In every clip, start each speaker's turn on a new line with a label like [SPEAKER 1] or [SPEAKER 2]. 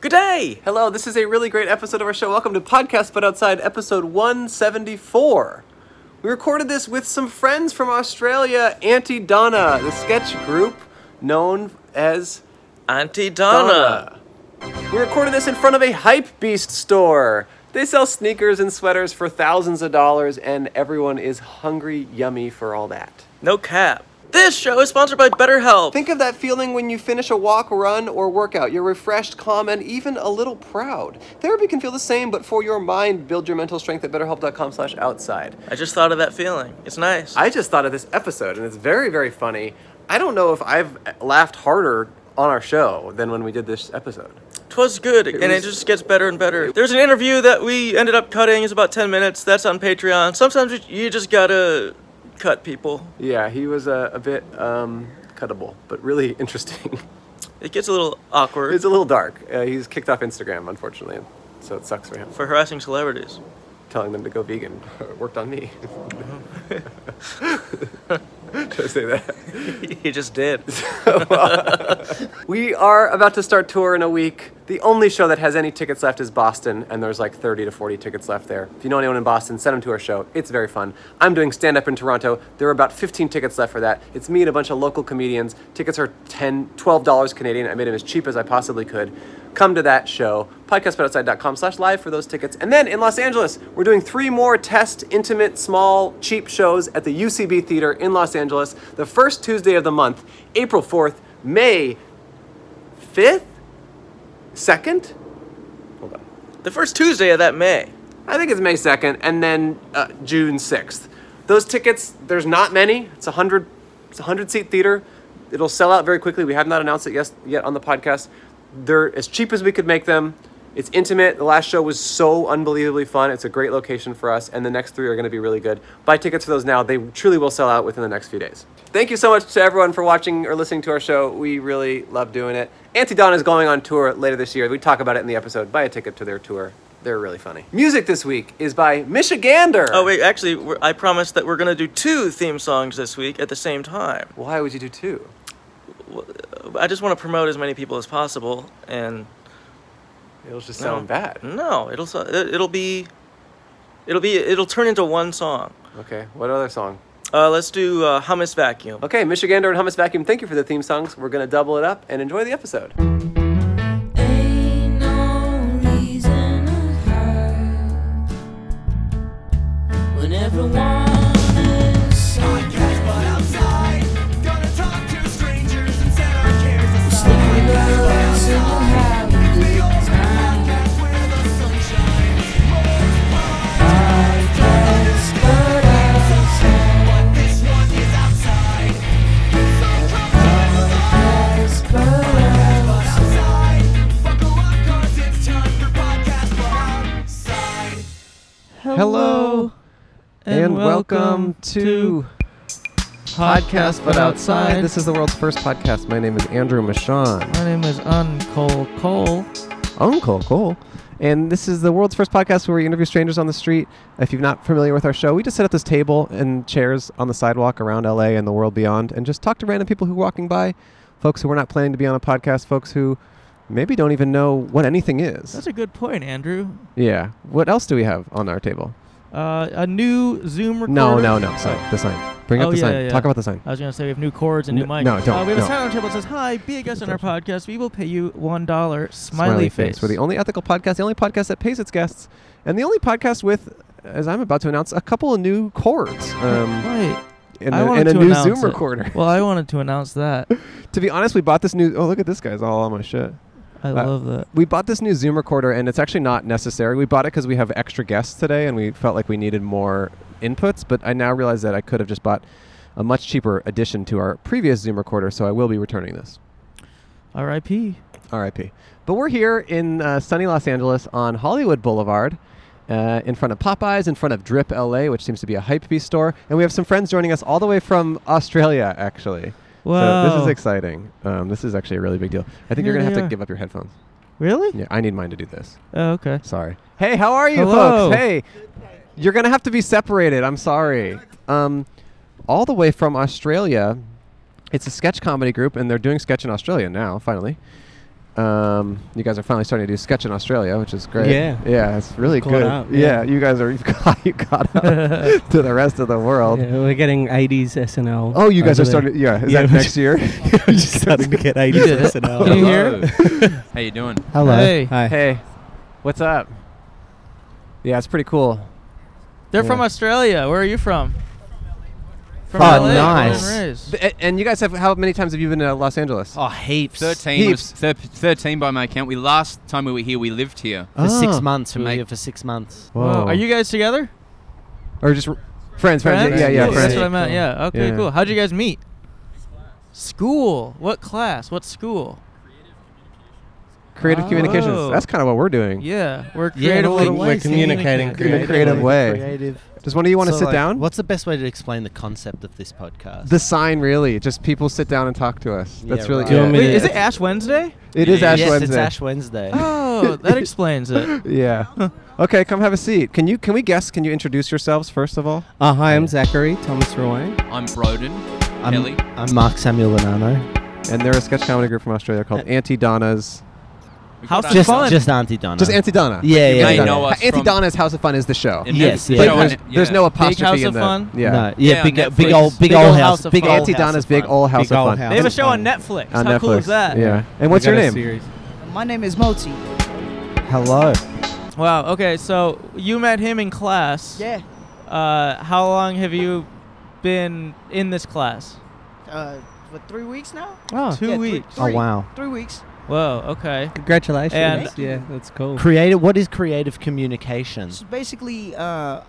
[SPEAKER 1] Good day! Hello, this is a really great episode of our show. Welcome to Podcast But Outside, episode 174. We recorded this with some friends from Australia, Auntie Donna, the sketch group known as
[SPEAKER 2] Auntie Donna.
[SPEAKER 1] We recorded this in front of a hype beast store. They sell sneakers and sweaters for thousands of dollars, and everyone is hungry, yummy for all that.
[SPEAKER 2] No cap. This show is sponsored by BetterHelp.
[SPEAKER 1] Think of that feeling when you finish a walk, run, or workout. You're refreshed, calm, and even a little proud. Therapy can feel the same, but for your mind, build your mental strength at betterhelp.com/outside.
[SPEAKER 2] I just thought of that feeling. It's nice.
[SPEAKER 1] I just thought of this episode, and it's very, very funny. I don't know if I've laughed harder on our show than when we did this episode.
[SPEAKER 2] Twas good, and
[SPEAKER 1] was-
[SPEAKER 2] it just gets better and better. There's an interview that we ended up cutting. It's about 10 minutes. That's on Patreon. Sometimes you- you just gotta cut people.
[SPEAKER 1] Yeah, he was a, a bit um, cuttable, but really interesting.
[SPEAKER 2] It gets a little awkward
[SPEAKER 1] it's a little dark. Uh, he's kicked off Instagram, unfortunately, so it sucks for him.
[SPEAKER 2] for harassing celebrities.
[SPEAKER 1] Telling them to go vegan worked on me. Should I say that?
[SPEAKER 2] he just did.
[SPEAKER 1] We are about to start tour in a week. The only show that has any tickets left is Boston, and there's like 30 to 40 tickets left there. If you know anyone in Boston, send them to our show. It's very fun. I'm doing stand up in Toronto. There are about 15 tickets left for that. It's me and a bunch of local comedians. Tickets are 10, 12 dollars Canadian. I made them as cheap as I possibly could. Come to that show. Podcastbutoutside.com slash live for those tickets. And then in Los Angeles, we're doing three more test, intimate, small, cheap shows at the UCB Theater in Los Angeles the first Tuesday of the month, April 4th, May fifth, second. Hold on.
[SPEAKER 2] the first Tuesday of that May.
[SPEAKER 1] I think it's May second, and then uh, June sixth. Those tickets, there's not many. It's a hundred. It's a hundred seat theater. It'll sell out very quickly. We have not announced it yes, yet on the podcast. They're as cheap as we could make them. It's intimate. The last show was so unbelievably fun. It's a great location for us, and the next three are going to be really good. Buy tickets for those now. They truly will sell out within the next few days. Thank you so much to everyone for watching or listening to our show. We really love doing it. Auntie Donna is going on tour later this year. We talk about it in the episode. Buy a ticket to their tour. They're really funny. Music this week is by Michigander.
[SPEAKER 2] Oh, wait, actually, we're, I promised that we're gonna do two theme songs this week at the same time.
[SPEAKER 1] Why would you do two?
[SPEAKER 2] I just wanna promote as many people as possible, and
[SPEAKER 1] It'll just
[SPEAKER 2] No.
[SPEAKER 1] sound bad.
[SPEAKER 2] No, it'll so- it- it'll be, it'll be it'll turn into one song.
[SPEAKER 1] Okay, what other song?
[SPEAKER 2] Uh, let's do uh, hummus vacuum.
[SPEAKER 1] Okay, Michigander and Hummus Vacuum, thank you for the theme songs. We're gonna double it up and enjoy the episode.
[SPEAKER 3] Ain't no reason to hurt when everyone is so lost in the habit of good times. Podcasts, but outside. Podcasts, but outside.
[SPEAKER 1] Hello, and welcome to Podcast But Outside. This is the world's first podcast. My name is Andrew Michon,
[SPEAKER 2] My name is Uncle Cole.
[SPEAKER 1] Uncle Cole. And this is the world's first podcast where we interview strangers on the street. If you're not familiar with our show, we just set up this table and chairs on the sidewalk around LA and the world beyond and just talk to random people who are walking by, folks who are not planning to be on a podcast, folks who maybe don't even know what anything is.
[SPEAKER 4] That's a good point, Andrew.
[SPEAKER 1] Yeah. What else do we have on our table?
[SPEAKER 4] Uh, a new Zoom recorder.
[SPEAKER 1] No, no, no. Sorry. The sign. Bring up
[SPEAKER 4] Oh,
[SPEAKER 1] the
[SPEAKER 4] yeah,
[SPEAKER 1] sign.
[SPEAKER 4] yeah, yeah.
[SPEAKER 1] Talk about the sign.
[SPEAKER 4] I was gonna say we have new cords and new
[SPEAKER 1] N-
[SPEAKER 4] mics.
[SPEAKER 1] no, don't,
[SPEAKER 4] Uh, we have
[SPEAKER 1] no.
[SPEAKER 4] a sign on the table that says, "Hi, be a guest on our podcast. We will pay you one dollar." Smiley,
[SPEAKER 1] Smiley face. We're the only ethical podcast, the only podcast that pays its guests, and the only podcast with, as I'm about to announce, a couple of new chords um,
[SPEAKER 4] Wait.
[SPEAKER 1] and
[SPEAKER 4] I
[SPEAKER 1] a,
[SPEAKER 4] wanted
[SPEAKER 1] and a
[SPEAKER 4] to
[SPEAKER 1] new
[SPEAKER 4] announce
[SPEAKER 1] Zoom
[SPEAKER 4] it.
[SPEAKER 1] recorder.
[SPEAKER 4] Well, I wanted to announce that.
[SPEAKER 1] to be honest, we bought this new. Oh, look at this guy's all on my shit.
[SPEAKER 4] I love that.
[SPEAKER 1] We bought this new Zoom recorder, and it's actually not necessary. We bought it because we have extra guests today, and we felt like we needed more inputs. But I now realize that I could have just bought a much cheaper addition to our previous Zoom recorder, so I will be returning this.
[SPEAKER 4] R.I.P.
[SPEAKER 1] R.I.P. But we're here in uh, sunny Los Angeles on Hollywood Boulevard, uh, in front of Popeyes, in front of Drip LA, which seems to be a hype beast store, and we have some friends joining us all the way from Australia, actually. So this is
[SPEAKER 4] Wow.
[SPEAKER 1] exciting. Um, this is actually a really big deal. I think you're
[SPEAKER 4] Here
[SPEAKER 1] gonna
[SPEAKER 4] they
[SPEAKER 1] have to
[SPEAKER 4] are.
[SPEAKER 1] give up your headphones.
[SPEAKER 4] Really?
[SPEAKER 1] Yeah, I need mine to do this.
[SPEAKER 4] Oh, okay.
[SPEAKER 1] Sorry. Hey, how are you,
[SPEAKER 4] Hello.
[SPEAKER 1] folks? Hey, you're gonna have to be separated. I'm sorry. Um, all the way from Australia. It's a sketch comedy group, and they're doing sketch in Australia now. Finally,
[SPEAKER 5] Um, you guys are finally starting to do sketch in Australia, which is great.
[SPEAKER 6] Yeah.
[SPEAKER 5] yeah, it's really
[SPEAKER 6] Caught
[SPEAKER 5] good.
[SPEAKER 6] up,
[SPEAKER 5] yeah.
[SPEAKER 6] yeah.
[SPEAKER 5] you guys are you've got you caught up to the rest of the world.
[SPEAKER 6] Yeah, we're getting 80s SNL.
[SPEAKER 5] Oh, you guys are
[SPEAKER 6] over there.
[SPEAKER 5] starting. Yeah, is that
[SPEAKER 6] we're
[SPEAKER 5] next year?
[SPEAKER 6] we're just starting to get 80s
[SPEAKER 2] You did it.
[SPEAKER 6] SNL.
[SPEAKER 2] Can you hear?
[SPEAKER 7] How you doing?
[SPEAKER 6] Hello.
[SPEAKER 2] Hey.
[SPEAKER 6] Hi.
[SPEAKER 5] Hey, what's up? Yeah, it's pretty cool.
[SPEAKER 2] They're
[SPEAKER 5] Yeah.
[SPEAKER 2] from Australia. Where are you from? From
[SPEAKER 6] Oh,
[SPEAKER 2] LA, born and
[SPEAKER 6] nice.
[SPEAKER 2] raised.
[SPEAKER 5] Th- a- and you guys have how many times have you been to Los Angeles?
[SPEAKER 6] Oh, heaps.
[SPEAKER 7] 13 was
[SPEAKER 5] Heaps.
[SPEAKER 7] thir- 13 by my count. We last time we were here, we lived here.
[SPEAKER 6] For six
[SPEAKER 5] Ah.
[SPEAKER 6] months. We were
[SPEAKER 7] Mate.
[SPEAKER 6] here for six months.
[SPEAKER 2] Whoa. Are you guys together?
[SPEAKER 5] or just r- friends, friends? Yeah, yeah, friends.
[SPEAKER 6] Friends?
[SPEAKER 2] That's what I meant.
[SPEAKER 6] Cool.
[SPEAKER 2] Yeah. Okay.
[SPEAKER 5] Yeah.
[SPEAKER 2] Cool. How'd you guys meet? School. What class? What school?
[SPEAKER 5] Creative
[SPEAKER 2] Oh.
[SPEAKER 5] communications. That's kind of what we're doing.
[SPEAKER 2] Yeah. We're
[SPEAKER 6] Yeah,
[SPEAKER 2] creative
[SPEAKER 6] we're,
[SPEAKER 2] little
[SPEAKER 6] we're
[SPEAKER 2] ways.
[SPEAKER 6] communicating
[SPEAKER 5] In a creative way.
[SPEAKER 6] Creative.
[SPEAKER 5] Does one of you want to
[SPEAKER 6] So,
[SPEAKER 5] sit
[SPEAKER 6] like,
[SPEAKER 5] down?
[SPEAKER 6] What's the best way to explain the concept of this podcast?
[SPEAKER 5] the sign really? Just people sit down and talk to us.
[SPEAKER 6] Yeah,
[SPEAKER 5] That's really
[SPEAKER 6] right. Do you
[SPEAKER 5] it.
[SPEAKER 6] want me
[SPEAKER 2] Wait,
[SPEAKER 6] to-
[SPEAKER 2] is it Ash Wednesday?
[SPEAKER 5] It is Ash
[SPEAKER 6] yes,
[SPEAKER 5] Wednesday. Ah.
[SPEAKER 6] it's Ash Wednesday.
[SPEAKER 2] Oh, that explains it.
[SPEAKER 5] Yeah. okay, come have a seat. Can you can we guess? Can you introduce yourselves first of all?
[SPEAKER 6] Uh, hi, I'm Zachary Thomas Roy.
[SPEAKER 7] I'm Broden.
[SPEAKER 6] I'm,
[SPEAKER 7] Kelly.
[SPEAKER 6] I'm Mark Samuel Bonanno.
[SPEAKER 5] And they're a sketch comedy group from Australia called Auntie Donna's.
[SPEAKER 7] We've
[SPEAKER 2] House
[SPEAKER 7] got
[SPEAKER 2] of
[SPEAKER 7] our-
[SPEAKER 6] Just,
[SPEAKER 2] fun.
[SPEAKER 6] just Auntie Donna.
[SPEAKER 5] Just Auntie Donna.
[SPEAKER 6] Yeah,
[SPEAKER 7] You
[SPEAKER 6] yeah.
[SPEAKER 7] may
[SPEAKER 6] yeah.
[SPEAKER 7] know us
[SPEAKER 5] Auntie
[SPEAKER 7] from-
[SPEAKER 5] Donna's House of Fun is the show.
[SPEAKER 7] in
[SPEAKER 6] Yes,
[SPEAKER 7] every
[SPEAKER 6] yeah.
[SPEAKER 7] show,
[SPEAKER 5] But there's,
[SPEAKER 7] and-
[SPEAKER 5] there's
[SPEAKER 7] yeah.
[SPEAKER 5] no apostrophe
[SPEAKER 2] House
[SPEAKER 5] in
[SPEAKER 2] of
[SPEAKER 5] the-
[SPEAKER 2] Fun?
[SPEAKER 5] Yeah.
[SPEAKER 6] No,
[SPEAKER 7] Yeah,
[SPEAKER 6] yeah,
[SPEAKER 7] on
[SPEAKER 6] big,
[SPEAKER 7] Netflix.
[SPEAKER 6] big old, big,
[SPEAKER 2] Big
[SPEAKER 6] old
[SPEAKER 2] old
[SPEAKER 6] house,
[SPEAKER 2] House of
[SPEAKER 6] big
[SPEAKER 2] Fun.
[SPEAKER 6] old
[SPEAKER 5] Auntie
[SPEAKER 6] house
[SPEAKER 5] Donna's
[SPEAKER 6] of
[SPEAKER 5] Big
[SPEAKER 6] fun.
[SPEAKER 5] Old House
[SPEAKER 6] Big
[SPEAKER 5] of
[SPEAKER 6] old
[SPEAKER 5] Fun.
[SPEAKER 6] house
[SPEAKER 2] They have a
[SPEAKER 6] of
[SPEAKER 2] show
[SPEAKER 6] fun.
[SPEAKER 2] on Netflix.
[SPEAKER 5] On
[SPEAKER 2] How cool
[SPEAKER 5] Netflix.
[SPEAKER 2] is that?
[SPEAKER 5] Yeah. And what's
[SPEAKER 6] We
[SPEAKER 5] your
[SPEAKER 6] got a
[SPEAKER 5] name?
[SPEAKER 6] series.
[SPEAKER 8] My name is Moti.
[SPEAKER 6] Hello. Oh,
[SPEAKER 2] Wow. Okay. So you met him in class.
[SPEAKER 8] Yeah.
[SPEAKER 2] Uh, how long have you been in this class?
[SPEAKER 8] Uh, for three weeks now?
[SPEAKER 6] Oh,
[SPEAKER 2] Two
[SPEAKER 8] Yeah, three-
[SPEAKER 2] weeks.
[SPEAKER 6] oh
[SPEAKER 8] three-
[SPEAKER 6] wow.
[SPEAKER 8] Three weeks.
[SPEAKER 2] Whoa. Okay.
[SPEAKER 6] Congratulations.
[SPEAKER 2] And-
[SPEAKER 6] yeah, that's cool. Creative. What is creative communication?
[SPEAKER 8] It's basically uh,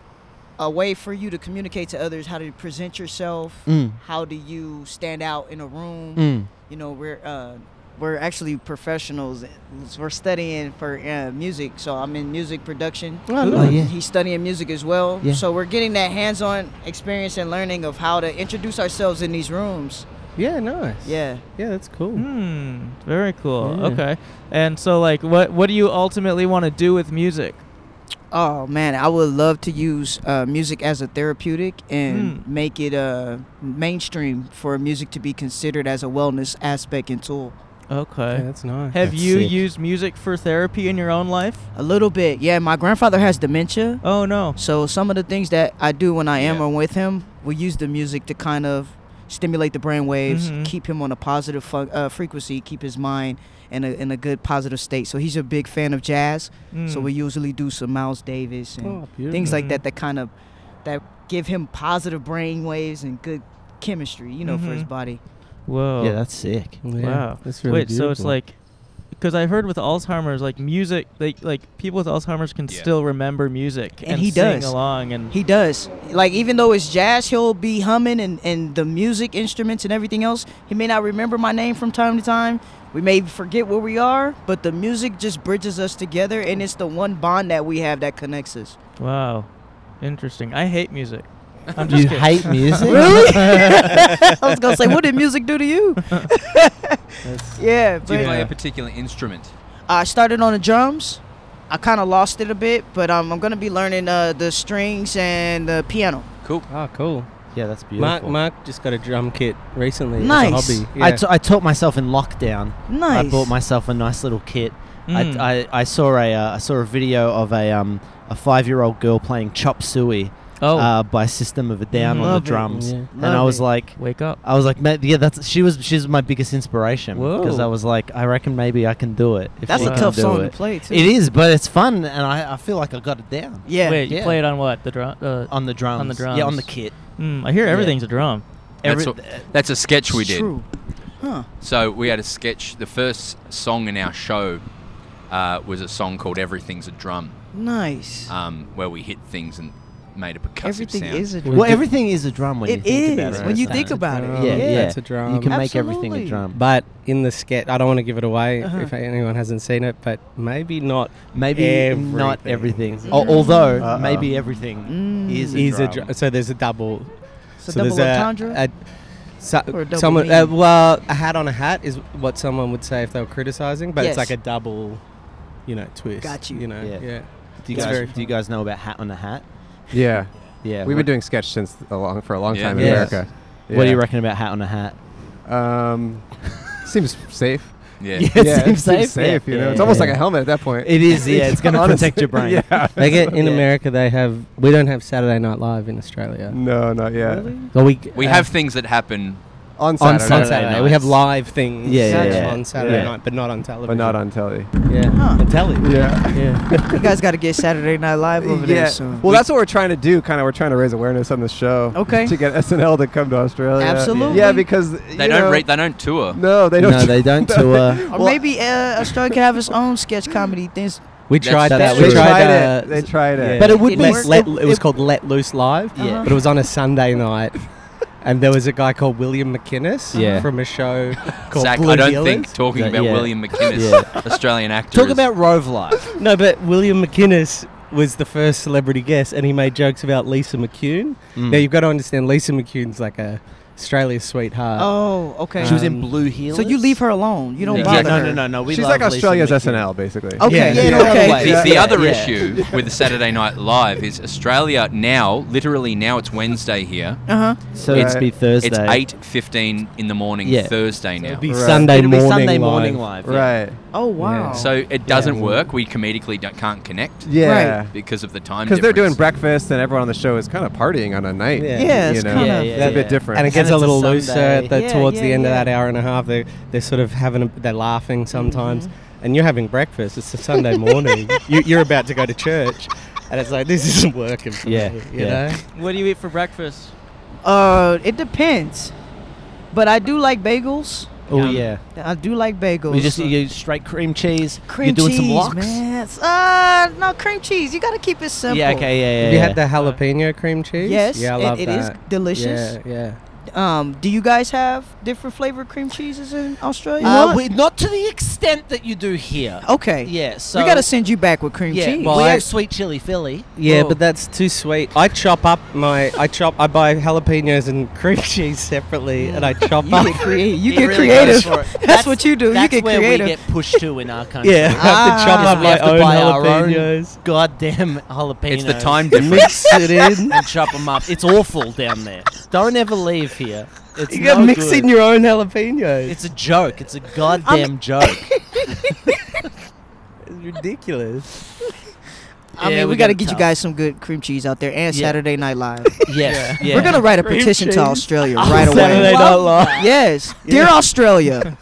[SPEAKER 8] a way for you to communicate to others how to present yourself.
[SPEAKER 6] Mm.
[SPEAKER 8] How do you stand out in a room?
[SPEAKER 6] Mm.
[SPEAKER 8] You know, we're uh, we're actually professionals. We're studying for uh, music, so I'm in music production. Uh,
[SPEAKER 6] nice. Oh, yeah.
[SPEAKER 8] He's studying music as well.
[SPEAKER 6] Yeah.
[SPEAKER 8] So we're getting that hands-on experience and learning of how to introduce ourselves in these rooms.
[SPEAKER 6] Yeah, nice.
[SPEAKER 8] Yeah.
[SPEAKER 6] yeah, that's cool.
[SPEAKER 2] Hmm. Very cool.
[SPEAKER 6] Yeah.
[SPEAKER 2] Okay. And so, like, what what do you ultimately want to do with music?
[SPEAKER 8] Oh man, I would love to use uh, music as a therapeutic and
[SPEAKER 2] Mm.
[SPEAKER 8] make it uh, mainstream for music to be considered as a wellness aspect and tool.
[SPEAKER 2] Okay.
[SPEAKER 6] Yeah, that's nice.
[SPEAKER 2] have
[SPEAKER 6] That's
[SPEAKER 2] you
[SPEAKER 6] sick.
[SPEAKER 2] used music for therapy in your own life?
[SPEAKER 8] A little bit, yeah. My grandfather has dementia,
[SPEAKER 2] Oh no.
[SPEAKER 8] so some of the things that I do when I am
[SPEAKER 7] Yeah.
[SPEAKER 8] with him, we use the music to kind of stimulate the brain waves,
[SPEAKER 2] Mhm.
[SPEAKER 8] keep him on a positive fu- uh, frequency, keep his mind in a, in a good positive state. So he's a big fan of jazz. So
[SPEAKER 2] Mm.
[SPEAKER 8] we usually do some Miles Davis and
[SPEAKER 6] Oh, beautiful.
[SPEAKER 8] things like
[SPEAKER 2] Mhm.
[SPEAKER 8] that that kind of that give him positive brain waves and good chemistry, you know, for his
[SPEAKER 2] Mhm.
[SPEAKER 8] body.
[SPEAKER 2] Whoa.
[SPEAKER 6] Yeah, that's sick.
[SPEAKER 2] wow. Wait. So it's like. Because I heard with Alzheimer's, like music, like like people with Alzheimer's can
[SPEAKER 7] Yeah.
[SPEAKER 2] still remember music and,
[SPEAKER 8] And he
[SPEAKER 2] sing
[SPEAKER 8] does.
[SPEAKER 2] along and
[SPEAKER 8] He does. Like even though it's jazz, he'll be humming and, and the music instruments and everything else. He may not remember my name from time to time. We may forget where we are, but the music just bridges us together and it's the one bond that we have that connects us.
[SPEAKER 2] Wow, interesting. I hate music. I'm just
[SPEAKER 6] you
[SPEAKER 2] kidding.
[SPEAKER 6] hate music?
[SPEAKER 8] Really? I was gonna say, what did music do to you? yeah,
[SPEAKER 7] Do you
[SPEAKER 8] but
[SPEAKER 7] play a particular instrument?
[SPEAKER 8] I started on the drums. I kind of lost it a bit, but um, I'm gonna be learning uh, the strings and the piano.
[SPEAKER 7] Cool.
[SPEAKER 9] Oh, cool.
[SPEAKER 6] yeah, that's beautiful.
[SPEAKER 9] Mark Mark just got a drum kit recently.
[SPEAKER 8] Nice.
[SPEAKER 9] As a hobby.
[SPEAKER 6] I, t- I taught myself in lockdown.
[SPEAKER 8] Nice.
[SPEAKER 6] I bought myself a nice little kit.
[SPEAKER 2] Mm.
[SPEAKER 6] I, I, I saw a uh, I saw a video of a um a five year old girl playing Chop Suey
[SPEAKER 2] oh,
[SPEAKER 6] uh, by System of a Down on
[SPEAKER 2] Love
[SPEAKER 6] the
[SPEAKER 2] it.
[SPEAKER 6] drums,
[SPEAKER 9] Yeah.
[SPEAKER 6] and
[SPEAKER 8] Love
[SPEAKER 6] I was
[SPEAKER 8] it.
[SPEAKER 6] like,
[SPEAKER 2] wake up.
[SPEAKER 6] I was like, "Ma- yeah, that's she was she's my biggest inspiration because
[SPEAKER 2] Whoa.
[SPEAKER 6] I was like, I reckon maybe I can do it. If
[SPEAKER 8] That's
[SPEAKER 6] she
[SPEAKER 8] a
[SPEAKER 6] can
[SPEAKER 8] tough
[SPEAKER 6] do
[SPEAKER 8] song
[SPEAKER 6] it."
[SPEAKER 8] to play too.
[SPEAKER 6] It is, but it's fun, and I, I feel like I got it down
[SPEAKER 8] Yeah.
[SPEAKER 2] Wait, you
[SPEAKER 6] yeah.
[SPEAKER 2] play it on what? The drum? Uh,
[SPEAKER 6] on the drums.
[SPEAKER 2] the
[SPEAKER 6] yeah, on
[SPEAKER 2] drums.
[SPEAKER 6] the kit.
[SPEAKER 2] mm, I hear
[SPEAKER 6] yeah.
[SPEAKER 2] everything's a drum.
[SPEAKER 7] That's,
[SPEAKER 6] Every-
[SPEAKER 7] a, that's a sketch we
[SPEAKER 8] It's
[SPEAKER 7] did.
[SPEAKER 8] True. Huh.
[SPEAKER 7] So we had a sketch. The first song in our show uh, was a song called "Everything's a Drum,"
[SPEAKER 8] Nice.
[SPEAKER 7] um, where we hit things and made a percussive
[SPEAKER 8] Everything
[SPEAKER 7] sound.
[SPEAKER 8] is a
[SPEAKER 9] Well,
[SPEAKER 8] drum.
[SPEAKER 6] Well, everything is a drum when you
[SPEAKER 8] It
[SPEAKER 6] think about
[SPEAKER 8] is,
[SPEAKER 6] it.
[SPEAKER 8] when you
[SPEAKER 6] isn't
[SPEAKER 8] think
[SPEAKER 6] it?
[SPEAKER 8] about it.
[SPEAKER 6] Yeah, yeah.
[SPEAKER 9] It's a drum.
[SPEAKER 6] You can make everything a
[SPEAKER 8] Absolutely.
[SPEAKER 6] drum.
[SPEAKER 9] but in the sketch, I don't want to give it away
[SPEAKER 8] Uh-huh.
[SPEAKER 9] if anyone hasn't seen it, but maybe not.
[SPEAKER 6] Maybe not everything. Al- although maybe everything
[SPEAKER 8] Mm.
[SPEAKER 6] is a
[SPEAKER 9] Is a
[SPEAKER 6] drum.
[SPEAKER 9] drum. So there's a double.
[SPEAKER 8] It's a
[SPEAKER 9] so
[SPEAKER 8] double
[SPEAKER 9] there's
[SPEAKER 8] entendre.
[SPEAKER 9] A, so-
[SPEAKER 8] Or a double
[SPEAKER 9] someone. Uh,
[SPEAKER 8] meaning?
[SPEAKER 9] well, a hat on a hat is what someone would say if they were criticizing, but
[SPEAKER 8] Yes.
[SPEAKER 9] it's like a double, you know, twist.
[SPEAKER 8] Got you.
[SPEAKER 9] You know.
[SPEAKER 6] Yeah.
[SPEAKER 9] Yeah.
[SPEAKER 6] do, you
[SPEAKER 9] It's
[SPEAKER 6] guys,
[SPEAKER 9] very
[SPEAKER 6] do you guys know about hat on a hat?
[SPEAKER 5] Yeah.
[SPEAKER 6] Yeah.
[SPEAKER 5] We've
[SPEAKER 6] what-
[SPEAKER 5] been doing sketch since a long for a long
[SPEAKER 7] Yeah.
[SPEAKER 5] time in
[SPEAKER 6] Yes.
[SPEAKER 5] America.
[SPEAKER 6] What do you
[SPEAKER 5] Yeah.
[SPEAKER 6] reckon about hat on a hat?
[SPEAKER 5] Um, seems safe.
[SPEAKER 7] Yeah.
[SPEAKER 6] Yeah,
[SPEAKER 1] yeah,
[SPEAKER 6] it seems
[SPEAKER 1] it's pretty
[SPEAKER 6] safe.
[SPEAKER 1] safe. You know,
[SPEAKER 6] Yeah,
[SPEAKER 1] it's almost
[SPEAKER 6] yeah.
[SPEAKER 1] like a helmet at that point.
[SPEAKER 6] It is. Yeah, it's gonna
[SPEAKER 1] Honestly,
[SPEAKER 6] protect your brain.
[SPEAKER 1] Yeah.
[SPEAKER 9] Like it, in
[SPEAKER 6] Yeah.
[SPEAKER 9] America, they have we don't have Saturday Night Live in Australia.
[SPEAKER 1] No, not yet.
[SPEAKER 9] Well, we
[SPEAKER 7] We
[SPEAKER 9] uh,
[SPEAKER 7] have things that happen.
[SPEAKER 1] On Saturday,
[SPEAKER 9] on Saturday. We have live things.
[SPEAKER 6] Yeah, yeah, yeah.
[SPEAKER 9] on Saturday
[SPEAKER 6] Yeah.
[SPEAKER 9] night, but not on television.
[SPEAKER 1] but not on telly.
[SPEAKER 9] Yeah,
[SPEAKER 8] Huh.
[SPEAKER 9] on telly.
[SPEAKER 1] Yeah.
[SPEAKER 9] yeah.
[SPEAKER 8] You guys got to get Saturday Night Live over there soon.
[SPEAKER 1] Well, that's what we're trying to do. Kind of, we're trying to raise awareness on the show.
[SPEAKER 8] Okay.
[SPEAKER 1] To get SNL to come to Australia.
[SPEAKER 8] Absolutely.
[SPEAKER 1] Yeah, because
[SPEAKER 7] They don't re- they don't tour.
[SPEAKER 1] No, they don't.
[SPEAKER 6] No, they don't tour.
[SPEAKER 8] or
[SPEAKER 1] well-
[SPEAKER 8] maybe uh, Australia could have its own sketch comedy things.
[SPEAKER 9] We
[SPEAKER 7] That's-
[SPEAKER 9] tried
[SPEAKER 6] that's
[SPEAKER 9] that.
[SPEAKER 1] They
[SPEAKER 9] We
[SPEAKER 6] true.
[SPEAKER 9] tried,
[SPEAKER 1] tried
[SPEAKER 9] uh,
[SPEAKER 1] it. They tried it.
[SPEAKER 9] But it would
[SPEAKER 8] It
[SPEAKER 9] be
[SPEAKER 8] worked.
[SPEAKER 9] let,
[SPEAKER 8] It-
[SPEAKER 9] it was
[SPEAKER 8] it-
[SPEAKER 9] called Let Loose Live.
[SPEAKER 6] Yeah.
[SPEAKER 9] But it was on a Sunday night. And there was a guy called William McInnes
[SPEAKER 6] Yeah.
[SPEAKER 9] from a show called
[SPEAKER 7] Zach,
[SPEAKER 9] Blue
[SPEAKER 7] I don't
[SPEAKER 9] Heelers.
[SPEAKER 7] think talking
[SPEAKER 6] Yeah,
[SPEAKER 7] about
[SPEAKER 6] yeah.
[SPEAKER 7] William McInnes, Australian actor.
[SPEAKER 6] Talk
[SPEAKER 7] is-
[SPEAKER 6] about Rove Life.
[SPEAKER 9] No, but William McInnes was the first celebrity guest, and he made jokes about Lisa McCune.
[SPEAKER 6] Hmm.
[SPEAKER 9] Now you've got to understand, Lisa McCune's like a Australia's sweetheart. Um,
[SPEAKER 8] Oh, okay.
[SPEAKER 6] She was in Blue Heels.
[SPEAKER 8] so you leave her alone. You don't
[SPEAKER 7] Yeah.
[SPEAKER 6] Yeah,
[SPEAKER 8] bother
[SPEAKER 6] no,
[SPEAKER 8] her.
[SPEAKER 6] no, no, no. We
[SPEAKER 1] She's
[SPEAKER 6] love
[SPEAKER 1] like
[SPEAKER 6] Lisa
[SPEAKER 1] Australia's
[SPEAKER 6] McGee.
[SPEAKER 1] SNL, basically.
[SPEAKER 8] Okay.
[SPEAKER 6] Yeah,
[SPEAKER 8] Yeah.
[SPEAKER 6] no,
[SPEAKER 8] no, okay.
[SPEAKER 6] otherwise-
[SPEAKER 7] the,
[SPEAKER 6] Yeah.
[SPEAKER 7] the other
[SPEAKER 6] Yeah.
[SPEAKER 7] issue with the Saturday Night Live is Australia now, literally now it's Wednesday here.
[SPEAKER 8] Uh huh.
[SPEAKER 6] So
[SPEAKER 1] Right.
[SPEAKER 6] it's be Thursday.
[SPEAKER 7] It's eight fifteen in the morning
[SPEAKER 6] Yeah.
[SPEAKER 7] Thursday now.
[SPEAKER 9] It'd be
[SPEAKER 1] Right.
[SPEAKER 9] Sunday
[SPEAKER 6] It'll be
[SPEAKER 9] morning.
[SPEAKER 6] Sunday
[SPEAKER 9] live.
[SPEAKER 6] morning live. yeah.
[SPEAKER 1] Right.
[SPEAKER 8] Oh wow.
[SPEAKER 7] So it doesn't work. We comedically do can't connect
[SPEAKER 1] Yeah.
[SPEAKER 7] because of the time
[SPEAKER 1] Because they're doing
[SPEAKER 7] difference.
[SPEAKER 1] breakfast and everyone on the show is kind of partying on a night.
[SPEAKER 9] Yeah.
[SPEAKER 8] Yeah,
[SPEAKER 1] you
[SPEAKER 8] it's
[SPEAKER 1] know?
[SPEAKER 8] kinda- Yeah,
[SPEAKER 1] It's a bit different.
[SPEAKER 9] And it gets a
[SPEAKER 6] And it's a
[SPEAKER 9] little looser
[SPEAKER 6] Sunday.
[SPEAKER 9] at the,
[SPEAKER 8] Yeah,
[SPEAKER 9] towards
[SPEAKER 8] yeah,
[SPEAKER 9] the end
[SPEAKER 8] yeah. Mm-hmm.
[SPEAKER 9] of that hour and a half. They're, they're sort of having a, they're laughing sometimes, and you're having breakfast. It's a Sunday morning. you, you're about to go to church, and it's like this isn't working. For
[SPEAKER 6] Yeah,
[SPEAKER 9] me, you
[SPEAKER 6] yeah.
[SPEAKER 9] know.
[SPEAKER 2] What do you eat for breakfast?
[SPEAKER 8] uh, it depends, but I do like bagels.
[SPEAKER 6] Oh yeah.
[SPEAKER 8] I do like bagels.
[SPEAKER 6] We just you straight cream cheese.
[SPEAKER 8] cream
[SPEAKER 6] You're doing
[SPEAKER 8] cheese,
[SPEAKER 6] some locks.
[SPEAKER 8] man. Uh, no cream cheese. You got to keep it simple.
[SPEAKER 6] Yeah. Okay. Yeah. Yeah.
[SPEAKER 9] Have you
[SPEAKER 6] yeah.
[SPEAKER 9] had the jalapeno cream cheese?
[SPEAKER 8] Yes,
[SPEAKER 9] Yeah, I
[SPEAKER 8] it-
[SPEAKER 9] love
[SPEAKER 8] it is
[SPEAKER 9] that.
[SPEAKER 8] delicious.
[SPEAKER 9] Yeah, yeah.
[SPEAKER 8] Um, do you guys have different flavored cream cheeses in Australia?
[SPEAKER 6] Uh, we, not to the extent that you do here.
[SPEAKER 8] okay.
[SPEAKER 6] Yeah. So
[SPEAKER 8] Oh, we got to send you back with cream
[SPEAKER 6] yeah,
[SPEAKER 8] cheese.
[SPEAKER 6] Well, we
[SPEAKER 9] I-
[SPEAKER 6] have sweet chili Philly.
[SPEAKER 9] Yeah,
[SPEAKER 6] Oh.
[SPEAKER 9] but that's too sweet. I chop up my, I chop, I buy jalapenos and cream cheese separately, and I chop
[SPEAKER 8] you
[SPEAKER 9] up.
[SPEAKER 8] get, crea- you
[SPEAKER 6] He
[SPEAKER 8] get
[SPEAKER 6] really goes
[SPEAKER 8] creative.
[SPEAKER 6] for it.
[SPEAKER 8] That's, what you do. You
[SPEAKER 6] That's
[SPEAKER 8] get
[SPEAKER 6] where
[SPEAKER 8] creative.
[SPEAKER 6] we get pushed to in our country.
[SPEAKER 9] Yeah, I have to chop
[SPEAKER 8] Ah.
[SPEAKER 9] up
[SPEAKER 6] We
[SPEAKER 9] my
[SPEAKER 6] have to
[SPEAKER 9] own
[SPEAKER 6] buy our own-
[SPEAKER 9] jalapenos.
[SPEAKER 6] Goddamn jalapenos.
[SPEAKER 7] It's the time difference.
[SPEAKER 9] Mix it in.
[SPEAKER 6] and chop them up. It's awful down there. Don't ever leave here. It's
[SPEAKER 9] You got
[SPEAKER 6] no
[SPEAKER 9] mixing
[SPEAKER 6] good.
[SPEAKER 9] your own jalapenos.
[SPEAKER 6] It's a joke. It's a goddamn joke.
[SPEAKER 9] It's ridiculous.
[SPEAKER 8] I
[SPEAKER 6] Yeah,
[SPEAKER 8] mean,
[SPEAKER 6] we
[SPEAKER 8] we got
[SPEAKER 6] gotta
[SPEAKER 8] to get you
[SPEAKER 6] tough.
[SPEAKER 8] guys some good cream cheese out there and
[SPEAKER 6] Yeah.
[SPEAKER 8] Saturday Night Live.
[SPEAKER 6] Yes. Yeah.
[SPEAKER 8] We're gonna write a
[SPEAKER 9] Cream
[SPEAKER 8] petition
[SPEAKER 9] cheese.
[SPEAKER 8] to Australia right
[SPEAKER 9] Saturday
[SPEAKER 8] away.
[SPEAKER 9] Night Live.
[SPEAKER 8] Yes, dear Australia,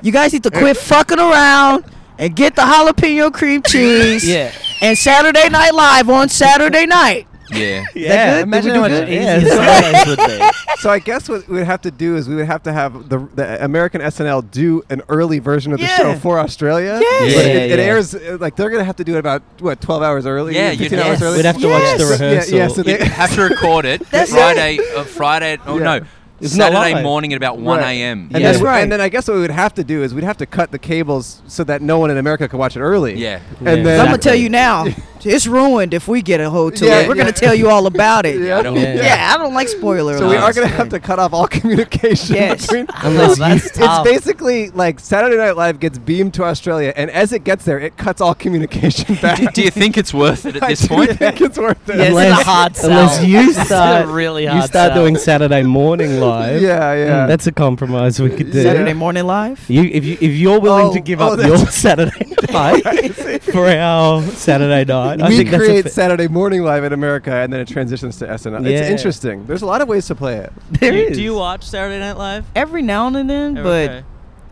[SPEAKER 8] you guys need to quit fucking around and get the jalapeno cream cheese
[SPEAKER 6] Yeah.
[SPEAKER 8] and Saturday Night Live on Saturday night.
[SPEAKER 7] Yeah.
[SPEAKER 9] Yeah,
[SPEAKER 1] good? Imagine
[SPEAKER 6] Imagine how much
[SPEAKER 1] how much
[SPEAKER 6] easier Sundays would be.
[SPEAKER 1] so I guess what we'd have to do is we would have to have the, the American SNL do an early version of the
[SPEAKER 8] Yeah.
[SPEAKER 1] show for Australia.
[SPEAKER 8] Yes.
[SPEAKER 1] But it,
[SPEAKER 6] Yeah,
[SPEAKER 1] it
[SPEAKER 6] yeah.
[SPEAKER 1] airs uh, like they're gonna have to do it about what twelve hours early.
[SPEAKER 7] Yeah, you'd
[SPEAKER 1] 15
[SPEAKER 7] have-
[SPEAKER 1] hours early.
[SPEAKER 9] We'd have to watch the
[SPEAKER 1] Yes.
[SPEAKER 9] rehearsal.
[SPEAKER 1] Yeah, yeah, so
[SPEAKER 7] You
[SPEAKER 1] they-
[SPEAKER 7] have to record it
[SPEAKER 8] That's
[SPEAKER 7] Friday. Uh, Friday. Oh
[SPEAKER 1] Yeah.
[SPEAKER 7] no,
[SPEAKER 9] It's not
[SPEAKER 7] Saturday
[SPEAKER 9] live.
[SPEAKER 7] morning at about one
[SPEAKER 1] Right.
[SPEAKER 7] a.m.
[SPEAKER 1] And,
[SPEAKER 6] Yeah.
[SPEAKER 1] then,
[SPEAKER 6] That's
[SPEAKER 1] and then I guess what we would have to do is we'd have to cut the cables so that no one in America could watch it early.
[SPEAKER 7] Yeah.
[SPEAKER 1] And
[SPEAKER 9] Yeah.
[SPEAKER 1] then
[SPEAKER 8] I'm gonna tell you now, it's ruined if we get a hold to
[SPEAKER 1] Yeah,
[SPEAKER 8] it. We're
[SPEAKER 1] yeah.
[SPEAKER 8] gonna tell you all about it.
[SPEAKER 1] Yeah.
[SPEAKER 7] I don't-
[SPEAKER 9] Yeah.
[SPEAKER 8] Yeah, I don't like spoiler.
[SPEAKER 1] So we are
[SPEAKER 8] alerts,
[SPEAKER 1] going to
[SPEAKER 8] man.
[SPEAKER 1] have to cut off all communication
[SPEAKER 8] Yes.
[SPEAKER 1] between.
[SPEAKER 6] Unless that's
[SPEAKER 1] It's
[SPEAKER 6] tough.
[SPEAKER 1] basically like Saturday Night Live gets beamed to Australia, and as it gets there, it cuts all communication back.
[SPEAKER 7] Do you think it's worth it at
[SPEAKER 1] I
[SPEAKER 7] this
[SPEAKER 1] do
[SPEAKER 7] point?
[SPEAKER 1] think it's worth it.
[SPEAKER 6] Yeah, this is a
[SPEAKER 9] Unless-
[SPEAKER 6] hard sell.
[SPEAKER 9] unless you
[SPEAKER 6] This is a
[SPEAKER 9] start-
[SPEAKER 6] really hard
[SPEAKER 9] You start
[SPEAKER 6] sell.
[SPEAKER 9] doing Saturday morning live.
[SPEAKER 1] Yeah, yeah.
[SPEAKER 9] Mm, that's a compromise we could do.
[SPEAKER 1] Saturday
[SPEAKER 8] Saturday morning live.
[SPEAKER 9] You, if you if you're willing
[SPEAKER 1] Oh,
[SPEAKER 9] to give
[SPEAKER 1] oh,
[SPEAKER 9] up your
[SPEAKER 1] that's-
[SPEAKER 9] Saturday night for our Saturday night, I
[SPEAKER 1] we
[SPEAKER 9] think that's a
[SPEAKER 1] create
[SPEAKER 9] fa-
[SPEAKER 1] Saturday Morning Live in America, and then it transitions to SNL. It's
[SPEAKER 9] Yeah.
[SPEAKER 1] interesting. There's a lot of ways to play it.
[SPEAKER 9] There
[SPEAKER 2] do, you-
[SPEAKER 9] is.
[SPEAKER 2] do you watch Saturday Night Live?
[SPEAKER 8] Every now and then,
[SPEAKER 2] Oh, Okay.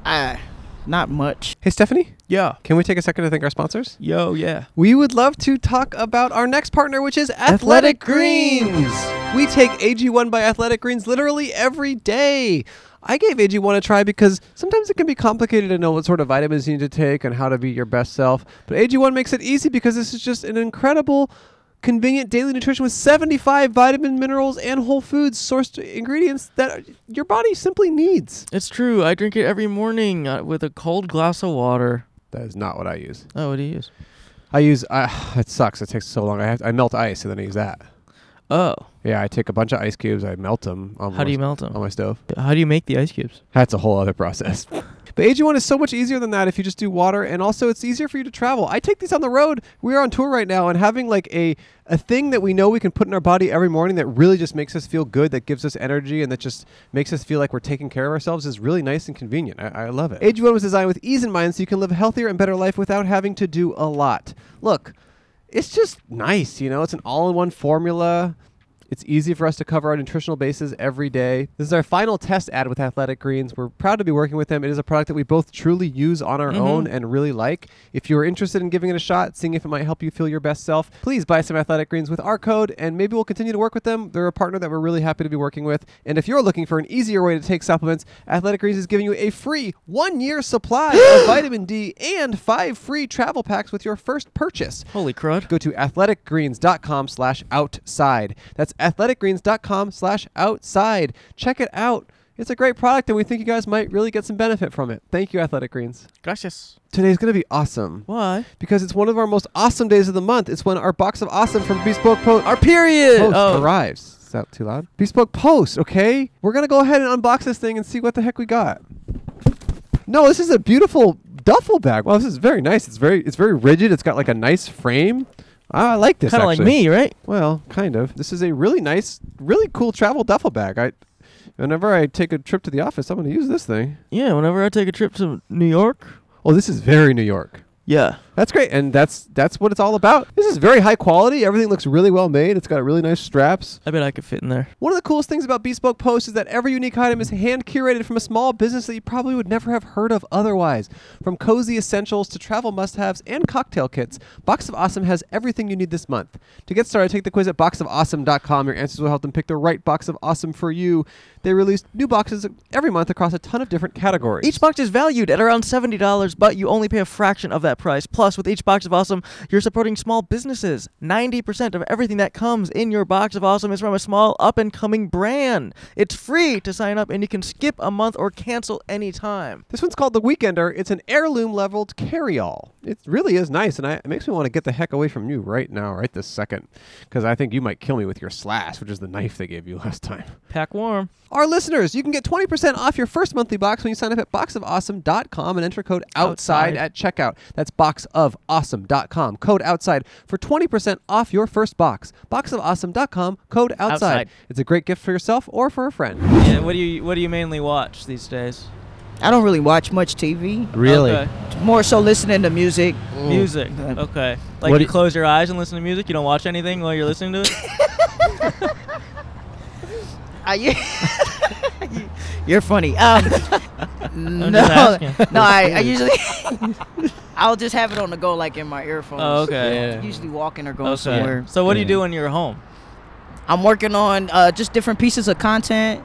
[SPEAKER 8] but I, not much.
[SPEAKER 1] Hey, Stephanie,
[SPEAKER 2] yeah,
[SPEAKER 1] can we take a second to thank our sponsors?
[SPEAKER 2] yo, yeah.
[SPEAKER 1] We would love to talk about our next partner, which is Athletic,
[SPEAKER 8] Athletic
[SPEAKER 1] Greens. We take AG1 by Athletic Greens literally every day. I gave AG1 a try because sometimes it can be complicated to know what sort of vitamins you need to take and how to be your best self. But AG1 makes it easy because this is just an incredible, convenient daily nutrition with 75 vitamin minerals and whole foods sourced ingredients that your body simply needs.
[SPEAKER 2] It's true. I drink it every morning uh, with a cold glass of water.
[SPEAKER 1] That is not what I use.
[SPEAKER 2] Oh, what do you use?
[SPEAKER 1] I use, uh, it sucks. It takes so long. I, have I melt ice and then I use that.
[SPEAKER 2] Oh,
[SPEAKER 1] Yeah, I take a bunch of ice cubes, I melt them. On
[SPEAKER 2] how do
[SPEAKER 1] my-
[SPEAKER 2] Oh, you melt them?
[SPEAKER 1] on my stove?
[SPEAKER 2] How do you make the ice cubes?
[SPEAKER 1] That's a whole other process. But AG1 is so much easier than that if you just do water, and also it's easier for you to travel. I take these on the road. We are on tour right now, and having like a a thing that we know we can put in our body every morning that really just makes us feel good, that gives us energy, and that just makes us feel like we're taking care of ourselves is really nice and convenient. I, I love it. AG1 was designed with ease in mind so you can live a healthier and better life without having to do a lot. Look, it's just nice, you know. It's an all-in-one formula. It's easy for us to cover our nutritional bases every day. This is our final test ad with Athletic Greens. We're proud to be working with them. It is a product that we both truly use on our own and really like. If you are interested in giving it a shot, seeing if it might help you feel your best self, please buy some Athletic Greens with our code and maybe we'll continue to work with them. They're a partner that we're really happy to be working with. And if you're looking for an easier way to take supplements, Athletic Greens is giving you a free one year supply of vitamin D and five free travel packs with your first purchase
[SPEAKER 2] Holy crud.
[SPEAKER 1] go to athleticgreens.com slash outside that's athleticgreens.com slash outside check it out it's a great product and we think you guys might really get some benefit from it thank you athletic greens
[SPEAKER 2] Gracias.
[SPEAKER 1] today's gonna be awesome
[SPEAKER 2] Why?
[SPEAKER 1] because it's one of our most awesome days of the month it's when our box of awesome from bespoke post
[SPEAKER 2] Our period.
[SPEAKER 1] post
[SPEAKER 2] Oh.
[SPEAKER 1] arrives is that too loud bespoke post okay we're gonna go ahead and unbox this thing and see what the heck we got no this is a beautiful duffel bag wow this is very nice it's very it's very rigid it's got like a nice frame Ah, I like this.
[SPEAKER 2] Kind of like
[SPEAKER 1] actually.
[SPEAKER 2] me, right?
[SPEAKER 1] Well, kind of. This is a really nice, really cool travel duffel bag. I, whenever I take a trip to the office, I'm going to use this thing.
[SPEAKER 2] Yeah. Whenever I take a trip to New York.
[SPEAKER 1] Oh, this is very New York.
[SPEAKER 2] Yeah.
[SPEAKER 1] That's great, and that's that's what it's all about. This is very high quality. Everything looks really well made. It's got really nice straps.
[SPEAKER 2] I bet I could fit in there.
[SPEAKER 1] One of the coolest things about Bespoke Post is that every unique item is hand curated from a small business that you probably would never have heard of otherwise. From cozy essentials to travel must haves and cocktail kits, Box of Awesome has everything you need this month. To get started, take the quiz at boxofawesome.com. Your answers will help them pick the right box of awesome for you. They release new boxes every month across a ton of different categories.
[SPEAKER 2] Each box is valued at around $70, but you only pay a fraction of that price. Plus, with each box of awesome, you're supporting small businesses. 90% of everything that comes in your box of awesome is from a small up and coming brand. It's free to sign up and you can skip a month or cancel anytime.
[SPEAKER 1] This one's called the Weekender. It's an heirloom leveled carry-all. It really is nice, and I, it makes me want to get the heck away from you right now, right this second, because I think you might kill me with your slash, which is the knife they gave you last time.
[SPEAKER 2] Pack warm.
[SPEAKER 1] Our listeners, you can get 20% off your first monthly box when you sign up at boxofawesome.com and enter code
[SPEAKER 2] Outside.
[SPEAKER 1] outside, at checkout. That's boxofawesome.com, code outside for 20% off your first box. Boxofawesome.com, code outside.
[SPEAKER 2] Outside.
[SPEAKER 1] It's a great gift for yourself or for a friend.
[SPEAKER 2] Yeah, what do you what do you mainly watch these days?
[SPEAKER 8] I don't really watch much TV.
[SPEAKER 6] Really?
[SPEAKER 2] Okay.
[SPEAKER 8] More so listening to music.
[SPEAKER 2] Music. Okay. Like
[SPEAKER 6] What
[SPEAKER 2] you
[SPEAKER 6] do-
[SPEAKER 2] close your eyes and listen to music, you don't watch anything while you're listening to it?
[SPEAKER 8] Are Uh, you? You're funny. Um, no,
[SPEAKER 2] asking.
[SPEAKER 8] no. I, I usually I'll just have it on the go, like in my earphones.
[SPEAKER 2] oh, okay.
[SPEAKER 9] Yeah.
[SPEAKER 8] Usually walking or going
[SPEAKER 2] Okay.
[SPEAKER 8] somewhere.
[SPEAKER 2] So what do you
[SPEAKER 9] Yeah.
[SPEAKER 2] do when you're home?
[SPEAKER 8] I'm working on uh, just different pieces of content,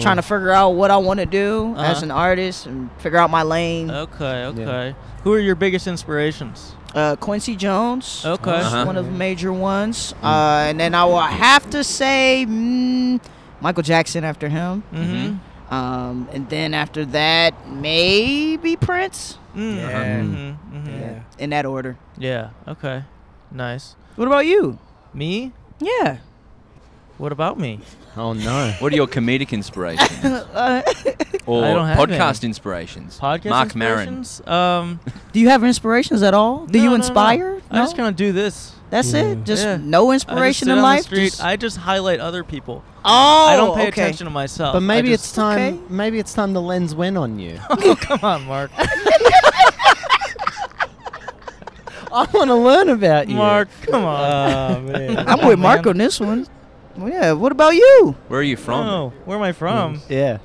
[SPEAKER 8] trying to figure out what I want to do as
[SPEAKER 2] Uh-huh. Oh.
[SPEAKER 8] an artist and figure out my lane.
[SPEAKER 2] Okay, okay. Who are your biggest inspirations?
[SPEAKER 8] Uh, Quincy Jones.
[SPEAKER 2] Okay.
[SPEAKER 8] is
[SPEAKER 7] Uh-huh.
[SPEAKER 8] one of the major ones.
[SPEAKER 2] Mm.
[SPEAKER 8] Uh, and then I will have to say mm, Michael Jackson after him.
[SPEAKER 2] Mm-hmm.
[SPEAKER 8] Um, and then after that, maybe Prince.
[SPEAKER 9] Yeah.
[SPEAKER 2] Mm-hmm. Mm-hmm.
[SPEAKER 9] Yeah.
[SPEAKER 8] In that order.
[SPEAKER 2] Yeah. Okay. Nice.
[SPEAKER 8] What about you?
[SPEAKER 2] Me?
[SPEAKER 8] Yeah.
[SPEAKER 2] What about me?
[SPEAKER 6] Oh no.
[SPEAKER 7] What are your comedic inspirations? or
[SPEAKER 2] I don't have
[SPEAKER 7] podcast
[SPEAKER 2] any.
[SPEAKER 7] inspirations?
[SPEAKER 2] Podcast
[SPEAKER 7] Mark Maron.
[SPEAKER 2] inspirations? Um,
[SPEAKER 8] Do you have inspirations at all? Do
[SPEAKER 2] no,
[SPEAKER 8] you
[SPEAKER 2] no, no.
[SPEAKER 8] inspire?
[SPEAKER 2] I just kind of do this.
[SPEAKER 8] That's it. Just
[SPEAKER 2] Yeah.
[SPEAKER 8] no
[SPEAKER 2] I just
[SPEAKER 8] inspiration
[SPEAKER 2] sit
[SPEAKER 8] in
[SPEAKER 2] on
[SPEAKER 8] life.
[SPEAKER 2] The street.
[SPEAKER 8] Just-
[SPEAKER 2] I just highlight other people.
[SPEAKER 8] oh,
[SPEAKER 2] I don't pay
[SPEAKER 8] okay.
[SPEAKER 2] attention to myself.
[SPEAKER 6] But
[SPEAKER 2] I
[SPEAKER 6] maybe
[SPEAKER 2] just-
[SPEAKER 6] it's time.
[SPEAKER 8] okay.
[SPEAKER 6] Maybe it's time the lens went on you.
[SPEAKER 2] Oh, come on, Mark.
[SPEAKER 6] I want to learn about you.
[SPEAKER 2] Mark, come on.
[SPEAKER 9] Oh, man.
[SPEAKER 8] I'm with Mark
[SPEAKER 2] Man.
[SPEAKER 8] on this one. Well, yeah. What about you?
[SPEAKER 7] Where are you from?
[SPEAKER 2] No, where am I from?
[SPEAKER 6] Yeah.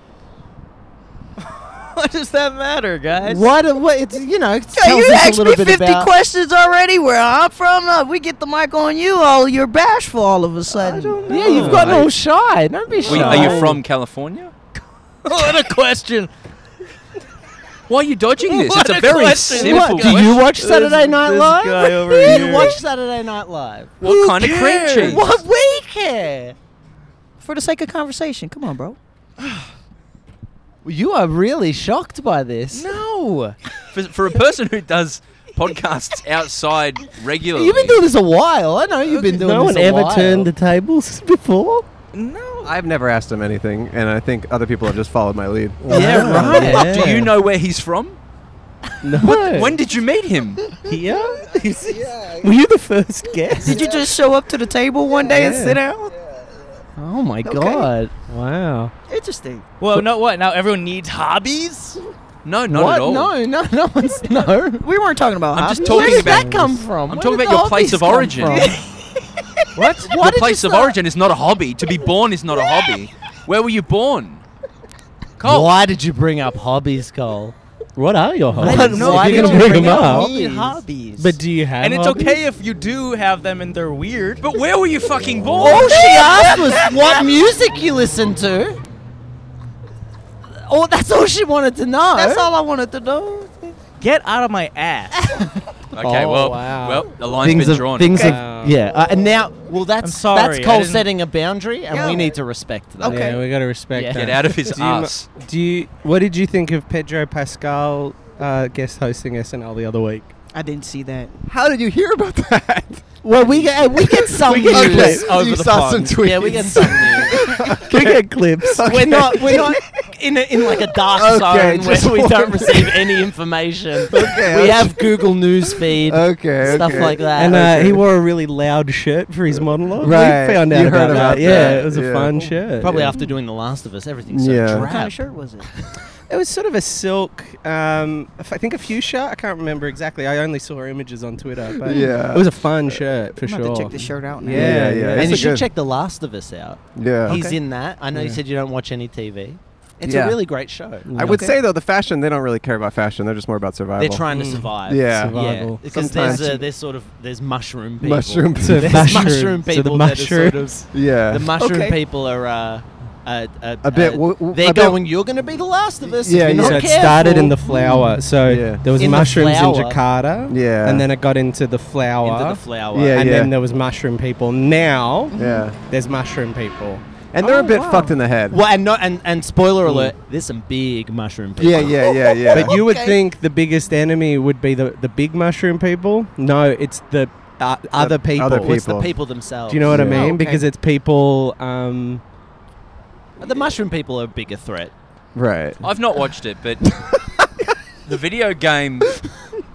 [SPEAKER 2] what does that matter, guys?
[SPEAKER 6] Why do what? It's you know. it
[SPEAKER 8] Yeah,
[SPEAKER 6] tells
[SPEAKER 8] you
[SPEAKER 6] us a
[SPEAKER 8] asked me
[SPEAKER 6] little bit
[SPEAKER 8] 50
[SPEAKER 6] about.
[SPEAKER 8] questions already where I'm from. Uh, we get the mic on you. Oh, you're bashful all of a sudden.
[SPEAKER 6] Yeah, you've gotten all shy. Don't be shy.
[SPEAKER 7] Well, are you from California?
[SPEAKER 2] what a question.
[SPEAKER 7] Why are you dodging this?
[SPEAKER 2] What
[SPEAKER 7] it's
[SPEAKER 2] a
[SPEAKER 7] a very
[SPEAKER 2] question.
[SPEAKER 7] simple
[SPEAKER 6] What, do you watch Saturday Night
[SPEAKER 2] this
[SPEAKER 6] Live?
[SPEAKER 2] guy over
[SPEAKER 6] Do
[SPEAKER 2] here.
[SPEAKER 6] you watch Saturday Night Live?
[SPEAKER 7] What kind of cream cheese?
[SPEAKER 6] What we care?
[SPEAKER 8] For the sake of conversation, come on, bro.
[SPEAKER 6] You are really shocked by this.
[SPEAKER 2] No.
[SPEAKER 7] For, for a person who does podcasts outside regularly,
[SPEAKER 6] You've been doing this a while. I know you've been doing
[SPEAKER 9] no
[SPEAKER 6] this
[SPEAKER 9] one
[SPEAKER 6] a
[SPEAKER 9] ever
[SPEAKER 6] while.
[SPEAKER 9] turned the tables before.
[SPEAKER 2] No.
[SPEAKER 1] I've never asked him anything, and I think other people have just followed my lead.
[SPEAKER 6] Yeah, right.
[SPEAKER 7] Do you know where he's from?
[SPEAKER 9] No.
[SPEAKER 7] When did you meet him?
[SPEAKER 9] Here? Were you the first guest?
[SPEAKER 8] Did you just show up to the table one day and sit down?
[SPEAKER 6] Oh my god.
[SPEAKER 9] Wow.
[SPEAKER 8] Interesting.
[SPEAKER 10] Well, no, what? Now everyone needs hobbies?
[SPEAKER 7] No, not
[SPEAKER 6] what?
[SPEAKER 7] at all.
[SPEAKER 6] No, no, no one's no.
[SPEAKER 8] We weren't talking about
[SPEAKER 7] I'm just
[SPEAKER 8] hobbies.
[SPEAKER 6] Where
[SPEAKER 7] talking
[SPEAKER 6] did
[SPEAKER 7] about.
[SPEAKER 6] that come from?
[SPEAKER 7] I'm
[SPEAKER 6] Where
[SPEAKER 7] talking
[SPEAKER 6] did
[SPEAKER 7] about your
[SPEAKER 6] all
[SPEAKER 7] place
[SPEAKER 6] these
[SPEAKER 7] of
[SPEAKER 6] come
[SPEAKER 7] origin.
[SPEAKER 6] from?
[SPEAKER 7] what? Your place of origin is not a hobby. To be born is not a hobby. Where were you born? Cole.
[SPEAKER 6] Why did you bring up hobbies, Cole?
[SPEAKER 9] What are your hobbies?
[SPEAKER 6] don't know.
[SPEAKER 9] If
[SPEAKER 6] I
[SPEAKER 9] you
[SPEAKER 6] don't
[SPEAKER 9] can bring
[SPEAKER 6] bring
[SPEAKER 9] them
[SPEAKER 6] up
[SPEAKER 9] up.
[SPEAKER 6] hobbies.
[SPEAKER 8] hobbies.
[SPEAKER 9] But do you have
[SPEAKER 10] and it's
[SPEAKER 9] hobbies?
[SPEAKER 10] okay if you do have them and they're weird.
[SPEAKER 7] But where were you fucking born?
[SPEAKER 6] All she asked was what music you listen to. Oh, that's all she wanted to know.
[SPEAKER 8] That's all I wanted to know.
[SPEAKER 10] Get out of my ass.
[SPEAKER 7] Okay,
[SPEAKER 9] Oh,
[SPEAKER 7] well,
[SPEAKER 9] wow.
[SPEAKER 7] well, the line's
[SPEAKER 6] Things
[SPEAKER 7] been
[SPEAKER 6] have,
[SPEAKER 7] drawn.
[SPEAKER 6] things
[SPEAKER 9] Wow.
[SPEAKER 6] have, yeah. Uh, and now, well, that's
[SPEAKER 10] sorry, I
[SPEAKER 6] that's Cole
[SPEAKER 10] didn't-
[SPEAKER 6] setting a boundary, and
[SPEAKER 8] Yeah.
[SPEAKER 6] we need to respect that.
[SPEAKER 8] Okay.
[SPEAKER 9] Yeah, we gotta respect
[SPEAKER 6] Yeah.
[SPEAKER 9] that.
[SPEAKER 7] Get out of his
[SPEAKER 9] do you, mu-
[SPEAKER 7] ass.
[SPEAKER 9] do you? What did you think of Pedro Pascal uh, guest hosting SNL the other week?
[SPEAKER 8] I didn't see that.
[SPEAKER 1] How did you hear about that?
[SPEAKER 6] Well, we get we get some
[SPEAKER 9] get
[SPEAKER 6] news.
[SPEAKER 9] clips.
[SPEAKER 10] over
[SPEAKER 1] you
[SPEAKER 10] the
[SPEAKER 1] saw some
[SPEAKER 10] pond.
[SPEAKER 1] tweets.
[SPEAKER 6] Yeah, we get some news.
[SPEAKER 9] we get clips.
[SPEAKER 6] We're not we're not in a, in like a dark
[SPEAKER 1] Okay,
[SPEAKER 6] zone
[SPEAKER 1] just
[SPEAKER 6] where we don't
[SPEAKER 1] wanted-
[SPEAKER 6] receive any information.
[SPEAKER 1] Okay,
[SPEAKER 6] we
[SPEAKER 1] okay.
[SPEAKER 6] have Google News feed,
[SPEAKER 1] Okay,
[SPEAKER 6] stuff
[SPEAKER 1] okay.
[SPEAKER 6] like that.
[SPEAKER 9] And uh, he wore a really loud shirt for his monologue.
[SPEAKER 1] Right,
[SPEAKER 9] We found out
[SPEAKER 1] you
[SPEAKER 9] about,
[SPEAKER 1] heard about
[SPEAKER 9] that. Yeah,
[SPEAKER 1] that,
[SPEAKER 9] it was a
[SPEAKER 1] yeah.
[SPEAKER 9] fun shirt.
[SPEAKER 6] Probably
[SPEAKER 9] yeah.
[SPEAKER 6] after doing The Last of Us, everything's so
[SPEAKER 1] Yeah.
[SPEAKER 6] drab.
[SPEAKER 8] What kind of shirt was it?
[SPEAKER 9] It was sort of a silk. Um, f- I think a fuchsia. I can't remember exactly. I only saw images on Twitter. But
[SPEAKER 1] Yeah.
[SPEAKER 9] it was a fun shirt for
[SPEAKER 8] I'm
[SPEAKER 9] sure.
[SPEAKER 8] about to check the shirt out now.
[SPEAKER 9] Yeah,
[SPEAKER 1] Yeah,
[SPEAKER 9] yeah.
[SPEAKER 1] yeah.
[SPEAKER 6] And
[SPEAKER 1] it's
[SPEAKER 6] you
[SPEAKER 1] a
[SPEAKER 6] should
[SPEAKER 1] good-
[SPEAKER 6] check The Last of Us out.
[SPEAKER 1] Yeah.
[SPEAKER 6] He's in that. I know you said you don't watch any TV. It's
[SPEAKER 1] Yeah.
[SPEAKER 6] a really great show.
[SPEAKER 1] I would say though the fashion they don't really care about fashion. They're just more about survival.
[SPEAKER 6] They're trying
[SPEAKER 9] Mm.
[SPEAKER 6] to survive.
[SPEAKER 1] Yeah.
[SPEAKER 6] Yeah,
[SPEAKER 9] Survival.
[SPEAKER 6] because
[SPEAKER 1] Sometimes-
[SPEAKER 6] there's uh, there's sort of there's mushroom people.
[SPEAKER 1] Mushroom
[SPEAKER 9] So
[SPEAKER 1] people.
[SPEAKER 6] There's
[SPEAKER 9] mushrooms.
[SPEAKER 6] mushroom
[SPEAKER 9] So the
[SPEAKER 6] people that are sort
[SPEAKER 9] mushrooms.
[SPEAKER 6] of
[SPEAKER 1] yeah.
[SPEAKER 6] the mushroom
[SPEAKER 8] Okay.
[SPEAKER 6] people are uh, uh, uh,
[SPEAKER 1] A bit
[SPEAKER 6] uh,
[SPEAKER 1] wo- wo-
[SPEAKER 6] they're
[SPEAKER 1] a bit-
[SPEAKER 6] going. You're going to be the last of us.
[SPEAKER 1] Yeah,
[SPEAKER 6] if
[SPEAKER 1] yeah.
[SPEAKER 6] you're
[SPEAKER 9] So
[SPEAKER 6] Not
[SPEAKER 9] it
[SPEAKER 6] careful.
[SPEAKER 9] started in the flower. So
[SPEAKER 1] Yeah.
[SPEAKER 9] there was
[SPEAKER 6] In the
[SPEAKER 9] mushrooms in
[SPEAKER 6] flower.
[SPEAKER 9] Jakarta.
[SPEAKER 1] Yeah.
[SPEAKER 9] And then it got into the flower.
[SPEAKER 6] into the flower.
[SPEAKER 1] Yeah.
[SPEAKER 9] and then there was mushroom people. Now
[SPEAKER 1] yeah.
[SPEAKER 9] there's mushroom people.
[SPEAKER 1] And they're a
[SPEAKER 6] Oh,
[SPEAKER 1] bit
[SPEAKER 6] wow.
[SPEAKER 1] fucked in the head.
[SPEAKER 6] Well, and not and, and spoiler alert. There's some big mushroom people.
[SPEAKER 1] Mm. Yeah, yeah, yeah, yeah.
[SPEAKER 9] But you would
[SPEAKER 8] Okay.
[SPEAKER 9] think the biggest enemy would be the, the big mushroom people. No, it's the uh, other people.
[SPEAKER 1] other
[SPEAKER 6] It's the
[SPEAKER 1] people.
[SPEAKER 6] people themselves.
[SPEAKER 9] Do you know what I
[SPEAKER 1] Yeah.
[SPEAKER 9] mean?
[SPEAKER 1] Oh, okay.
[SPEAKER 9] Because it's people. Um,
[SPEAKER 6] The mushroom people are a bigger threat.
[SPEAKER 1] right.
[SPEAKER 7] I've not watched it, but the video game.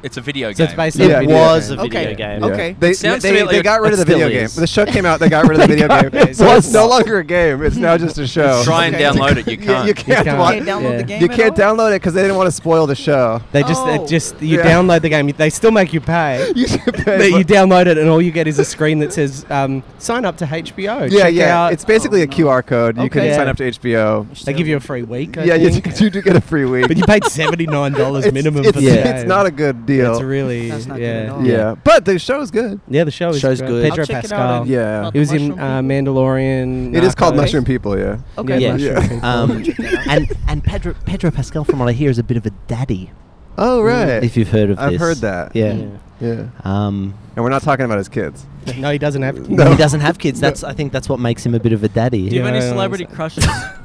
[SPEAKER 7] It's a video
[SPEAKER 9] so
[SPEAKER 7] game.
[SPEAKER 9] it's based on
[SPEAKER 6] It
[SPEAKER 1] Yeah.
[SPEAKER 9] video.
[SPEAKER 6] was a
[SPEAKER 8] Okay.
[SPEAKER 6] video
[SPEAKER 8] Okay.
[SPEAKER 6] game.
[SPEAKER 1] Yeah.
[SPEAKER 8] Okay.
[SPEAKER 1] They,
[SPEAKER 7] Sounds to
[SPEAKER 1] they,
[SPEAKER 7] me like
[SPEAKER 1] they
[SPEAKER 7] a-
[SPEAKER 1] got rid of the
[SPEAKER 6] It
[SPEAKER 1] video
[SPEAKER 6] still
[SPEAKER 1] game.
[SPEAKER 6] is.
[SPEAKER 1] The show came out. They got rid of the video game. So it's
[SPEAKER 9] was.
[SPEAKER 1] no longer a game. It's now just a show.
[SPEAKER 7] Try and
[SPEAKER 8] Okay.
[SPEAKER 7] download it. You
[SPEAKER 1] You-
[SPEAKER 7] can't.
[SPEAKER 1] You can't,
[SPEAKER 9] can't.
[SPEAKER 1] watch.
[SPEAKER 8] Can't download
[SPEAKER 9] Yeah.
[SPEAKER 8] the game.
[SPEAKER 1] You
[SPEAKER 8] at
[SPEAKER 1] can't
[SPEAKER 8] all?
[SPEAKER 1] download it because they didn't want to spoil the show.
[SPEAKER 9] They just,
[SPEAKER 8] Oh.
[SPEAKER 9] they just you
[SPEAKER 1] Yeah.
[SPEAKER 9] download the game. They still make you pay.
[SPEAKER 1] You should
[SPEAKER 9] But
[SPEAKER 1] pay.
[SPEAKER 9] you download it, and all you get is a screen that says um, "Sign up to HBO."
[SPEAKER 1] yeah,
[SPEAKER 9] Check
[SPEAKER 1] yeah.
[SPEAKER 9] out- Oh,
[SPEAKER 1] It's basically a
[SPEAKER 8] no.
[SPEAKER 1] QR code. You can
[SPEAKER 9] Okay.
[SPEAKER 1] sign up to HBO.
[SPEAKER 9] they give you a free week. I
[SPEAKER 1] yeah, you,
[SPEAKER 9] think.
[SPEAKER 1] you do get a free week.
[SPEAKER 9] but you paid seventy nine dollars
[SPEAKER 1] It's-
[SPEAKER 9] minimum
[SPEAKER 1] it's,
[SPEAKER 9] for the
[SPEAKER 1] it's,
[SPEAKER 9] game.
[SPEAKER 1] not a good deal.
[SPEAKER 9] It's really
[SPEAKER 8] That's not good
[SPEAKER 9] yeah.
[SPEAKER 8] at all.
[SPEAKER 1] yeah. but the show's good.
[SPEAKER 9] Yeah, the show is
[SPEAKER 6] Show's
[SPEAKER 9] great.
[SPEAKER 6] good.
[SPEAKER 8] I'll
[SPEAKER 9] Pedro
[SPEAKER 8] check it out
[SPEAKER 9] Pascal.
[SPEAKER 8] on-
[SPEAKER 1] Yeah.
[SPEAKER 8] about
[SPEAKER 9] He was
[SPEAKER 8] the
[SPEAKER 9] in
[SPEAKER 8] mushroom
[SPEAKER 9] uh,
[SPEAKER 8] people.
[SPEAKER 9] Mandalorian. uh,
[SPEAKER 1] It is called
[SPEAKER 9] Narcos.
[SPEAKER 1] Mushroom People. Yeah.
[SPEAKER 8] Okay.
[SPEAKER 6] Yeah.
[SPEAKER 9] Mushroom
[SPEAKER 1] Yeah.
[SPEAKER 9] People.
[SPEAKER 6] Um, and and Pedro Pedro Pascal, from what I hear, is a bit of a daddy.
[SPEAKER 1] Oh right.
[SPEAKER 6] If you've heard of
[SPEAKER 1] I've
[SPEAKER 6] this.
[SPEAKER 1] heard that.
[SPEAKER 6] Yeah.
[SPEAKER 1] Yeah.
[SPEAKER 6] Um,
[SPEAKER 1] And we're not talking about his kids.
[SPEAKER 9] no, he doesn't have. kids.
[SPEAKER 1] No.
[SPEAKER 6] He doesn't have kids. That's I think that's what makes him a bit of a daddy.
[SPEAKER 10] Do you have any
[SPEAKER 9] Yeah, I
[SPEAKER 10] celebrity
[SPEAKER 9] understand.
[SPEAKER 10] crushes?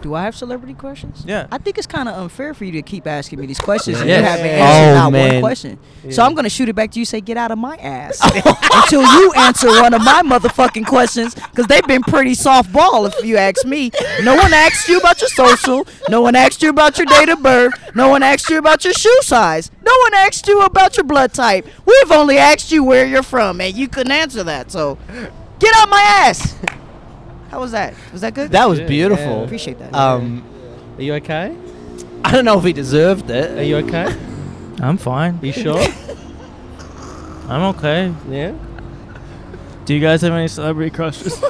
[SPEAKER 8] Do I have celebrity questions?
[SPEAKER 10] Yeah.
[SPEAKER 8] I think it's kind of unfair for you to keep asking me these questions and
[SPEAKER 7] Yes.
[SPEAKER 8] you haven't
[SPEAKER 9] Oh,
[SPEAKER 8] answered not one
[SPEAKER 6] man.
[SPEAKER 8] question. So I'm gonna shoot it back to you. Say, get out of my ass until you answer one of my motherfucking questions because they've been pretty softball. If you ask me, no one asked you about your social. No one asked you about your date of birth. No one asked you about your shoe size. No one asked you about your blood type. We've only asked you where you're from, and you couldn't answer that. So get out my ass. How was that? Was that uh, good?
[SPEAKER 6] That was
[SPEAKER 9] Yeah,
[SPEAKER 6] beautiful.
[SPEAKER 9] yeah.
[SPEAKER 8] Appreciate that.
[SPEAKER 6] Um,
[SPEAKER 9] Are you okay?
[SPEAKER 6] I don't know if he deserved
[SPEAKER 9] Are
[SPEAKER 6] it.
[SPEAKER 9] you okay? Are
[SPEAKER 10] I'm fine.
[SPEAKER 9] you sure?
[SPEAKER 10] I'm okay.
[SPEAKER 9] yeah.
[SPEAKER 10] Do you guys have any celebrity crushes?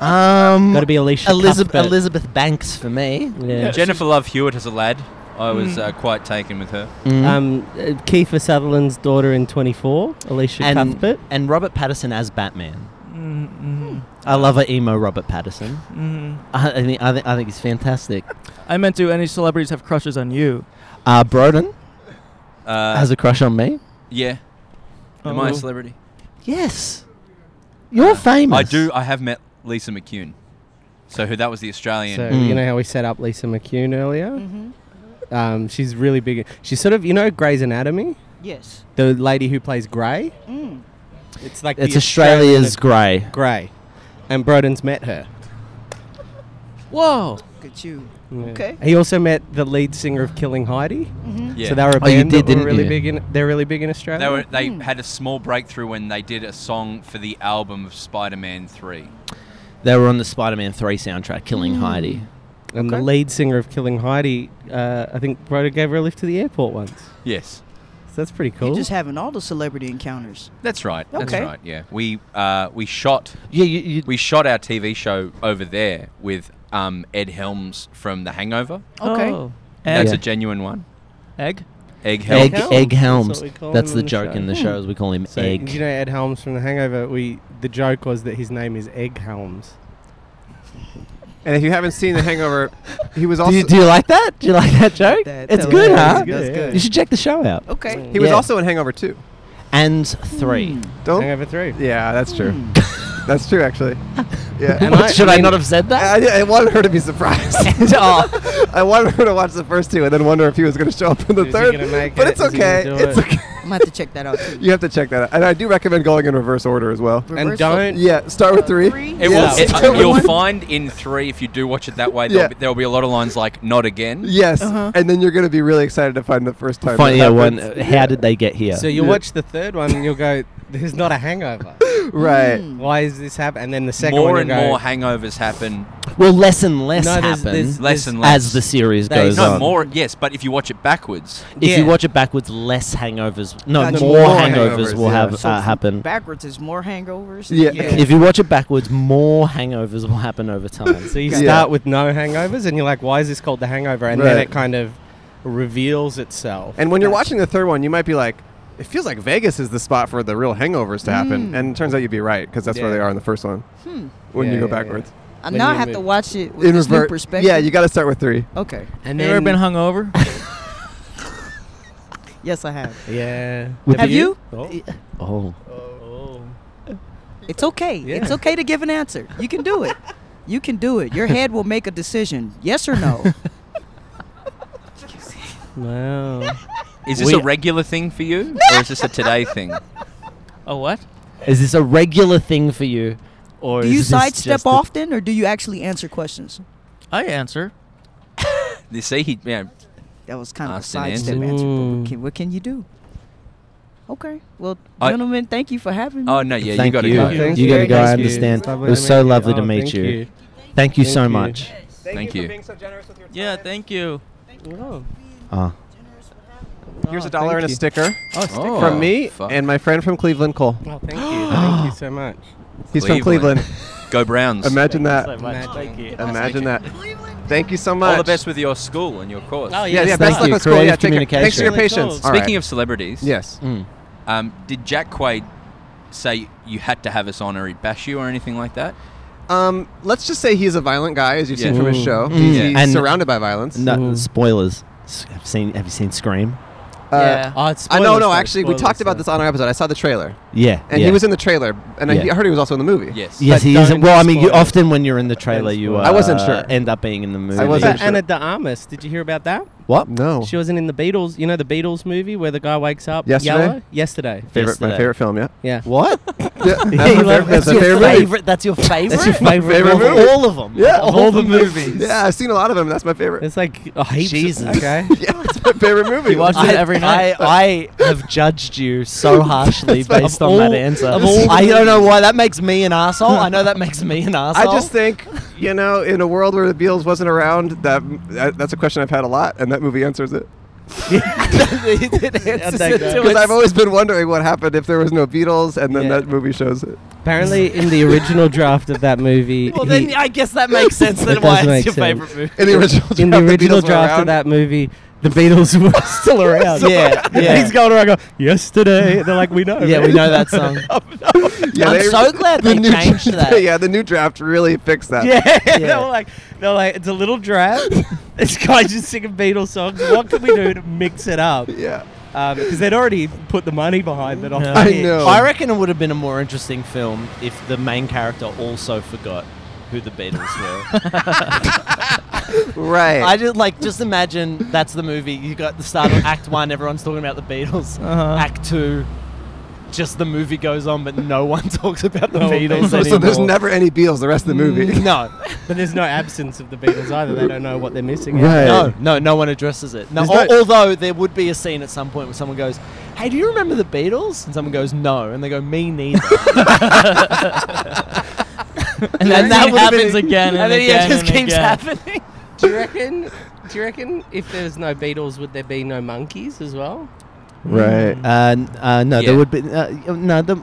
[SPEAKER 6] Um,
[SPEAKER 9] Got to be Alicia.
[SPEAKER 6] Elizabeth
[SPEAKER 9] Cuthbert.
[SPEAKER 6] Elizabeth Banks for me.
[SPEAKER 9] Yeah.
[SPEAKER 7] Jennifer Love Hewitt as a lad. I
[SPEAKER 9] Hmm.
[SPEAKER 7] was uh, quite taken with her.
[SPEAKER 6] Mm-hmm.
[SPEAKER 9] Um, uh, Kiefer Sutherland's daughter in 24, Alicia
[SPEAKER 6] and
[SPEAKER 9] Cuthbert.
[SPEAKER 6] and Robert Patterson as Batman.
[SPEAKER 10] Mm,
[SPEAKER 6] I love a emo Robert Patterson. I, I think I think I think he's fantastic.
[SPEAKER 10] I meant, do any celebrities have crushes on you?
[SPEAKER 6] Uh, Broden
[SPEAKER 7] Uh,
[SPEAKER 6] has a crush on me.
[SPEAKER 7] yeah. Am I a
[SPEAKER 10] Oh.
[SPEAKER 7] celebrity?
[SPEAKER 6] Yes, you're famous.
[SPEAKER 7] I do. uh, I have met Lisa McCune. So who that was the Australian.
[SPEAKER 9] So
[SPEAKER 6] Mm.
[SPEAKER 9] you know how we set up Lisa McCune earlier?
[SPEAKER 8] Mhm.
[SPEAKER 9] Um, she's really big. She's sort of you know Grey's Anatomy,
[SPEAKER 8] Yes.
[SPEAKER 9] the lady who plays Grey.
[SPEAKER 8] Mm.
[SPEAKER 9] It's like
[SPEAKER 6] It's
[SPEAKER 9] the Australian
[SPEAKER 6] Australia's grey.
[SPEAKER 9] Grey. and Broden's met her.
[SPEAKER 7] Whoa.
[SPEAKER 8] Look at you.
[SPEAKER 9] Yeah.
[SPEAKER 8] Okay.
[SPEAKER 9] He also met the lead singer of Killing Heidi. Mm-hmm.
[SPEAKER 7] Yeah.
[SPEAKER 9] So they were a
[SPEAKER 6] Oh, you
[SPEAKER 9] band
[SPEAKER 6] did,
[SPEAKER 9] that
[SPEAKER 6] didn't
[SPEAKER 9] were really
[SPEAKER 6] you?
[SPEAKER 9] big in. They're really big in Australia.
[SPEAKER 7] They were they
[SPEAKER 9] Hmm.
[SPEAKER 7] had a small breakthrough when they did a song for the album of Spider-Man 3.
[SPEAKER 6] They were on the Spider-Man 3 soundtrack,
[SPEAKER 9] Mm.
[SPEAKER 6] Killing Heidi.
[SPEAKER 9] and the lead singer of Killing Heidi, uh, I think Broden gave her a lift to the airport once.
[SPEAKER 7] Yes.
[SPEAKER 9] So that's pretty
[SPEAKER 8] You're
[SPEAKER 9] cool.
[SPEAKER 8] just having all the celebrity encounters.
[SPEAKER 7] That's right. That's
[SPEAKER 8] Okay.
[SPEAKER 7] right. Yeah. We uh, we shot
[SPEAKER 6] Yeah, you, you,
[SPEAKER 7] we shot our TV show over there with um, Ed Helms from The Hangover.
[SPEAKER 8] Okay.
[SPEAKER 10] Oh.
[SPEAKER 7] That's
[SPEAKER 6] Yeah.
[SPEAKER 7] a genuine one.
[SPEAKER 10] Egg?
[SPEAKER 7] Egg
[SPEAKER 6] Egg,
[SPEAKER 7] Helms.
[SPEAKER 9] Helms.
[SPEAKER 6] Egg Helms.
[SPEAKER 9] That's what we call
[SPEAKER 6] That's
[SPEAKER 9] him
[SPEAKER 6] the
[SPEAKER 9] in the
[SPEAKER 6] joke
[SPEAKER 9] show.
[SPEAKER 6] in the show, is we call him
[SPEAKER 9] So,
[SPEAKER 6] Egg.
[SPEAKER 9] Do you know Ed Helms from The Hangover? We the joke was that his name is Egg Helms.
[SPEAKER 1] And if you haven't seen The Hangover, he was
[SPEAKER 6] do,
[SPEAKER 1] also
[SPEAKER 6] you, do you like that? Do you like that joke?
[SPEAKER 8] That-
[SPEAKER 6] it's
[SPEAKER 8] that
[SPEAKER 6] good,
[SPEAKER 8] was-
[SPEAKER 6] huh?
[SPEAKER 9] that's good, Oh. yeah.
[SPEAKER 6] You should check the show out.
[SPEAKER 9] Mm.
[SPEAKER 8] Okay.
[SPEAKER 1] he was
[SPEAKER 6] Yeah.
[SPEAKER 1] also in Hangover 2.
[SPEAKER 6] And three.
[SPEAKER 1] Don't.
[SPEAKER 9] Hangover Hmm. three.
[SPEAKER 1] Yeah, that's true. that's true, actually. Yeah.
[SPEAKER 6] What,
[SPEAKER 1] And I,
[SPEAKER 6] should I, not have said that?
[SPEAKER 1] I, I wanted her to be surprised.
[SPEAKER 8] oh.
[SPEAKER 1] I wanted her to watch the first two and then wonder if he was going to show up in the
[SPEAKER 9] Is he
[SPEAKER 1] third.
[SPEAKER 9] gonna make
[SPEAKER 1] But
[SPEAKER 9] it?
[SPEAKER 1] it's
[SPEAKER 9] Is he gonna
[SPEAKER 1] okay.
[SPEAKER 9] do
[SPEAKER 1] It's
[SPEAKER 9] it?
[SPEAKER 1] okay.
[SPEAKER 8] I'm gonna have to check that out too.
[SPEAKER 1] You have to check that out. And I do recommend going in reverse order as well.
[SPEAKER 9] And
[SPEAKER 8] Reverse
[SPEAKER 9] don't
[SPEAKER 1] Yeah, start with three.
[SPEAKER 8] three?
[SPEAKER 7] It
[SPEAKER 1] yes.
[SPEAKER 7] will, it-
[SPEAKER 1] Start with
[SPEAKER 7] you'll
[SPEAKER 1] one.
[SPEAKER 7] find in three if you do watch it that way. There'll,
[SPEAKER 1] Yeah.
[SPEAKER 7] be, there'll be a lot of lines like "not again."
[SPEAKER 1] Yes,
[SPEAKER 8] Uh-huh.
[SPEAKER 1] and then you're going to be really excited to find the first time.
[SPEAKER 6] Funny,
[SPEAKER 1] that
[SPEAKER 6] yeah, one.
[SPEAKER 1] happens.
[SPEAKER 6] uh, How did they get here?
[SPEAKER 9] So you watch the third one and you'll go, "There's not a hangover.
[SPEAKER 1] Right.
[SPEAKER 9] Hmm.
[SPEAKER 8] Mm.
[SPEAKER 9] Why is this happening?" And then the second
[SPEAKER 7] More
[SPEAKER 9] one,
[SPEAKER 7] and
[SPEAKER 9] you'll go,
[SPEAKER 7] more hangovers happen.
[SPEAKER 6] well, less and less
[SPEAKER 9] No, there's-
[SPEAKER 6] happen
[SPEAKER 9] there's-
[SPEAKER 7] Less and less.
[SPEAKER 6] as the series
[SPEAKER 9] They-
[SPEAKER 6] goes
[SPEAKER 7] no
[SPEAKER 6] on.
[SPEAKER 7] more. Yes, but if you watch it backwards,
[SPEAKER 6] if
[SPEAKER 9] Yeah.
[SPEAKER 6] you watch it backwards, less hangovers. No,
[SPEAKER 8] Gotcha.
[SPEAKER 6] more,
[SPEAKER 1] More
[SPEAKER 6] hangovers,
[SPEAKER 1] hangovers,
[SPEAKER 6] will
[SPEAKER 1] yeah.
[SPEAKER 6] have
[SPEAKER 8] So
[SPEAKER 6] uh,
[SPEAKER 8] f-
[SPEAKER 6] happen.
[SPEAKER 8] Backwards is more hangovers.
[SPEAKER 1] Yeah.
[SPEAKER 6] If you watch it backwards, more hangovers will happen over time.
[SPEAKER 9] So you
[SPEAKER 1] Yeah.
[SPEAKER 9] start with no hangovers, and you're like, "Why is this called the Hangover?" And then
[SPEAKER 1] Right.
[SPEAKER 9] it kind of reveals itself.
[SPEAKER 1] And when you're watching the third one, you might be like, it feels like Vegas is the spot for the real hangovers to happen.
[SPEAKER 8] Mm.
[SPEAKER 1] And it turns out you'd be right because that's where
[SPEAKER 9] Yeah.
[SPEAKER 1] they are in the first one. When
[SPEAKER 9] Yeah,
[SPEAKER 1] you go
[SPEAKER 9] yeah, yeah.
[SPEAKER 1] backwards,
[SPEAKER 8] I
[SPEAKER 9] When
[SPEAKER 8] now
[SPEAKER 9] you
[SPEAKER 8] have to
[SPEAKER 9] move-
[SPEAKER 8] watch it Hmm. with this new
[SPEAKER 1] rever-
[SPEAKER 8] perspective.
[SPEAKER 1] Yeah, you got to start with three.
[SPEAKER 8] okay.
[SPEAKER 9] and
[SPEAKER 10] You ever been hungover?
[SPEAKER 8] Yes, I have.
[SPEAKER 9] yeah.
[SPEAKER 6] With
[SPEAKER 8] Have you?
[SPEAKER 9] Oh.
[SPEAKER 6] oh,
[SPEAKER 8] It's okay.
[SPEAKER 9] Yeah.
[SPEAKER 8] It's okay to give an answer. You can do it. You can do it. Your head will make a decision. Yes or no.
[SPEAKER 9] Wow.
[SPEAKER 7] is this
[SPEAKER 6] We-
[SPEAKER 7] a regular thing for you, or is this a today thing?
[SPEAKER 10] A what?
[SPEAKER 6] is this a regular thing for you, or
[SPEAKER 8] do
[SPEAKER 6] is
[SPEAKER 8] you
[SPEAKER 6] this
[SPEAKER 8] sidestep
[SPEAKER 6] just a-
[SPEAKER 8] often or do you actually answer questions?
[SPEAKER 10] I answer.
[SPEAKER 7] You see, he yeah,
[SPEAKER 8] That was kind of
[SPEAKER 7] Austin
[SPEAKER 8] a sidestep
[SPEAKER 9] answered.
[SPEAKER 8] answer. But
[SPEAKER 9] Ooh.
[SPEAKER 8] what, can, what can you do? Okay. Well,
[SPEAKER 7] I-
[SPEAKER 8] gentlemen, thank you for having me.
[SPEAKER 7] Oh no, yeah, you
[SPEAKER 6] Thank
[SPEAKER 7] got to
[SPEAKER 6] you.
[SPEAKER 7] go.
[SPEAKER 9] Thank
[SPEAKER 6] You gotta
[SPEAKER 9] very
[SPEAKER 6] go, I
[SPEAKER 9] nice of you.
[SPEAKER 6] understand.
[SPEAKER 9] It's lovely
[SPEAKER 6] It was
[SPEAKER 9] to
[SPEAKER 6] so
[SPEAKER 9] meet
[SPEAKER 6] lovely to
[SPEAKER 9] Oh,
[SPEAKER 6] meet
[SPEAKER 9] thank
[SPEAKER 6] you. Thank you
[SPEAKER 9] Thank
[SPEAKER 6] so
[SPEAKER 9] you.
[SPEAKER 6] much.
[SPEAKER 7] Thank you.
[SPEAKER 1] so generous with your time.
[SPEAKER 10] Yeah, thank you.
[SPEAKER 9] Oh,
[SPEAKER 6] Ah.
[SPEAKER 1] Here's
[SPEAKER 9] Oh,
[SPEAKER 1] a dollar
[SPEAKER 9] thank
[SPEAKER 1] and a
[SPEAKER 9] you.
[SPEAKER 1] sticker
[SPEAKER 7] Oh,
[SPEAKER 1] from me
[SPEAKER 7] fuck.
[SPEAKER 1] and my friend from Cleveland, Cole.
[SPEAKER 9] well, thank you. thank you so much.
[SPEAKER 1] He's from Cleveland.
[SPEAKER 7] Go Browns.
[SPEAKER 1] Imagine that.
[SPEAKER 9] Thank you.
[SPEAKER 1] Imagine that. Thank you so much. Oh,
[SPEAKER 7] All the best with your school and your course.
[SPEAKER 1] Yeah, yeah.
[SPEAKER 6] Yes,
[SPEAKER 1] Best
[SPEAKER 6] thank
[SPEAKER 1] luck
[SPEAKER 6] you.
[SPEAKER 1] with school.
[SPEAKER 6] Creative
[SPEAKER 1] Yeah, take care. Thanks for your
[SPEAKER 9] communication.
[SPEAKER 1] patience.
[SPEAKER 9] All
[SPEAKER 7] Speaking of celebrities,
[SPEAKER 1] yes.
[SPEAKER 6] Mm.
[SPEAKER 7] Um, did Jack Quaid say you had to have us on or he'd bash you or anything like that?
[SPEAKER 1] Um, let's just say he's a violent guy, as you've seen
[SPEAKER 7] Yeah.
[SPEAKER 1] from his
[SPEAKER 9] Ooh.
[SPEAKER 1] show.
[SPEAKER 6] Mm.
[SPEAKER 1] He's,
[SPEAKER 7] Yeah.
[SPEAKER 1] he's
[SPEAKER 6] And-
[SPEAKER 1] surrounded by violence.
[SPEAKER 6] No spoilers. S- Have seen? Have you seen Scream?
[SPEAKER 1] Uh,
[SPEAKER 9] Oh, it's
[SPEAKER 1] I know,
[SPEAKER 9] spoilers,
[SPEAKER 1] no,
[SPEAKER 9] though,
[SPEAKER 1] actually, we
[SPEAKER 9] spoilers,
[SPEAKER 1] talked about
[SPEAKER 9] though.
[SPEAKER 1] this on our episode. I saw the trailer,
[SPEAKER 6] Yeah.
[SPEAKER 1] and
[SPEAKER 6] yeah.
[SPEAKER 1] he was in the trailer, and I
[SPEAKER 6] Yeah.
[SPEAKER 1] I heard he was also in the movie.
[SPEAKER 7] Yes.
[SPEAKER 6] Yes,
[SPEAKER 9] but
[SPEAKER 6] he
[SPEAKER 9] don't
[SPEAKER 6] isn't. Well, I mean, you
[SPEAKER 9] spoil it.
[SPEAKER 6] often when you're in the trailer, you uh,
[SPEAKER 1] spoil it. I wasn't sure.
[SPEAKER 6] end up being in the movie.
[SPEAKER 1] I
[SPEAKER 9] What
[SPEAKER 1] wasn't
[SPEAKER 9] about
[SPEAKER 1] sure.
[SPEAKER 9] Anna de Armas? Did you hear about that?
[SPEAKER 6] What?
[SPEAKER 1] No.
[SPEAKER 9] She was in, in the Beatles. You know the Beatles movie where the guy wakes up
[SPEAKER 1] Yesterday?
[SPEAKER 9] yellow? Yesterday.
[SPEAKER 1] favorite, my
[SPEAKER 6] yesterday.
[SPEAKER 1] favorite film, yeah.
[SPEAKER 9] Yeah.
[SPEAKER 6] What?
[SPEAKER 1] yeah that's
[SPEAKER 6] Yeah,
[SPEAKER 1] my
[SPEAKER 6] you
[SPEAKER 1] favorite,
[SPEAKER 6] love-
[SPEAKER 1] that's my
[SPEAKER 6] your
[SPEAKER 1] favorite.
[SPEAKER 6] That's your favorite.
[SPEAKER 9] That's your favorite,
[SPEAKER 1] Favorite
[SPEAKER 9] movie?
[SPEAKER 1] movie?
[SPEAKER 6] All of them.
[SPEAKER 1] Yeah,
[SPEAKER 6] Of
[SPEAKER 1] all
[SPEAKER 6] all the movies.
[SPEAKER 1] Yeah, I've seen a lot of them. That's my favorite.
[SPEAKER 9] It's like oh, heaps. of-
[SPEAKER 6] Jesus.
[SPEAKER 9] Okay.
[SPEAKER 1] yeah, it's my favorite movie.
[SPEAKER 10] You watch it every night.
[SPEAKER 6] I, I have judged you so harshly
[SPEAKER 1] That's right.
[SPEAKER 6] based
[SPEAKER 9] Of
[SPEAKER 6] on that
[SPEAKER 9] all-
[SPEAKER 6] answer.
[SPEAKER 9] of all
[SPEAKER 6] I don't know why that makes me an asshole. I know that makes me an asshole.
[SPEAKER 1] I just think, you know, in a world where the Beatles wasn't around, that, that that's a question I've had a lot, and that movie answers it.
[SPEAKER 6] it answers
[SPEAKER 9] take
[SPEAKER 6] it
[SPEAKER 9] that.
[SPEAKER 6] to
[SPEAKER 1] Because
[SPEAKER 6] its-
[SPEAKER 1] I've always been wondering what happened if there was no Beatles, and then
[SPEAKER 9] Yeah.
[SPEAKER 1] that movie shows it.
[SPEAKER 9] Apparently, in the original draft of that movie,
[SPEAKER 6] Well,
[SPEAKER 9] he-
[SPEAKER 6] then I guess that makes sense.
[SPEAKER 9] That
[SPEAKER 6] Then
[SPEAKER 9] does
[SPEAKER 6] why it's
[SPEAKER 9] make
[SPEAKER 6] your
[SPEAKER 9] sense.
[SPEAKER 6] favorite movie?
[SPEAKER 1] In the original draft,
[SPEAKER 9] in the original
[SPEAKER 1] Beatles were
[SPEAKER 9] draft
[SPEAKER 1] around.
[SPEAKER 9] of that movie, the Beatles were still around.
[SPEAKER 6] Yeah,
[SPEAKER 9] And
[SPEAKER 6] yeah,
[SPEAKER 9] he's going around going, yesterday. They're like, we know.
[SPEAKER 6] yeah.
[SPEAKER 9] man."
[SPEAKER 6] We know that song.
[SPEAKER 1] Yeah,
[SPEAKER 6] I'm so glad
[SPEAKER 1] the
[SPEAKER 6] they
[SPEAKER 1] new
[SPEAKER 6] changed
[SPEAKER 1] draft-
[SPEAKER 6] that.
[SPEAKER 1] Yeah, the new draft really fixed that.
[SPEAKER 9] Yeah. they're like, they're like, it's a little draft. this guy's just singing Beatles songs. What can we do to mix it up?
[SPEAKER 1] Yeah.
[SPEAKER 9] Because they'd already put the money behind it. Off
[SPEAKER 10] Yeah.
[SPEAKER 9] the
[SPEAKER 1] I
[SPEAKER 9] hit.
[SPEAKER 1] know.
[SPEAKER 6] I reckon it would have been a more interesting film if the main character also forgot who the Beatles were.
[SPEAKER 1] Right.
[SPEAKER 6] I just like just imagine Uh-huh. that's the movie. You got the start of Act One, everyone's talking about the Beatles.
[SPEAKER 10] Uh-huh.
[SPEAKER 6] Act Two, just the movie goes on, but no one talks about the
[SPEAKER 9] No,
[SPEAKER 6] Beatles
[SPEAKER 9] so
[SPEAKER 6] anymore. Mm,
[SPEAKER 9] there's
[SPEAKER 1] never any Beatles the rest of the movie.
[SPEAKER 6] No,
[SPEAKER 9] but there's no absence of the Beatles either. They don't know what they're missing.
[SPEAKER 6] Right. No, no, no one addresses it. No,
[SPEAKER 9] There's
[SPEAKER 6] al-
[SPEAKER 9] no-
[SPEAKER 6] although there would be a scene at some point where someone goes, "Hey, do you remember the Beatles?" And someone goes, "No," and they go, "Me neither."
[SPEAKER 10] And then it
[SPEAKER 6] would've been-
[SPEAKER 10] happens again and
[SPEAKER 6] then
[SPEAKER 10] again
[SPEAKER 6] it just
[SPEAKER 10] and
[SPEAKER 6] keeps
[SPEAKER 10] again.
[SPEAKER 6] happening.
[SPEAKER 9] Do you reckon? Do you reckon if there's no Beatles, would there be no monkeys as well?
[SPEAKER 6] Right. Uh, n- uh, no,
[SPEAKER 7] Yeah.
[SPEAKER 6] there would be uh, y- no the.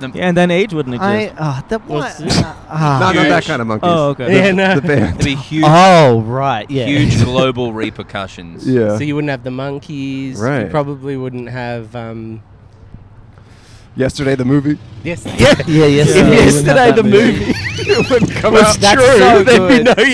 [SPEAKER 10] Yeah, and then age wouldn't
[SPEAKER 6] I
[SPEAKER 10] exist.
[SPEAKER 6] ah that one.
[SPEAKER 10] What's this?
[SPEAKER 6] ah.
[SPEAKER 1] Not, not that
[SPEAKER 7] Huge.
[SPEAKER 1] kind of monkeys.
[SPEAKER 10] Oh, okay.
[SPEAKER 1] The,
[SPEAKER 9] Yeah, no.
[SPEAKER 1] the band.
[SPEAKER 7] There'd be huge,
[SPEAKER 6] oh right, yeah.
[SPEAKER 7] huge global repercussions.
[SPEAKER 1] Yeah.
[SPEAKER 9] So you wouldn't have the monkeys.
[SPEAKER 1] Right.
[SPEAKER 9] You probably wouldn't have. Um,
[SPEAKER 1] Yesterday, the movie.
[SPEAKER 9] yes.
[SPEAKER 6] Yeah, yeah, yes.
[SPEAKER 9] If
[SPEAKER 6] yesterday the movie.
[SPEAKER 1] it wouldn't come
[SPEAKER 6] That's so good.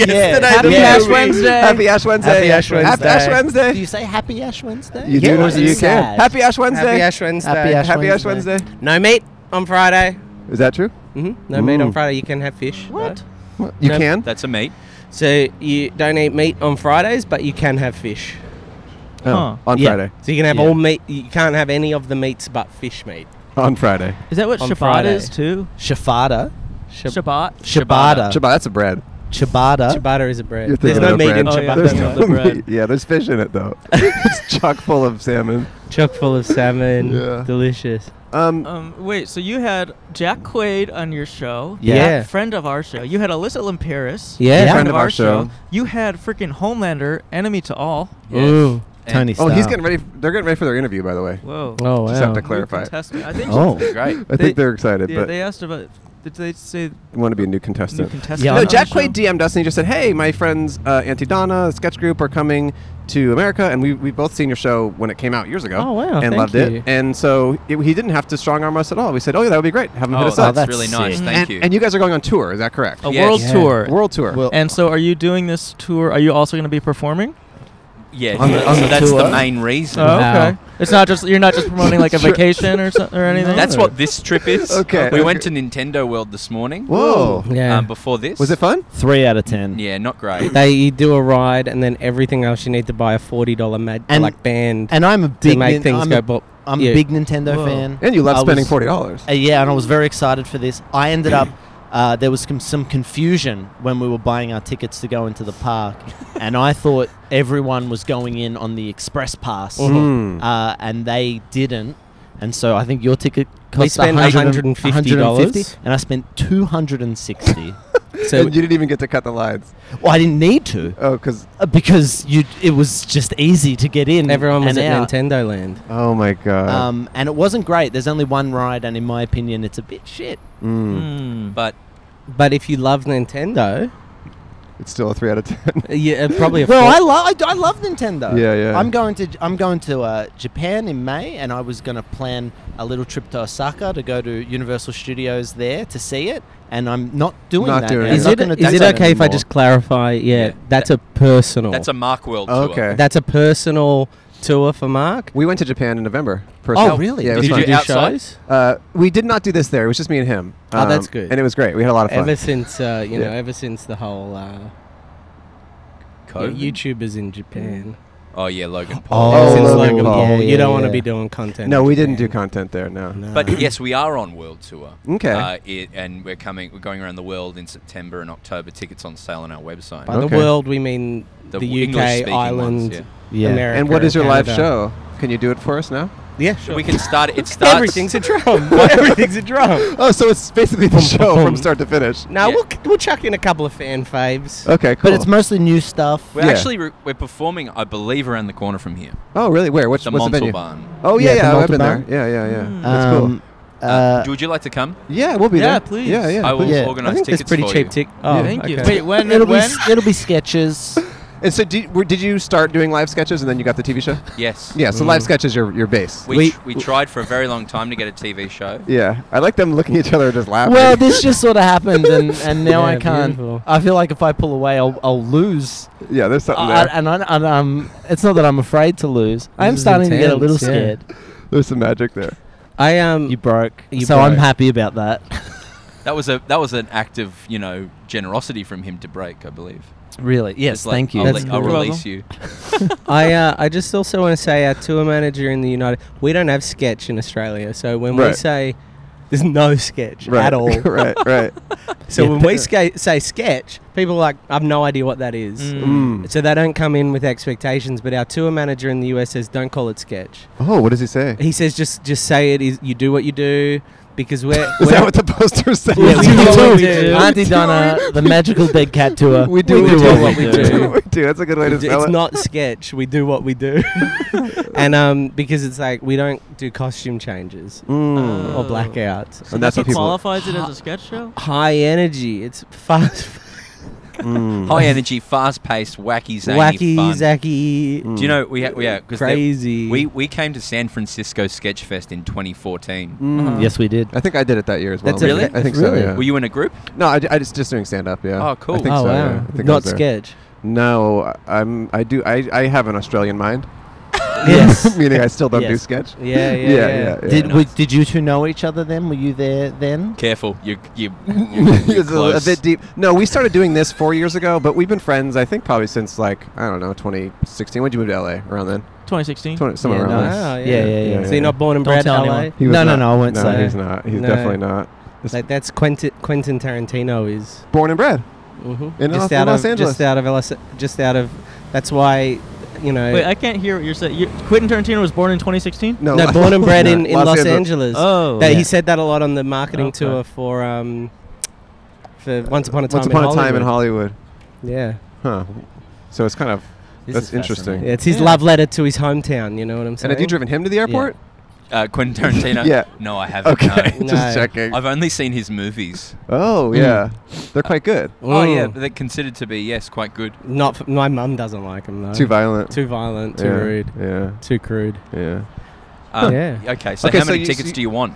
[SPEAKER 1] yesterday.
[SPEAKER 6] Happy
[SPEAKER 1] the
[SPEAKER 6] Ash
[SPEAKER 1] movie.
[SPEAKER 6] Wednesday.
[SPEAKER 1] Happy Ash Wednesday.
[SPEAKER 6] Happy Ash
[SPEAKER 1] Happy Ash
[SPEAKER 6] Wednesday.
[SPEAKER 1] Wednesday.
[SPEAKER 6] Do you say Happy Ash Wednesday?
[SPEAKER 1] You do.
[SPEAKER 6] Or is it
[SPEAKER 1] you can.
[SPEAKER 6] sad?
[SPEAKER 1] Happy Ash Wednesday.
[SPEAKER 9] Happy Ash Wednesday.
[SPEAKER 6] Happy Ash
[SPEAKER 1] Happy Ash
[SPEAKER 6] Wednesday.
[SPEAKER 1] Wednesday.
[SPEAKER 9] No meat on Friday.
[SPEAKER 1] Is that true?
[SPEAKER 9] hmm No meat
[SPEAKER 1] Mm.
[SPEAKER 9] on Friday. You can have fish. What?
[SPEAKER 1] What? You
[SPEAKER 9] No.
[SPEAKER 1] can.
[SPEAKER 7] That's a meat.
[SPEAKER 9] So you don't eat meat on Fridays, but you can have fish.
[SPEAKER 10] Huh.
[SPEAKER 1] Oh, On
[SPEAKER 6] Yeah.
[SPEAKER 1] Friday.
[SPEAKER 9] So you can have
[SPEAKER 6] Yeah.
[SPEAKER 9] all meat. You can't have any of the meats but fish meat.
[SPEAKER 1] On Friday.
[SPEAKER 10] Is that what
[SPEAKER 9] On
[SPEAKER 10] Shabbat
[SPEAKER 9] Friday.
[SPEAKER 10] is too?
[SPEAKER 6] Shafada.
[SPEAKER 10] Shabbat.
[SPEAKER 6] Shabada.
[SPEAKER 1] Shabbat. That's a bread.
[SPEAKER 6] Chabada.
[SPEAKER 9] Ciabatta is a
[SPEAKER 1] You're
[SPEAKER 9] bread.
[SPEAKER 1] thinking
[SPEAKER 9] There's no
[SPEAKER 1] of
[SPEAKER 9] meat
[SPEAKER 1] bread.
[SPEAKER 9] in
[SPEAKER 10] Oh, yeah,
[SPEAKER 9] ciabatta.
[SPEAKER 1] There's
[SPEAKER 10] no.
[SPEAKER 1] no
[SPEAKER 10] The bread.
[SPEAKER 1] meat. Yeah, there's fish in it though. it's chock full of salmon.
[SPEAKER 9] Chock full of salmon.
[SPEAKER 1] Yeah.
[SPEAKER 9] Delicious.
[SPEAKER 1] Um,
[SPEAKER 2] Oh,
[SPEAKER 10] Um, wait, so you had Jack Quaid on your show.
[SPEAKER 6] Yeah.
[SPEAKER 10] Jack, friend of our show. You had Alyssa Lampiris.
[SPEAKER 9] Yeah.
[SPEAKER 6] Yeah.
[SPEAKER 1] friend of our show.
[SPEAKER 10] You had freaking Homelander, enemy to all.
[SPEAKER 9] Ooh.
[SPEAKER 6] Tony
[SPEAKER 1] Oh,
[SPEAKER 6] Stark.
[SPEAKER 1] he's getting ready. f- they're getting ready for their interview, by the way.
[SPEAKER 10] Whoa.
[SPEAKER 9] Oh
[SPEAKER 1] Just have
[SPEAKER 9] wow.
[SPEAKER 1] to clarify. it.
[SPEAKER 10] Contestant. I think
[SPEAKER 6] Oh.
[SPEAKER 7] Great.
[SPEAKER 1] I
[SPEAKER 10] They-
[SPEAKER 1] think they're excited,
[SPEAKER 10] Yeah,
[SPEAKER 1] but
[SPEAKER 10] they asked about. Did they say
[SPEAKER 1] want to be a new
[SPEAKER 10] new
[SPEAKER 1] contestant.
[SPEAKER 10] contestant?
[SPEAKER 6] Yeah,
[SPEAKER 1] no,
[SPEAKER 10] on
[SPEAKER 1] Jack
[SPEAKER 10] the show?
[SPEAKER 1] Quaid DM'd us and he just said, "Hey, my friends, uh, Auntie Donna, the sketch group, are coming to America, and we we both seen your show when it came out years ago.
[SPEAKER 9] Oh, wow,
[SPEAKER 1] and
[SPEAKER 9] thank
[SPEAKER 1] loved
[SPEAKER 9] you.
[SPEAKER 1] it. And so it, he didn't have to strong arm us at all. We said, "Oh, yeah, that would be great. Have him
[SPEAKER 7] Oh,
[SPEAKER 1] hit
[SPEAKER 7] that's,
[SPEAKER 1] us up."
[SPEAKER 6] that's
[SPEAKER 7] really
[SPEAKER 6] sick.
[SPEAKER 7] nice.
[SPEAKER 10] Mm.
[SPEAKER 7] Thank
[SPEAKER 1] and,
[SPEAKER 7] you.
[SPEAKER 1] and you guys are going on tour. Is that correct?
[SPEAKER 10] A
[SPEAKER 2] Oh,
[SPEAKER 7] Yes.
[SPEAKER 10] world
[SPEAKER 6] Yeah.
[SPEAKER 10] tour.
[SPEAKER 1] World tour.
[SPEAKER 6] Well-
[SPEAKER 10] And so, are you doing this tour? Are you also going to be performing?
[SPEAKER 7] yeah.
[SPEAKER 1] on the- on
[SPEAKER 7] so
[SPEAKER 1] the
[SPEAKER 7] that's
[SPEAKER 1] tour.
[SPEAKER 7] the main reason.
[SPEAKER 10] Oh,
[SPEAKER 6] No.
[SPEAKER 10] okay. It's not just you're not just promoting like a vacation or something or anything.
[SPEAKER 7] That's what this trip is.
[SPEAKER 1] Okay.
[SPEAKER 7] We
[SPEAKER 1] Okay.
[SPEAKER 7] went to Nintendo World this morning.
[SPEAKER 1] Whoa.
[SPEAKER 9] Yeah.
[SPEAKER 7] Um, before this.
[SPEAKER 1] Was it fun?
[SPEAKER 6] Three out of ten.
[SPEAKER 7] Yeah, not great.
[SPEAKER 9] they you do a ride and then everything else you need to buy a forty dollar mad
[SPEAKER 6] And-
[SPEAKER 9] like band
[SPEAKER 6] And I'm a
[SPEAKER 9] to
[SPEAKER 6] big.
[SPEAKER 9] make
[SPEAKER 6] nin-
[SPEAKER 9] things
[SPEAKER 6] I'm
[SPEAKER 9] go
[SPEAKER 6] a,
[SPEAKER 9] bop.
[SPEAKER 6] I'm
[SPEAKER 9] yeah.
[SPEAKER 6] a big Nintendo
[SPEAKER 10] Whoa.
[SPEAKER 6] fan.
[SPEAKER 1] And you love
[SPEAKER 6] I
[SPEAKER 1] spending
[SPEAKER 6] was-
[SPEAKER 1] forty dollars.
[SPEAKER 6] Uh, yeah, and I was very excited for this. I ended up. Uh, there was com- some confusion when we were buying our tickets to go into the park, and I thought everyone was going in on the express pass,
[SPEAKER 9] Mm-hmm.
[SPEAKER 1] Mhm.
[SPEAKER 6] uh, and they didn't. And so I think your ticket
[SPEAKER 9] We
[SPEAKER 6] cost
[SPEAKER 9] spent $150.
[SPEAKER 6] and I spent two hundred and sixty.
[SPEAKER 9] So
[SPEAKER 1] and you didn't even get to cut the lines.
[SPEAKER 6] well, I didn't need to
[SPEAKER 1] Oh, because
[SPEAKER 6] uh, because you it was just easy to get in.
[SPEAKER 9] everyone was
[SPEAKER 6] Mm. and
[SPEAKER 9] at
[SPEAKER 6] out.
[SPEAKER 9] Nintendo Land.
[SPEAKER 1] oh my god.
[SPEAKER 6] Um, and it wasn't great. There's only one ride, and in my opinion, it's a bit shit.
[SPEAKER 1] Mm.
[SPEAKER 10] Mm.
[SPEAKER 7] But
[SPEAKER 9] But if you love Nintendo,
[SPEAKER 1] It's still a three out of ten.
[SPEAKER 9] uh, yeah, uh, probably a
[SPEAKER 6] Well, I
[SPEAKER 9] four-
[SPEAKER 6] love I, d- I love Nintendo.
[SPEAKER 1] Yeah, yeah.
[SPEAKER 6] I'm going to I'm going to uh, Japan in May, and I was going to plan a little trip to Osaka to go to Universal Studios there to see it, and I'm not doing
[SPEAKER 1] Not
[SPEAKER 6] that.
[SPEAKER 1] doing
[SPEAKER 6] now.
[SPEAKER 1] it.
[SPEAKER 6] I'm
[SPEAKER 9] Is
[SPEAKER 6] not
[SPEAKER 9] it,
[SPEAKER 6] gonna
[SPEAKER 9] is
[SPEAKER 6] do
[SPEAKER 9] it
[SPEAKER 6] that
[SPEAKER 9] okay if I
[SPEAKER 6] anymore.
[SPEAKER 9] just clarify? Yeah,
[SPEAKER 7] Yeah.
[SPEAKER 9] that's a personal.
[SPEAKER 7] that's a Mark World tour.
[SPEAKER 1] okay.
[SPEAKER 9] that's a personal tour for Mark.
[SPEAKER 1] we went to Japan in November.
[SPEAKER 6] Oh,
[SPEAKER 1] personally.
[SPEAKER 6] really?
[SPEAKER 1] Yeah, it was
[SPEAKER 7] Did you
[SPEAKER 1] fun.
[SPEAKER 7] do outside?
[SPEAKER 9] shows?
[SPEAKER 1] Uh, we did not do this there. It was just me and him. Um,
[SPEAKER 9] Oh, that's good.
[SPEAKER 1] And it was great. We had a lot of fun.
[SPEAKER 9] Ever since uh, you
[SPEAKER 1] Yeah.
[SPEAKER 9] know, ever since the whole uh,
[SPEAKER 7] COVID?
[SPEAKER 9] YouTubers in Japan.
[SPEAKER 7] Oh yeah, Logan Paul.
[SPEAKER 6] Oh,
[SPEAKER 9] Ever since
[SPEAKER 1] Logan
[SPEAKER 9] Logan
[SPEAKER 1] Paul.
[SPEAKER 9] Paul,
[SPEAKER 6] Yeah,
[SPEAKER 9] you
[SPEAKER 6] yeah,
[SPEAKER 9] don't want to
[SPEAKER 6] yeah.
[SPEAKER 9] be doing content.
[SPEAKER 1] no,
[SPEAKER 9] in
[SPEAKER 1] we didn't do
[SPEAKER 9] Japan.
[SPEAKER 1] content there. No.
[SPEAKER 9] No.
[SPEAKER 7] But yes, we are on world tour.
[SPEAKER 1] Okay.
[SPEAKER 7] Uh, it, and we're coming. We're going around the world in September and October. Tickets on sale on our website.
[SPEAKER 9] By
[SPEAKER 1] Okay.
[SPEAKER 9] the world, we mean
[SPEAKER 7] The
[SPEAKER 9] the,
[SPEAKER 7] w-
[SPEAKER 9] UK,
[SPEAKER 7] English-speaking
[SPEAKER 9] Ireland,
[SPEAKER 7] ones,
[SPEAKER 6] yeah.
[SPEAKER 9] America.
[SPEAKER 1] and what is your live
[SPEAKER 9] Canada.
[SPEAKER 1] show? Can you do it for us now?
[SPEAKER 9] Yeah, sure.
[SPEAKER 7] We can start. It starts.
[SPEAKER 9] Everything's a drum. Everything's a drum.
[SPEAKER 1] Oh, so it's basically the show from start to finish.
[SPEAKER 9] Now
[SPEAKER 7] Yeah.
[SPEAKER 9] we'll we'll chuck in a couple of fan faves.
[SPEAKER 1] Okay, cool.
[SPEAKER 6] But it's mostly new stuff.
[SPEAKER 7] We're
[SPEAKER 1] Yeah.
[SPEAKER 7] actually re- we're performing, I believe, around the corner from here.
[SPEAKER 1] oh, really? Where? What's,
[SPEAKER 7] The
[SPEAKER 1] what's the venue?
[SPEAKER 7] Montalban.
[SPEAKER 1] Oh, yeah,
[SPEAKER 6] Yeah,
[SPEAKER 1] yeah.
[SPEAKER 6] the
[SPEAKER 1] I've been there.
[SPEAKER 6] Montalban.
[SPEAKER 1] Yeah, yeah, yeah.
[SPEAKER 10] Mm.
[SPEAKER 1] That's cool.
[SPEAKER 6] Um, uh,
[SPEAKER 7] Do- would you like to come?
[SPEAKER 1] Yeah, we'll be
[SPEAKER 10] yeah,
[SPEAKER 1] there.
[SPEAKER 10] please.
[SPEAKER 1] Yeah, yeah.
[SPEAKER 7] I will
[SPEAKER 1] please.
[SPEAKER 6] Yeah.
[SPEAKER 9] I
[SPEAKER 7] organise
[SPEAKER 9] think
[SPEAKER 7] tickets
[SPEAKER 9] it's pretty
[SPEAKER 7] for
[SPEAKER 9] cheap.
[SPEAKER 7] you.
[SPEAKER 9] Tick. Oh,
[SPEAKER 10] Thank you.
[SPEAKER 9] okay.
[SPEAKER 10] Wait, when?
[SPEAKER 6] it'll be
[SPEAKER 10] when?
[SPEAKER 6] s- it'll be sketches.
[SPEAKER 1] And so, did, were- did you start doing live sketches and then you got the TV show?
[SPEAKER 7] Yes.
[SPEAKER 1] Yeah. So live sketches your your base.
[SPEAKER 7] We,
[SPEAKER 6] We-
[SPEAKER 7] tr- we tried for a very long time to get a TV show.
[SPEAKER 1] yeah. I like them looking at each other and just laughing.
[SPEAKER 6] well, this just sort of happened, and, and now I
[SPEAKER 9] Yeah,
[SPEAKER 6] can't.
[SPEAKER 9] beautiful.
[SPEAKER 6] I feel like if I pull away, I'll, I'll lose.
[SPEAKER 1] yeah. There's
[SPEAKER 7] Uh,
[SPEAKER 1] something
[SPEAKER 6] I, I-
[SPEAKER 1] there.
[SPEAKER 6] and I, and um, it's not that I'm afraid to lose. I am
[SPEAKER 9] is
[SPEAKER 6] starting to get a
[SPEAKER 9] intense,
[SPEAKER 6] little
[SPEAKER 9] yeah.
[SPEAKER 6] scared.
[SPEAKER 1] there's some magic there.
[SPEAKER 9] I um.
[SPEAKER 6] You broke,
[SPEAKER 9] You
[SPEAKER 6] so I'm
[SPEAKER 9] broke.
[SPEAKER 6] happy about that.
[SPEAKER 7] That was a that was an act of you know generosity from him to break, I believe.
[SPEAKER 9] Really? Yes.
[SPEAKER 7] Just like,
[SPEAKER 9] thank you.
[SPEAKER 7] I'll,
[SPEAKER 9] That's
[SPEAKER 7] let- I'll
[SPEAKER 9] cool.
[SPEAKER 7] release you.
[SPEAKER 9] I uh, I just also want to say our tour manager in the United. We don't have sketch in Australia, so when we
[SPEAKER 1] Right.
[SPEAKER 9] say there's no sketch at all.
[SPEAKER 1] right, right.
[SPEAKER 9] So
[SPEAKER 1] Yeah,
[SPEAKER 9] when
[SPEAKER 1] but-
[SPEAKER 9] we sca- say sketch, people are like I've no idea what that is.
[SPEAKER 1] Mm.
[SPEAKER 9] So they don't come in with expectations. But our tour manager in the US says don't call it sketch.
[SPEAKER 1] Oh, what does he say?
[SPEAKER 9] He says just just say it is you do what you do because we're
[SPEAKER 1] Is
[SPEAKER 9] we're-
[SPEAKER 1] that what the poster says?
[SPEAKER 9] Yeah, we do what we do.
[SPEAKER 6] Auntie Donna, the magical big cat tour.
[SPEAKER 9] We do,
[SPEAKER 6] do
[SPEAKER 9] what, we do.
[SPEAKER 1] Dude, that's a good way to
[SPEAKER 9] We do-
[SPEAKER 1] sell
[SPEAKER 9] it's
[SPEAKER 1] it.
[SPEAKER 9] not sketch. We do what we do, and um, because it's like we don't do costume changes
[SPEAKER 1] Mm.
[SPEAKER 9] or blackouts.
[SPEAKER 1] and that's what people.
[SPEAKER 2] qualifies it as a sketch show.
[SPEAKER 9] High energy. It's fast,
[SPEAKER 1] Mm.
[SPEAKER 7] High energy, fast paced, wacky, zany
[SPEAKER 9] wacky,
[SPEAKER 7] fun.
[SPEAKER 9] zacky,
[SPEAKER 1] Mm.
[SPEAKER 7] Do you know we ha- we ha- 'cause there-
[SPEAKER 9] crazy.
[SPEAKER 7] We we came to San Francisco Sketch Fest in 2014.
[SPEAKER 1] Mm.
[SPEAKER 6] Yes, we did.
[SPEAKER 1] I think I did it that year as well.
[SPEAKER 9] That's a-
[SPEAKER 7] Really?
[SPEAKER 1] I think
[SPEAKER 9] Really?
[SPEAKER 1] so. Yeah.
[SPEAKER 7] Were you in a group?
[SPEAKER 1] no, I, ju- I just just doing stand up. Yeah.
[SPEAKER 7] Oh, cool.
[SPEAKER 1] I think
[SPEAKER 9] oh
[SPEAKER 1] so,
[SPEAKER 9] wow,
[SPEAKER 1] yeah. I think I was
[SPEAKER 9] not
[SPEAKER 1] there.
[SPEAKER 9] sketch.
[SPEAKER 1] No, I- I'm. I do. I, I have an Australian mind.
[SPEAKER 6] Yes.
[SPEAKER 1] Meaning, I still don't do
[SPEAKER 6] Yes.
[SPEAKER 1] sketch.
[SPEAKER 9] Yeah, yeah, yeah.
[SPEAKER 6] Did we, did you two know each other then? Were you there then?
[SPEAKER 7] Careful, you you.
[SPEAKER 1] it's a, a bit deep. No, we started doing this four years ago, but we've been friends. I think probably since like I don't know, 2016. When did you move to LA? Around then?
[SPEAKER 2] 2016.
[SPEAKER 1] 20, somewhere
[SPEAKER 6] Yeah,
[SPEAKER 1] around
[SPEAKER 6] nice.
[SPEAKER 1] there.
[SPEAKER 9] Wow,
[SPEAKER 6] Yeah, yeah,
[SPEAKER 9] So
[SPEAKER 6] yeah,
[SPEAKER 1] yeah.
[SPEAKER 9] you're not born and
[SPEAKER 6] Don't
[SPEAKER 9] bred
[SPEAKER 6] tell
[SPEAKER 9] LA.
[SPEAKER 6] anyone.
[SPEAKER 1] He was
[SPEAKER 6] No, no,
[SPEAKER 1] not-
[SPEAKER 6] no, I won't
[SPEAKER 1] no,
[SPEAKER 6] say.
[SPEAKER 1] he's not. He's
[SPEAKER 9] No.
[SPEAKER 1] definitely not. This-
[SPEAKER 9] Like that's Quentin, Quentin Tarantino is
[SPEAKER 1] Born and bred. In Los- in
[SPEAKER 9] out
[SPEAKER 1] Los
[SPEAKER 9] of
[SPEAKER 1] Angeles.
[SPEAKER 9] just out of LS, just out of. That's why, you know.
[SPEAKER 2] Wait, I can't hear what you're saying. You, Quentin Tarantino was born in 2016.
[SPEAKER 1] No,
[SPEAKER 9] no, born and bred in, in Los, Angeles.
[SPEAKER 2] Oh,
[SPEAKER 9] That-
[SPEAKER 6] yeah.
[SPEAKER 9] He said that a lot on the marketing
[SPEAKER 2] Okay.
[SPEAKER 9] tour for um, for Once Upon a Time.
[SPEAKER 1] Once upon
[SPEAKER 9] in
[SPEAKER 1] a time in
[SPEAKER 9] Hollywood.
[SPEAKER 1] Hollywood.
[SPEAKER 9] Yeah.
[SPEAKER 1] Huh. So it's kind of
[SPEAKER 6] This
[SPEAKER 1] that's
[SPEAKER 6] is
[SPEAKER 1] interesting.
[SPEAKER 6] fascinating.
[SPEAKER 9] yeah, it's his
[SPEAKER 2] Yeah.
[SPEAKER 9] love letter to his hometown. You know what I'm
[SPEAKER 1] And
[SPEAKER 9] saying?
[SPEAKER 1] have you driven him to the airport?
[SPEAKER 7] Uh, Quentin Tarantino.
[SPEAKER 1] Yeah.
[SPEAKER 7] No, I haven't.
[SPEAKER 1] Okay,
[SPEAKER 7] Uh, no.
[SPEAKER 1] just
[SPEAKER 9] No.
[SPEAKER 1] checking.
[SPEAKER 7] I've only seen his movies.
[SPEAKER 1] oh yeah, they're quite good.
[SPEAKER 7] Oh yeah,
[SPEAKER 9] Ooh.
[SPEAKER 7] they're considered to be yes, quite good.
[SPEAKER 9] Mm. Not. F- my mum doesn't like him though.
[SPEAKER 1] Too violent.
[SPEAKER 9] Too violent. Too
[SPEAKER 1] yeah.
[SPEAKER 9] rude.
[SPEAKER 1] Yeah,
[SPEAKER 9] Too crude.
[SPEAKER 1] yeah.
[SPEAKER 7] Um,
[SPEAKER 9] Yeah.
[SPEAKER 7] Okay, so
[SPEAKER 1] Okay,
[SPEAKER 7] how
[SPEAKER 1] so
[SPEAKER 7] many
[SPEAKER 1] you-
[SPEAKER 7] tickets
[SPEAKER 1] you-
[SPEAKER 7] do you want?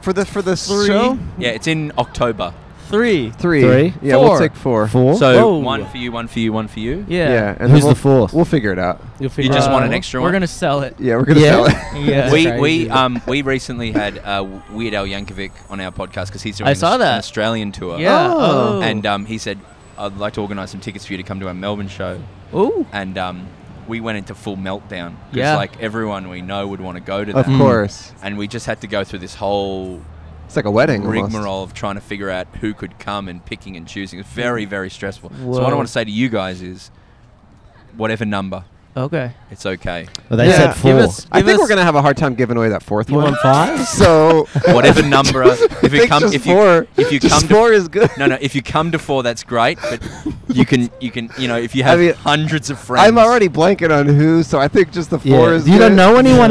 [SPEAKER 1] For the for the
[SPEAKER 2] Three.
[SPEAKER 1] show,
[SPEAKER 7] Yeah, it's in October.
[SPEAKER 2] three.
[SPEAKER 1] three.
[SPEAKER 6] Three.
[SPEAKER 1] Yeah, we'll
[SPEAKER 2] Four.
[SPEAKER 1] take four.
[SPEAKER 6] Four.
[SPEAKER 7] So
[SPEAKER 2] Whoa.
[SPEAKER 7] one for you, one for you, one for you.
[SPEAKER 2] Yeah.
[SPEAKER 1] Oh. Yeah, and
[SPEAKER 6] Who's
[SPEAKER 1] then we'll,
[SPEAKER 6] the fourth?
[SPEAKER 1] We'll figure it out.
[SPEAKER 9] You'll
[SPEAKER 7] You
[SPEAKER 9] figure
[SPEAKER 7] just
[SPEAKER 9] it
[SPEAKER 7] want
[SPEAKER 9] out.
[SPEAKER 7] an extra
[SPEAKER 10] We're
[SPEAKER 7] one.
[SPEAKER 10] gonna sell it.
[SPEAKER 1] Yeah, we're gonna
[SPEAKER 6] Yeah.
[SPEAKER 1] sell it.
[SPEAKER 2] Yeah.
[SPEAKER 7] we
[SPEAKER 9] That's
[SPEAKER 7] we
[SPEAKER 9] crazy.
[SPEAKER 7] um we recently had uh, Weird Al Yankovic on our podcast because he's doing
[SPEAKER 10] I
[SPEAKER 7] an
[SPEAKER 10] saw
[SPEAKER 7] Aus-
[SPEAKER 10] that.
[SPEAKER 7] an Australian tour.
[SPEAKER 10] Yeah.
[SPEAKER 2] Oh.
[SPEAKER 7] And um, he said, "I'd like to organise some tickets for you to come to our Melbourne show."
[SPEAKER 10] Ooh.
[SPEAKER 7] And um, we went into full meltdown because
[SPEAKER 10] Yeah.
[SPEAKER 7] like everyone we know would want to go to
[SPEAKER 1] Of
[SPEAKER 7] that.
[SPEAKER 6] Hmm.
[SPEAKER 1] course,
[SPEAKER 7] And we just had to go through this whole
[SPEAKER 1] it's like a wedding. almost.
[SPEAKER 7] rigmarole of trying to figure out who could come and picking and choosing. It's very, very stressful. So what I
[SPEAKER 10] Whoa.
[SPEAKER 7] want to say to you guys is, whatever number,
[SPEAKER 10] Okay.
[SPEAKER 7] it's okay.
[SPEAKER 6] Well, they
[SPEAKER 1] Yeah.
[SPEAKER 6] said four.
[SPEAKER 10] Give us.
[SPEAKER 1] I
[SPEAKER 10] give
[SPEAKER 1] think
[SPEAKER 10] us-
[SPEAKER 1] we're gonna have a hard time giving away that fourth
[SPEAKER 6] you
[SPEAKER 1] one.
[SPEAKER 6] want five?
[SPEAKER 1] so
[SPEAKER 7] Whatever number, if
[SPEAKER 1] think
[SPEAKER 7] it comes,
[SPEAKER 1] just
[SPEAKER 7] if you
[SPEAKER 1] four.
[SPEAKER 7] if you
[SPEAKER 1] Just
[SPEAKER 7] come
[SPEAKER 1] four
[SPEAKER 7] to,
[SPEAKER 1] is good.
[SPEAKER 7] No, no. If you come to four, that's great. But you can, you can, you know, if you have
[SPEAKER 1] mean,
[SPEAKER 7] hundreds of friends,
[SPEAKER 1] I'm already blanking on who, so I think just the
[SPEAKER 6] Yeah.
[SPEAKER 1] four is.
[SPEAKER 6] You don't
[SPEAKER 1] good.
[SPEAKER 6] know anyone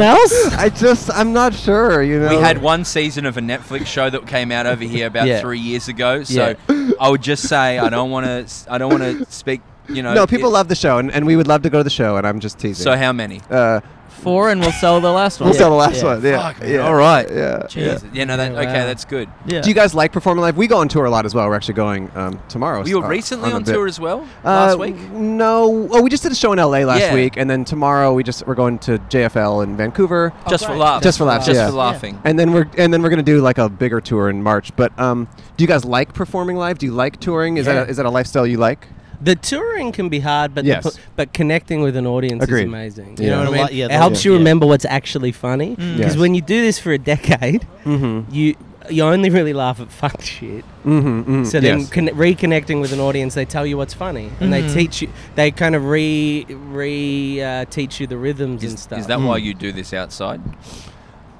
[SPEAKER 6] else?
[SPEAKER 1] I just I'm not sure. You know.
[SPEAKER 7] We had one season of a Netflix show that came out over here about
[SPEAKER 6] Yeah.
[SPEAKER 7] three years ago. So I would just say I don't want to. I don't want to speak. You know.
[SPEAKER 1] No, people
[SPEAKER 7] it-
[SPEAKER 1] love the show, and, and we would love to go to the show, and I'm just teasing.
[SPEAKER 7] So how many?
[SPEAKER 1] uh,
[SPEAKER 10] Four, and we'll sell the last one.
[SPEAKER 1] we'll sell the last
[SPEAKER 6] yeah.
[SPEAKER 1] one. Yeah,
[SPEAKER 7] Fuck, man.
[SPEAKER 1] yeah.
[SPEAKER 7] All right.
[SPEAKER 1] Yeah.
[SPEAKER 7] Jesus. Yeah. No. That,
[SPEAKER 9] Yeah,
[SPEAKER 7] okay.
[SPEAKER 9] wow.
[SPEAKER 7] That's good.
[SPEAKER 10] Yeah.
[SPEAKER 1] Do you guys like performing live? We go on tour a lot as well. We're actually going um, tomorrow.
[SPEAKER 7] We were
[SPEAKER 1] uh,
[SPEAKER 7] recently
[SPEAKER 1] a
[SPEAKER 7] on
[SPEAKER 1] bit.
[SPEAKER 7] tour as well
[SPEAKER 1] Uh,
[SPEAKER 7] last week.
[SPEAKER 1] No, oh, we just did a show in LA last
[SPEAKER 7] Yeah.
[SPEAKER 1] week, and then tomorrow we just we're going to JFL in Vancouver,
[SPEAKER 7] Just for laughs.
[SPEAKER 1] Just for laughs,
[SPEAKER 7] Oh, Just
[SPEAKER 1] yeah.
[SPEAKER 7] for laughing.
[SPEAKER 1] and then we're and then we're gonna do like a bigger tour in March. But um, do you guys like performing live? Do you like touring? Is that a, is that a lifestyle you like?
[SPEAKER 9] The touring can be hard, but the
[SPEAKER 1] Yes.
[SPEAKER 9] pu- but connecting with an audience
[SPEAKER 1] Agreed.
[SPEAKER 9] is amazing. You
[SPEAKER 1] Yeah.
[SPEAKER 9] know
[SPEAKER 6] The
[SPEAKER 9] what I
[SPEAKER 6] li-
[SPEAKER 9] mean?
[SPEAKER 6] yeah,
[SPEAKER 9] it
[SPEAKER 6] the
[SPEAKER 9] helps
[SPEAKER 6] li-
[SPEAKER 9] you
[SPEAKER 6] yeah.
[SPEAKER 9] remember what's actually funny.
[SPEAKER 10] Mm.
[SPEAKER 9] Because
[SPEAKER 1] Yes.
[SPEAKER 9] when you do this for a decade,
[SPEAKER 1] Mm-hmm.
[SPEAKER 9] you you only really laugh at fuck shit.
[SPEAKER 1] Mm-hmm. mm-hmm.
[SPEAKER 9] So then conne- reconnecting with an audience, they tell you what's funny, and they
[SPEAKER 10] Mhm.
[SPEAKER 9] teach you. They kind of re re uh, teach you the rhythms and
[SPEAKER 7] Is,
[SPEAKER 9] stuff.
[SPEAKER 7] is that
[SPEAKER 1] Mm.
[SPEAKER 7] why you do this outside?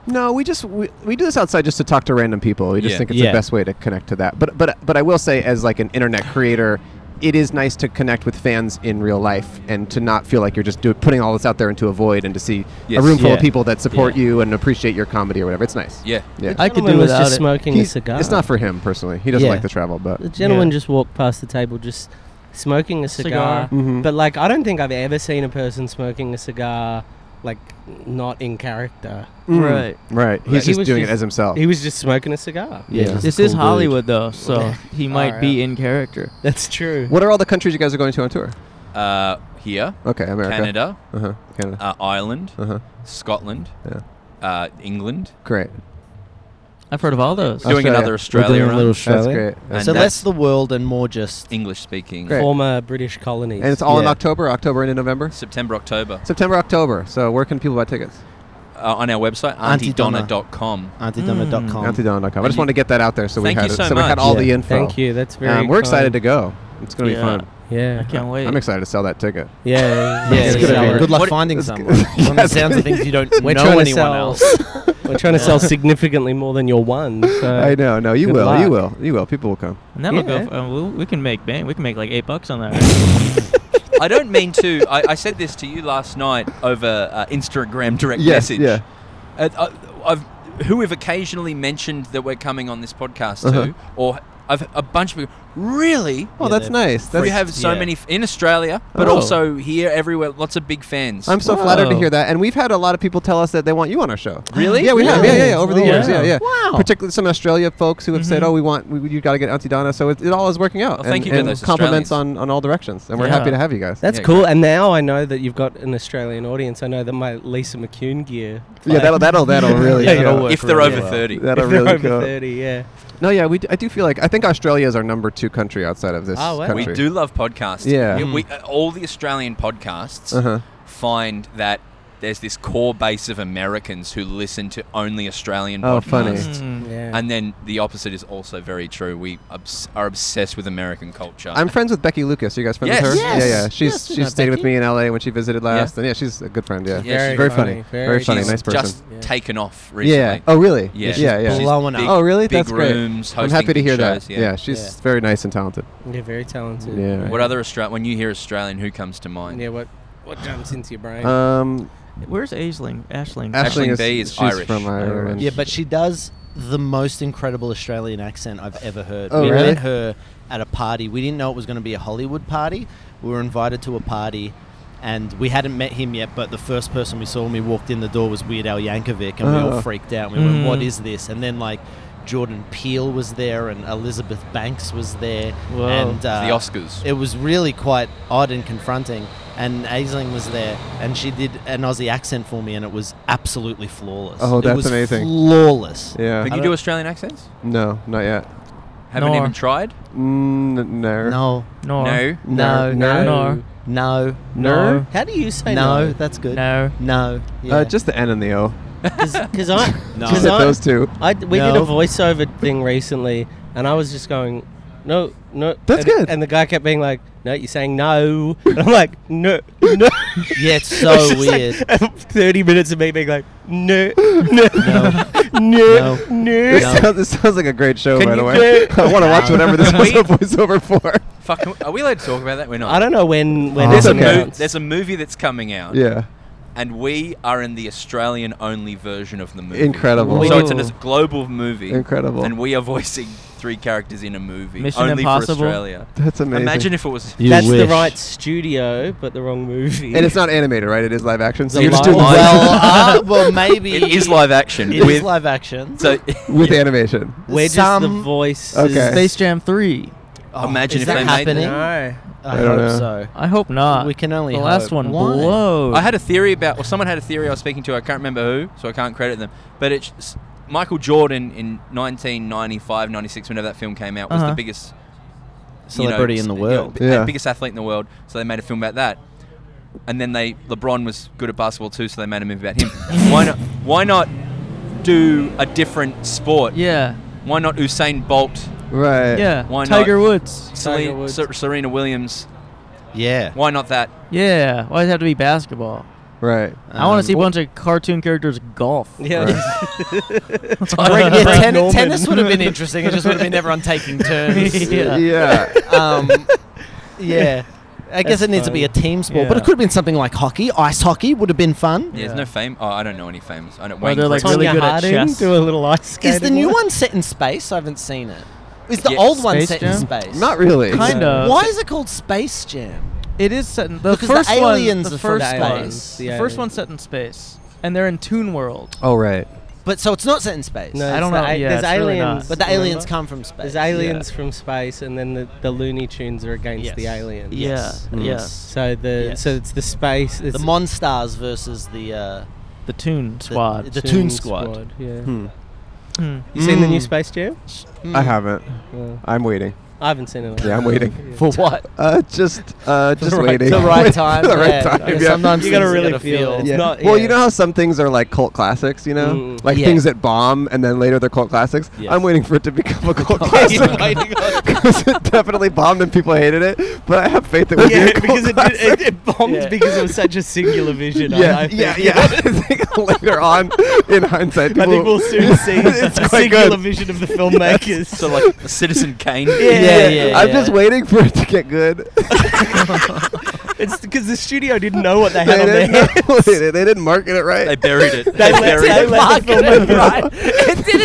[SPEAKER 1] No, we just we, we do this outside just to talk to random people. We just
[SPEAKER 7] Yeah.
[SPEAKER 1] think it's
[SPEAKER 6] Yeah.
[SPEAKER 1] the best way to connect to that. But but but I will say, as like an internet creator, it is nice to connect with fans in real life and to not feel like you're just do, putting all this out there into a void and to see
[SPEAKER 7] Yes.
[SPEAKER 1] a room full of
[SPEAKER 6] Yeah.
[SPEAKER 1] people that support you and appreciate your comedy or whatever. It's nice.
[SPEAKER 7] Yeah.
[SPEAKER 1] yeah.
[SPEAKER 10] I could
[SPEAKER 9] Gentleman
[SPEAKER 10] do
[SPEAKER 9] was
[SPEAKER 10] without
[SPEAKER 9] just
[SPEAKER 10] it.
[SPEAKER 9] smoking
[SPEAKER 1] He's-
[SPEAKER 9] a cigar.
[SPEAKER 1] It's not for him personally. He doesn't
[SPEAKER 6] Yeah.
[SPEAKER 1] like to travel, but
[SPEAKER 9] The gentleman just walked past the table, just smoking a
[SPEAKER 10] Cigar.
[SPEAKER 9] cigar.
[SPEAKER 1] Mhm.
[SPEAKER 9] But like, I don't think I've ever seen a person smoking a cigar like not in character.
[SPEAKER 1] Mm.
[SPEAKER 10] Right.
[SPEAKER 1] right. He's
[SPEAKER 9] Right. He
[SPEAKER 1] just
[SPEAKER 9] was
[SPEAKER 1] doing
[SPEAKER 9] just-
[SPEAKER 1] it as himself.
[SPEAKER 9] He was just smoking a cigar.
[SPEAKER 1] Yeah.
[SPEAKER 6] just a
[SPEAKER 10] This
[SPEAKER 6] cool
[SPEAKER 10] is
[SPEAKER 6] dude.
[SPEAKER 10] Hollywood though, so he might be
[SPEAKER 9] Alright.
[SPEAKER 10] in character.
[SPEAKER 9] That's true.
[SPEAKER 1] Oh, what are all the countries you guys are going to on tour?
[SPEAKER 7] Uh, here,
[SPEAKER 1] Okay, America,
[SPEAKER 7] Canada,
[SPEAKER 1] uh-huh. Canada,
[SPEAKER 7] uh, Ireland,
[SPEAKER 1] uh-huh.
[SPEAKER 7] Scotland,
[SPEAKER 1] Yeah.
[SPEAKER 7] uh, England,
[SPEAKER 1] great.
[SPEAKER 2] I've heard of all those.
[SPEAKER 7] Doing
[SPEAKER 9] Australia.
[SPEAKER 7] another
[SPEAKER 9] We're
[SPEAKER 7] Australia
[SPEAKER 9] doing a
[SPEAKER 7] run.
[SPEAKER 9] little
[SPEAKER 1] That's
[SPEAKER 9] Australia.
[SPEAKER 1] great.
[SPEAKER 7] And
[SPEAKER 6] so
[SPEAKER 7] that's
[SPEAKER 6] less the world and more just
[SPEAKER 7] English speaking.
[SPEAKER 1] Great.
[SPEAKER 9] Former British colonies.
[SPEAKER 1] And it's all in
[SPEAKER 6] Yeah.
[SPEAKER 1] October, October into November?
[SPEAKER 7] September, October.
[SPEAKER 1] September, October. So where can people buy tickets?
[SPEAKER 7] Uh, on our website,
[SPEAKER 6] Antidonna.
[SPEAKER 7] antidonna.com.
[SPEAKER 9] Um, Mm.
[SPEAKER 6] antidumma.com.
[SPEAKER 1] AntiDown.com. I just wanted to get that out there so
[SPEAKER 7] Thank
[SPEAKER 1] we
[SPEAKER 7] you
[SPEAKER 1] had it.
[SPEAKER 7] so
[SPEAKER 1] so we had
[SPEAKER 7] much.
[SPEAKER 1] all the
[SPEAKER 6] Yeah.
[SPEAKER 1] info.
[SPEAKER 9] Thank you. That's very.
[SPEAKER 1] Um, we're excited to
[SPEAKER 9] kind.
[SPEAKER 1] go. It's going to
[SPEAKER 2] Yeah.
[SPEAKER 1] be fun.
[SPEAKER 9] Yeah.
[SPEAKER 2] I can't wait.
[SPEAKER 1] I'm excited to sell that ticket.
[SPEAKER 9] Yeah.
[SPEAKER 6] yeah,
[SPEAKER 1] It's
[SPEAKER 6] yeah,
[SPEAKER 1] gonna
[SPEAKER 6] yeah.
[SPEAKER 1] be-
[SPEAKER 6] good luck
[SPEAKER 7] What-
[SPEAKER 6] finding
[SPEAKER 1] it's
[SPEAKER 6] someone. One that sounds of things you don't
[SPEAKER 9] We're
[SPEAKER 6] know
[SPEAKER 9] trying to
[SPEAKER 6] anyone
[SPEAKER 9] sell-
[SPEAKER 6] else.
[SPEAKER 9] We're trying to sell significantly more than your one. So
[SPEAKER 1] I know. No, you
[SPEAKER 9] Good
[SPEAKER 1] will. You will.
[SPEAKER 9] luck.
[SPEAKER 1] You will. People will come.
[SPEAKER 2] And that'll
[SPEAKER 9] Yeah.
[SPEAKER 2] go. uh, we'll, we can make bang. We can make like eight bucks on that. right?
[SPEAKER 7] I don't mean to. I, I said this to you last night over uh, Instagram direct
[SPEAKER 1] Yes,
[SPEAKER 7] message.
[SPEAKER 1] yeah.
[SPEAKER 7] Uh, I, I've, who have occasionally mentioned that we're coming on this podcast
[SPEAKER 1] Uh-huh.
[SPEAKER 7] too, or I've a bunch of people. Really?
[SPEAKER 1] Oh,
[SPEAKER 6] Yeah,
[SPEAKER 1] that's
[SPEAKER 6] they're
[SPEAKER 1] nice. That's,
[SPEAKER 7] we have so
[SPEAKER 6] yeah.
[SPEAKER 7] many f- in Australia, but
[SPEAKER 1] Oh.
[SPEAKER 7] also here, everywhere. Lots of big fans.
[SPEAKER 1] I'm so flattered to
[SPEAKER 2] Whoa.
[SPEAKER 1] hear that. And we've had a lot of people tell us that they want you on our show.
[SPEAKER 7] Really?
[SPEAKER 1] Yeah, we have. Yeah, yeah, yeah. Over the
[SPEAKER 2] Oh,
[SPEAKER 1] years.
[SPEAKER 2] wow.
[SPEAKER 1] Yeah, yeah.
[SPEAKER 6] Wow.
[SPEAKER 1] Particularly some Australia folks who have said, "Oh, we want we, you got to get Auntie Donna." So it, it all is working out.
[SPEAKER 7] Mm-hmm. Well, thank
[SPEAKER 1] and,
[SPEAKER 7] you to
[SPEAKER 1] and
[SPEAKER 7] those
[SPEAKER 1] compliments
[SPEAKER 7] Australians.
[SPEAKER 1] on, on all directions. And we're
[SPEAKER 2] Yeah.
[SPEAKER 1] happy to have you guys.
[SPEAKER 9] That's
[SPEAKER 7] Yeah,
[SPEAKER 9] cool. And now I know that you've got an Australian audience. I know that my Lisa McCune gear.
[SPEAKER 1] yeah, that'll that'll that'll really
[SPEAKER 9] Yeah,
[SPEAKER 1] go.
[SPEAKER 9] that'll
[SPEAKER 7] if they're
[SPEAKER 9] really
[SPEAKER 7] over
[SPEAKER 9] well.
[SPEAKER 7] thirty.
[SPEAKER 1] That'll
[SPEAKER 9] if they're
[SPEAKER 1] really
[SPEAKER 9] over
[SPEAKER 1] go.
[SPEAKER 9] thirty, yeah.
[SPEAKER 1] No, yeah, we d- I do feel like I think Australia is our number two country outside of this
[SPEAKER 9] Oh, wow.
[SPEAKER 1] country.
[SPEAKER 7] We do love podcasts.
[SPEAKER 1] Yeah. Mm.
[SPEAKER 7] we, uh, all the Australian podcasts
[SPEAKER 1] Uh-huh.
[SPEAKER 7] find that there's this core base of Americans who listen to only Australian
[SPEAKER 1] Oh,
[SPEAKER 7] podcasts.
[SPEAKER 1] funny.
[SPEAKER 2] Hmm,
[SPEAKER 9] Yeah.
[SPEAKER 7] And then the opposite is also very true. We obs- are obsessed with American culture.
[SPEAKER 1] I'm friends with Becky Lucas. Are you guys friends with
[SPEAKER 7] Yes.
[SPEAKER 1] her?
[SPEAKER 7] Yes.
[SPEAKER 1] Yeah, yeah. She's
[SPEAKER 6] Yes, we know
[SPEAKER 1] she's stayed with
[SPEAKER 6] Becky.
[SPEAKER 1] me in LA when she visited last, and yeah, she's a good friend. Yeah,
[SPEAKER 7] Yeah,
[SPEAKER 1] she's
[SPEAKER 7] she's
[SPEAKER 1] very
[SPEAKER 9] very
[SPEAKER 1] funny,
[SPEAKER 9] funny,
[SPEAKER 1] very,
[SPEAKER 9] very
[SPEAKER 1] funny,
[SPEAKER 7] She's
[SPEAKER 1] nice person.
[SPEAKER 7] Just
[SPEAKER 9] Yeah.
[SPEAKER 7] taken off recently.
[SPEAKER 1] yeah. Oh, really?
[SPEAKER 7] Yeah,
[SPEAKER 1] yeah,
[SPEAKER 7] she's
[SPEAKER 1] yeah.
[SPEAKER 7] She's
[SPEAKER 6] blowing
[SPEAKER 7] big,
[SPEAKER 6] up.
[SPEAKER 1] oh, really?
[SPEAKER 7] Big
[SPEAKER 1] That's great.
[SPEAKER 7] rooms,
[SPEAKER 1] I'm
[SPEAKER 7] hosting
[SPEAKER 1] happy to
[SPEAKER 7] big
[SPEAKER 1] hear
[SPEAKER 7] shows,
[SPEAKER 1] that.
[SPEAKER 7] Yeah.
[SPEAKER 1] Yeah, she's
[SPEAKER 9] Yeah.
[SPEAKER 1] very nice and talented.
[SPEAKER 9] They're very talented.
[SPEAKER 1] Yeah.
[SPEAKER 7] What other Australian? When you hear Australian, who comes to mind?
[SPEAKER 9] Yeah. What? What jumps into your brain?
[SPEAKER 1] Um,
[SPEAKER 2] Where's Aisling? Ashling.
[SPEAKER 7] Ashling
[SPEAKER 1] Ashling
[SPEAKER 7] Bay is
[SPEAKER 1] she's
[SPEAKER 7] Irish.
[SPEAKER 1] from Ireland.
[SPEAKER 6] Yeah, but she does the most incredible Australian accent I've ever heard.
[SPEAKER 1] Oh,
[SPEAKER 6] we
[SPEAKER 1] really?
[SPEAKER 6] met her at a party. We didn't know it was going to be a Hollywood party. We were invited to a party, and we hadn't met him yet. But the first person we saw when we walked in the door was Weird Al Yankovic, and we
[SPEAKER 1] Oh. Hmm.
[SPEAKER 6] all freaked out. We
[SPEAKER 2] Mm.
[SPEAKER 6] went, "What is this?" And then like. Jordan Peele was there, and Elizabeth Banks was there,
[SPEAKER 2] Whoa.
[SPEAKER 6] and
[SPEAKER 7] The
[SPEAKER 6] uh,
[SPEAKER 7] Oscars.
[SPEAKER 6] it was really quite odd and confronting. And Aisling was there, and she did an Aussie accent for me, and it was absolutely flawless.
[SPEAKER 1] Oh,
[SPEAKER 6] It
[SPEAKER 1] that's
[SPEAKER 6] was
[SPEAKER 1] amazing.
[SPEAKER 6] Flawless.
[SPEAKER 1] yeah.
[SPEAKER 7] Can you do Australian accents?
[SPEAKER 1] No, not yet.
[SPEAKER 7] Haven't
[SPEAKER 2] Nor.
[SPEAKER 7] even tried.
[SPEAKER 1] Mm, n- no.
[SPEAKER 6] No,
[SPEAKER 2] No.
[SPEAKER 7] No.
[SPEAKER 6] no,
[SPEAKER 1] No.
[SPEAKER 2] No.
[SPEAKER 6] no,
[SPEAKER 1] No.
[SPEAKER 6] How do you say
[SPEAKER 9] no?
[SPEAKER 6] That's good.
[SPEAKER 2] No.
[SPEAKER 6] no.
[SPEAKER 1] Uh, just the N and the O.
[SPEAKER 9] Because I,
[SPEAKER 6] No.
[SPEAKER 1] Just
[SPEAKER 9] because
[SPEAKER 6] Is it
[SPEAKER 1] hit
[SPEAKER 9] I,
[SPEAKER 1] those two.
[SPEAKER 9] I d- we did
[SPEAKER 6] No.
[SPEAKER 9] a voiceover thing recently, and I was just going, no, no.
[SPEAKER 1] That's
[SPEAKER 9] and,
[SPEAKER 1] good.
[SPEAKER 9] And the guy kept being like, no, you're saying no. And I'm like, no, no.
[SPEAKER 6] yeah, it's
[SPEAKER 9] It was
[SPEAKER 6] so
[SPEAKER 9] just like
[SPEAKER 6] weird.
[SPEAKER 9] 30 minutes of me being like, no, no, no,
[SPEAKER 6] No.
[SPEAKER 1] This,
[SPEAKER 6] No.
[SPEAKER 9] no.
[SPEAKER 1] sounds, this sounds like a great show,
[SPEAKER 9] Can
[SPEAKER 1] by the
[SPEAKER 9] you
[SPEAKER 1] way.
[SPEAKER 9] do-
[SPEAKER 1] I want to watch whatever this
[SPEAKER 7] Can
[SPEAKER 1] was a
[SPEAKER 7] we-
[SPEAKER 1] voiceover for.
[SPEAKER 7] Fuck. can we- Are we allowed to talk about that? We're not.
[SPEAKER 9] I don't know when, when
[SPEAKER 1] Oh,
[SPEAKER 7] There's,
[SPEAKER 9] it's
[SPEAKER 7] a,
[SPEAKER 1] Okay.
[SPEAKER 7] mo-
[SPEAKER 9] announced.
[SPEAKER 7] there's a movie that's coming out,
[SPEAKER 1] Yeah.
[SPEAKER 7] and we are in the Australian only version of the movie.
[SPEAKER 1] Incredible.
[SPEAKER 7] So it's a
[SPEAKER 2] Ooh.
[SPEAKER 7] it's a global movie.
[SPEAKER 1] Incredible.
[SPEAKER 7] And we are voicing three characters in a movie.
[SPEAKER 2] Mission
[SPEAKER 7] only
[SPEAKER 2] Impossible?
[SPEAKER 7] for Australia.
[SPEAKER 1] That's amazing.
[SPEAKER 7] Imagine if it was.
[SPEAKER 9] That's the right studio, but the wrong movie.
[SPEAKER 1] and it's not animated, right? It is live action. So
[SPEAKER 9] The
[SPEAKER 1] you're just
[SPEAKER 9] live-
[SPEAKER 1] doing
[SPEAKER 6] Well, uh, well, maybe
[SPEAKER 7] It is live action.
[SPEAKER 6] It is
[SPEAKER 7] with,
[SPEAKER 6] live action.
[SPEAKER 7] So
[SPEAKER 1] with animation.
[SPEAKER 9] We're just
[SPEAKER 6] some-
[SPEAKER 9] the voice.
[SPEAKER 1] Okay.
[SPEAKER 2] Space Jam Three.
[SPEAKER 6] Oh,
[SPEAKER 7] Imagine
[SPEAKER 6] is
[SPEAKER 7] if
[SPEAKER 6] that
[SPEAKER 7] they made
[SPEAKER 6] happening.
[SPEAKER 9] No.
[SPEAKER 6] I,
[SPEAKER 1] I don't
[SPEAKER 6] hope
[SPEAKER 1] know.
[SPEAKER 6] so.
[SPEAKER 2] I hope not.
[SPEAKER 6] We can only
[SPEAKER 2] The
[SPEAKER 6] hope.
[SPEAKER 2] last one
[SPEAKER 6] Why?
[SPEAKER 2] blows.
[SPEAKER 7] I had a theory about, or someone had a theory I was speaking to. I can't remember who, so I can't credit them. But it's Michael Jordan in 1995, 96, whenever that film came out, was
[SPEAKER 2] Uh-huh.
[SPEAKER 7] the biggest you know,
[SPEAKER 6] Celebrity
[SPEAKER 7] s-
[SPEAKER 6] in the
[SPEAKER 7] you know,
[SPEAKER 6] world.
[SPEAKER 7] bi-
[SPEAKER 1] Yeah.
[SPEAKER 7] biggest athlete in the world. So they made a film about that. And then they LeBron was good at basketball too, so they made a movie about him. why not? Why not do a different sport?
[SPEAKER 2] Yeah.
[SPEAKER 7] Why not Usain Bolt?
[SPEAKER 1] Right.
[SPEAKER 2] Yeah.
[SPEAKER 7] Why not?
[SPEAKER 2] Tiger Woods.
[SPEAKER 9] Tiger
[SPEAKER 7] Sele-
[SPEAKER 9] Woods.
[SPEAKER 7] Ser- Serena Williams.
[SPEAKER 6] Yeah.
[SPEAKER 7] Why not that?
[SPEAKER 2] Yeah. Why does it have to be basketball?
[SPEAKER 1] Right.
[SPEAKER 2] I want
[SPEAKER 6] Um,
[SPEAKER 2] to see a bunch of cartoon characters golf.
[SPEAKER 9] Yeah.
[SPEAKER 6] Right, yeah, ten-
[SPEAKER 9] Norman.
[SPEAKER 6] tennis would have been interesting. It just would have been everyone taking turns.
[SPEAKER 2] Yeah.
[SPEAKER 1] Yeah.
[SPEAKER 6] um, yeah. I guess it needs to be a team sport, but
[SPEAKER 2] Yeah.
[SPEAKER 6] it could have been something like hockey. Ice hockey would have been
[SPEAKER 7] Yeah,
[SPEAKER 6] fun.
[SPEAKER 2] Yeah.
[SPEAKER 7] There's no fame. Oh, I don't know any famous. I don't.
[SPEAKER 2] Or
[SPEAKER 7] Wayne
[SPEAKER 2] they're like
[SPEAKER 7] Gretzky.
[SPEAKER 2] really
[SPEAKER 9] Tonya
[SPEAKER 2] good at
[SPEAKER 9] Harding,
[SPEAKER 2] chess.
[SPEAKER 9] do a little ice skating.
[SPEAKER 6] Is the new
[SPEAKER 9] one?
[SPEAKER 6] one set in space? I haven't seen it. Is the
[SPEAKER 7] Yeah.
[SPEAKER 6] old one
[SPEAKER 2] Space
[SPEAKER 6] set in
[SPEAKER 2] Jam?
[SPEAKER 6] space?
[SPEAKER 1] Not really.
[SPEAKER 2] Kind of.
[SPEAKER 6] Why is it called Space Jam?
[SPEAKER 2] It is set in the
[SPEAKER 6] Because the
[SPEAKER 2] first
[SPEAKER 6] aliens
[SPEAKER 2] one. The
[SPEAKER 6] are from
[SPEAKER 2] first one.
[SPEAKER 6] space.
[SPEAKER 2] The,
[SPEAKER 9] The
[SPEAKER 2] first
[SPEAKER 9] aliens.
[SPEAKER 2] one's set in space, and they're in Toon World.
[SPEAKER 1] Oh right.
[SPEAKER 6] But so it's not set in space.
[SPEAKER 9] No,
[SPEAKER 2] I
[SPEAKER 9] it's
[SPEAKER 2] don't
[SPEAKER 9] the
[SPEAKER 2] know.
[SPEAKER 9] a-
[SPEAKER 2] Yeah,
[SPEAKER 9] there's
[SPEAKER 2] it's really not.
[SPEAKER 9] aliens.
[SPEAKER 6] but the aliens
[SPEAKER 9] remember?
[SPEAKER 6] come from space.
[SPEAKER 9] There's aliens from space, and then the, the Looney Tunes are against the
[SPEAKER 6] Yes.
[SPEAKER 9] aliens.
[SPEAKER 6] Yes.
[SPEAKER 2] Yeah.
[SPEAKER 1] Mm.
[SPEAKER 2] Yeah.
[SPEAKER 9] So the
[SPEAKER 6] Yes.
[SPEAKER 9] so it's the space. It's
[SPEAKER 6] The Monstars versus the uh,
[SPEAKER 2] The Toon Squad.
[SPEAKER 6] the
[SPEAKER 9] Toon
[SPEAKER 6] Toon Squad.
[SPEAKER 9] Yeah.
[SPEAKER 1] Hmm.
[SPEAKER 2] Hmm.
[SPEAKER 9] You seen the new
[SPEAKER 1] Mm.
[SPEAKER 9] Space Jam?
[SPEAKER 1] I haven't. I'm waiting.
[SPEAKER 9] I haven't seen it.
[SPEAKER 1] Yeah, I'm waiting.
[SPEAKER 6] For what?
[SPEAKER 1] Uh, just, uh, just
[SPEAKER 9] right-
[SPEAKER 1] waiting.
[SPEAKER 9] the
[SPEAKER 6] right
[SPEAKER 1] Wait-
[SPEAKER 6] time,
[SPEAKER 1] the right
[SPEAKER 6] yeah.
[SPEAKER 1] time.
[SPEAKER 6] Yeah,
[SPEAKER 1] Yeah.
[SPEAKER 6] sometimes
[SPEAKER 9] You gotta
[SPEAKER 6] things
[SPEAKER 9] really
[SPEAKER 6] gotta
[SPEAKER 9] feel it. It's
[SPEAKER 1] Yeah.
[SPEAKER 9] not-
[SPEAKER 1] well,
[SPEAKER 9] yeah.
[SPEAKER 1] you know how some things are like cult classics, you know,
[SPEAKER 9] Mm.
[SPEAKER 1] like
[SPEAKER 6] Yeah.
[SPEAKER 1] things that bomb and then later they're cult classics.
[SPEAKER 6] Yes.
[SPEAKER 1] I'm waiting for it to become a cult
[SPEAKER 6] Waiting
[SPEAKER 1] classic
[SPEAKER 6] on-
[SPEAKER 1] because it definitely bombed and people hated it. But I have faith that we
[SPEAKER 9] Yeah,
[SPEAKER 1] yeah, a cult
[SPEAKER 9] because it, did,
[SPEAKER 1] classic.
[SPEAKER 9] it, it bombed
[SPEAKER 6] Yeah.
[SPEAKER 9] because it was such a singular vision. I-
[SPEAKER 1] yeah,
[SPEAKER 9] I
[SPEAKER 1] yeah,
[SPEAKER 9] think.
[SPEAKER 1] yeah. I think later on, in hindsight,
[SPEAKER 9] I
[SPEAKER 1] people,
[SPEAKER 9] think we'll soon see
[SPEAKER 1] it's
[SPEAKER 9] a
[SPEAKER 1] quite
[SPEAKER 9] singular
[SPEAKER 1] good.
[SPEAKER 9] vision of the filmmakers.
[SPEAKER 7] So like a Citizen Kane. Uh,
[SPEAKER 6] Yeah, yeah,
[SPEAKER 1] I'm
[SPEAKER 6] yeah.
[SPEAKER 1] just waiting for it to get good.
[SPEAKER 9] It's because the studio didn't know what they
[SPEAKER 1] they,
[SPEAKER 9] had on their
[SPEAKER 1] didn't,
[SPEAKER 9] hands.
[SPEAKER 1] know- they, didn't- they didn't market it right.
[SPEAKER 7] They buried it.
[SPEAKER 9] They
[SPEAKER 7] They
[SPEAKER 9] let,
[SPEAKER 7] buried
[SPEAKER 9] they
[SPEAKER 7] it.
[SPEAKER 9] let the filmmakers.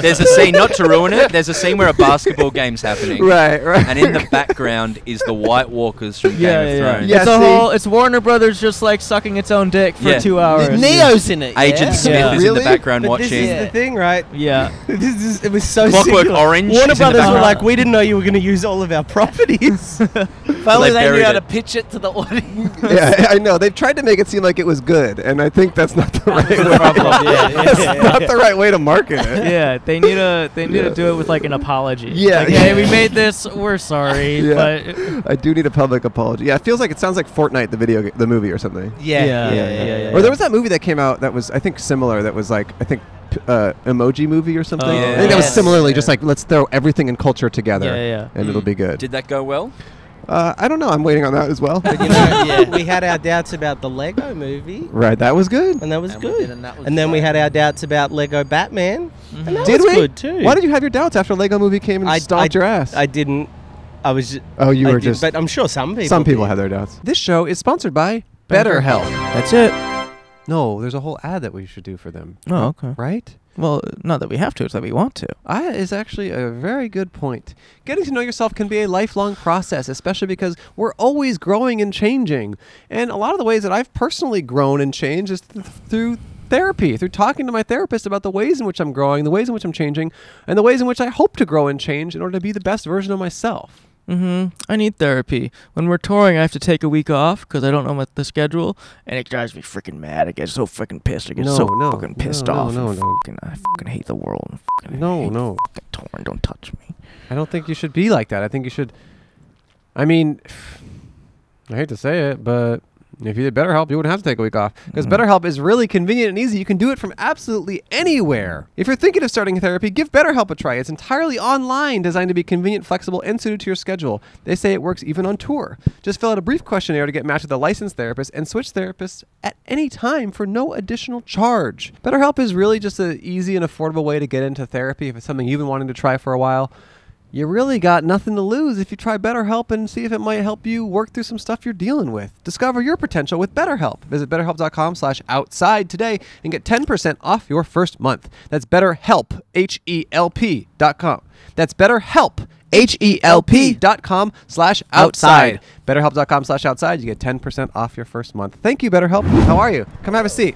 [SPEAKER 7] There's a scene, not to ruin it, there's a scene where a basketball game's happening.
[SPEAKER 1] right, right.
[SPEAKER 7] And in the background is the White Walkers from
[SPEAKER 10] Yeah,
[SPEAKER 7] Game
[SPEAKER 10] yeah,
[SPEAKER 7] of Thrones.
[SPEAKER 1] Yeah,
[SPEAKER 10] it's a
[SPEAKER 1] see?
[SPEAKER 10] whole. It's Warner Brothers just like sucking its own dick for
[SPEAKER 7] Yeah.
[SPEAKER 10] two hours.
[SPEAKER 6] Neo's in it.
[SPEAKER 7] Agent
[SPEAKER 6] yeah?
[SPEAKER 7] Smith
[SPEAKER 10] Yeah.
[SPEAKER 7] is in
[SPEAKER 1] Really?
[SPEAKER 7] the background
[SPEAKER 9] But this
[SPEAKER 7] watching.
[SPEAKER 9] is the thing, right?
[SPEAKER 10] Yeah.
[SPEAKER 9] This is, it was so
[SPEAKER 7] Clockwork
[SPEAKER 9] singular.
[SPEAKER 7] Orange
[SPEAKER 9] Warner
[SPEAKER 7] is in the
[SPEAKER 9] Brothers were
[SPEAKER 7] background.
[SPEAKER 9] like, we didn't know you were going to use all of our properties.
[SPEAKER 6] If only
[SPEAKER 7] they
[SPEAKER 6] they knew
[SPEAKER 7] buried
[SPEAKER 6] how
[SPEAKER 7] it.
[SPEAKER 6] to pitch it to the audience.
[SPEAKER 1] yeah, I I know. They've tried to make it seem like it was good, and I think that's not the right way.
[SPEAKER 10] problem. Yeah, yeah,
[SPEAKER 1] that's
[SPEAKER 10] yeah,
[SPEAKER 1] not the right way to market it.
[SPEAKER 10] Yeah, they need to they need to do it with like an apology.
[SPEAKER 1] Yeah.
[SPEAKER 10] like, hey, we made this. We're sorry,
[SPEAKER 1] Yeah.
[SPEAKER 10] but
[SPEAKER 1] I do need a public apology. Yeah, it feels like it sounds like Fortnite, the video, ga- the movie, or something.
[SPEAKER 6] Yeah, yeah, yeah, yeah.
[SPEAKER 10] yeah,
[SPEAKER 1] Or there was that movie that came out that was, I think, similar. That was like, I think, p- uh, emoji movie or something.
[SPEAKER 10] Oh,
[SPEAKER 1] I think that was
[SPEAKER 6] yes.
[SPEAKER 1] similarly just
[SPEAKER 6] Yeah.
[SPEAKER 1] like let's throw everything in culture together,
[SPEAKER 10] Yeah, yeah.
[SPEAKER 1] and it'll be good.
[SPEAKER 7] Did that go well?
[SPEAKER 1] Uh, I don't know. I'm waiting on that as well.
[SPEAKER 9] you know,
[SPEAKER 6] Yeah.
[SPEAKER 9] we had our doubts about the Lego movie,
[SPEAKER 1] right, that was good.
[SPEAKER 9] and that was
[SPEAKER 6] And we
[SPEAKER 9] good.
[SPEAKER 6] did, and that was
[SPEAKER 9] and then we
[SPEAKER 6] great.
[SPEAKER 9] had our doubts about Lego Batman, and that
[SPEAKER 1] Did
[SPEAKER 9] was
[SPEAKER 1] we?
[SPEAKER 9] good too.
[SPEAKER 1] Why did you have your doubts after Lego Movie came and
[SPEAKER 9] I
[SPEAKER 1] stomped
[SPEAKER 9] I,
[SPEAKER 1] your ass?
[SPEAKER 9] I didn't. I was. Just,
[SPEAKER 1] oh, you
[SPEAKER 9] I
[SPEAKER 1] were
[SPEAKER 9] did-
[SPEAKER 1] just.
[SPEAKER 9] But I'm sure some people.
[SPEAKER 1] some people
[SPEAKER 9] did.
[SPEAKER 1] have their doubts. This show is sponsored by BetterHelp.
[SPEAKER 10] that's it.
[SPEAKER 1] No, there's a whole ad that we should do for them.
[SPEAKER 10] Oh, okay.
[SPEAKER 1] Right?
[SPEAKER 10] Well, not that we have to, it's that we want to.
[SPEAKER 1] That is actually a very good point. Getting to know yourself can be a lifelong process, especially because we're always growing and changing. And a lot of the ways that I've personally grown and changed is th- through therapy, through talking to my therapist about the ways in which I'm growing, the ways in which I'm changing, and the ways in which I hope to grow and change in order to be the best version of myself.
[SPEAKER 10] hmm I need therapy. When we're touring, I have to take a week off because I don't know what the schedule, and it drives me freaking mad. I get so freaking pissed. I get
[SPEAKER 1] No,
[SPEAKER 10] so
[SPEAKER 1] no,
[SPEAKER 10] fucking pissed
[SPEAKER 1] no, no,
[SPEAKER 10] off.
[SPEAKER 1] no,
[SPEAKER 10] and
[SPEAKER 1] no.
[SPEAKER 10] fucking- I fucking hate the world. And fucking
[SPEAKER 1] No,
[SPEAKER 10] hate
[SPEAKER 1] no.
[SPEAKER 10] Fucking torn. Don't touch me.
[SPEAKER 1] I don't think you should be like that. I think you should. I mean, I hate to say it, but if you did BetterHelp, you wouldn't have to take a week off because BetterHelp is really convenient and easy. You can do it from absolutely anywhere. If you're thinking of starting therapy, give BetterHelp a try. It's entirely online, designed to be convenient, flexible, and suited to your schedule. They say it works even on tour. Just fill out a brief questionnaire to get matched with a licensed therapist and switch therapists at any time for no additional charge. BetterHelp is really just an easy and affordable way to get into therapy if it's something you've been wanting to try for a while you really got nothing to lose if you try BetterHelp and see if it might help you work through some stuff you're dealing with. Discover your potential with BetterHelp. Visit betterhelp.com slash outside today and get 10% off your first month. That's betterhelp, H-E-L-P dot com. That's betterhelp, H-E-L-P dot com slash outside. Betterhelp.com slash outside. You get 10% off your first month. Thank you, BetterHelp. How are you? Come have a seat.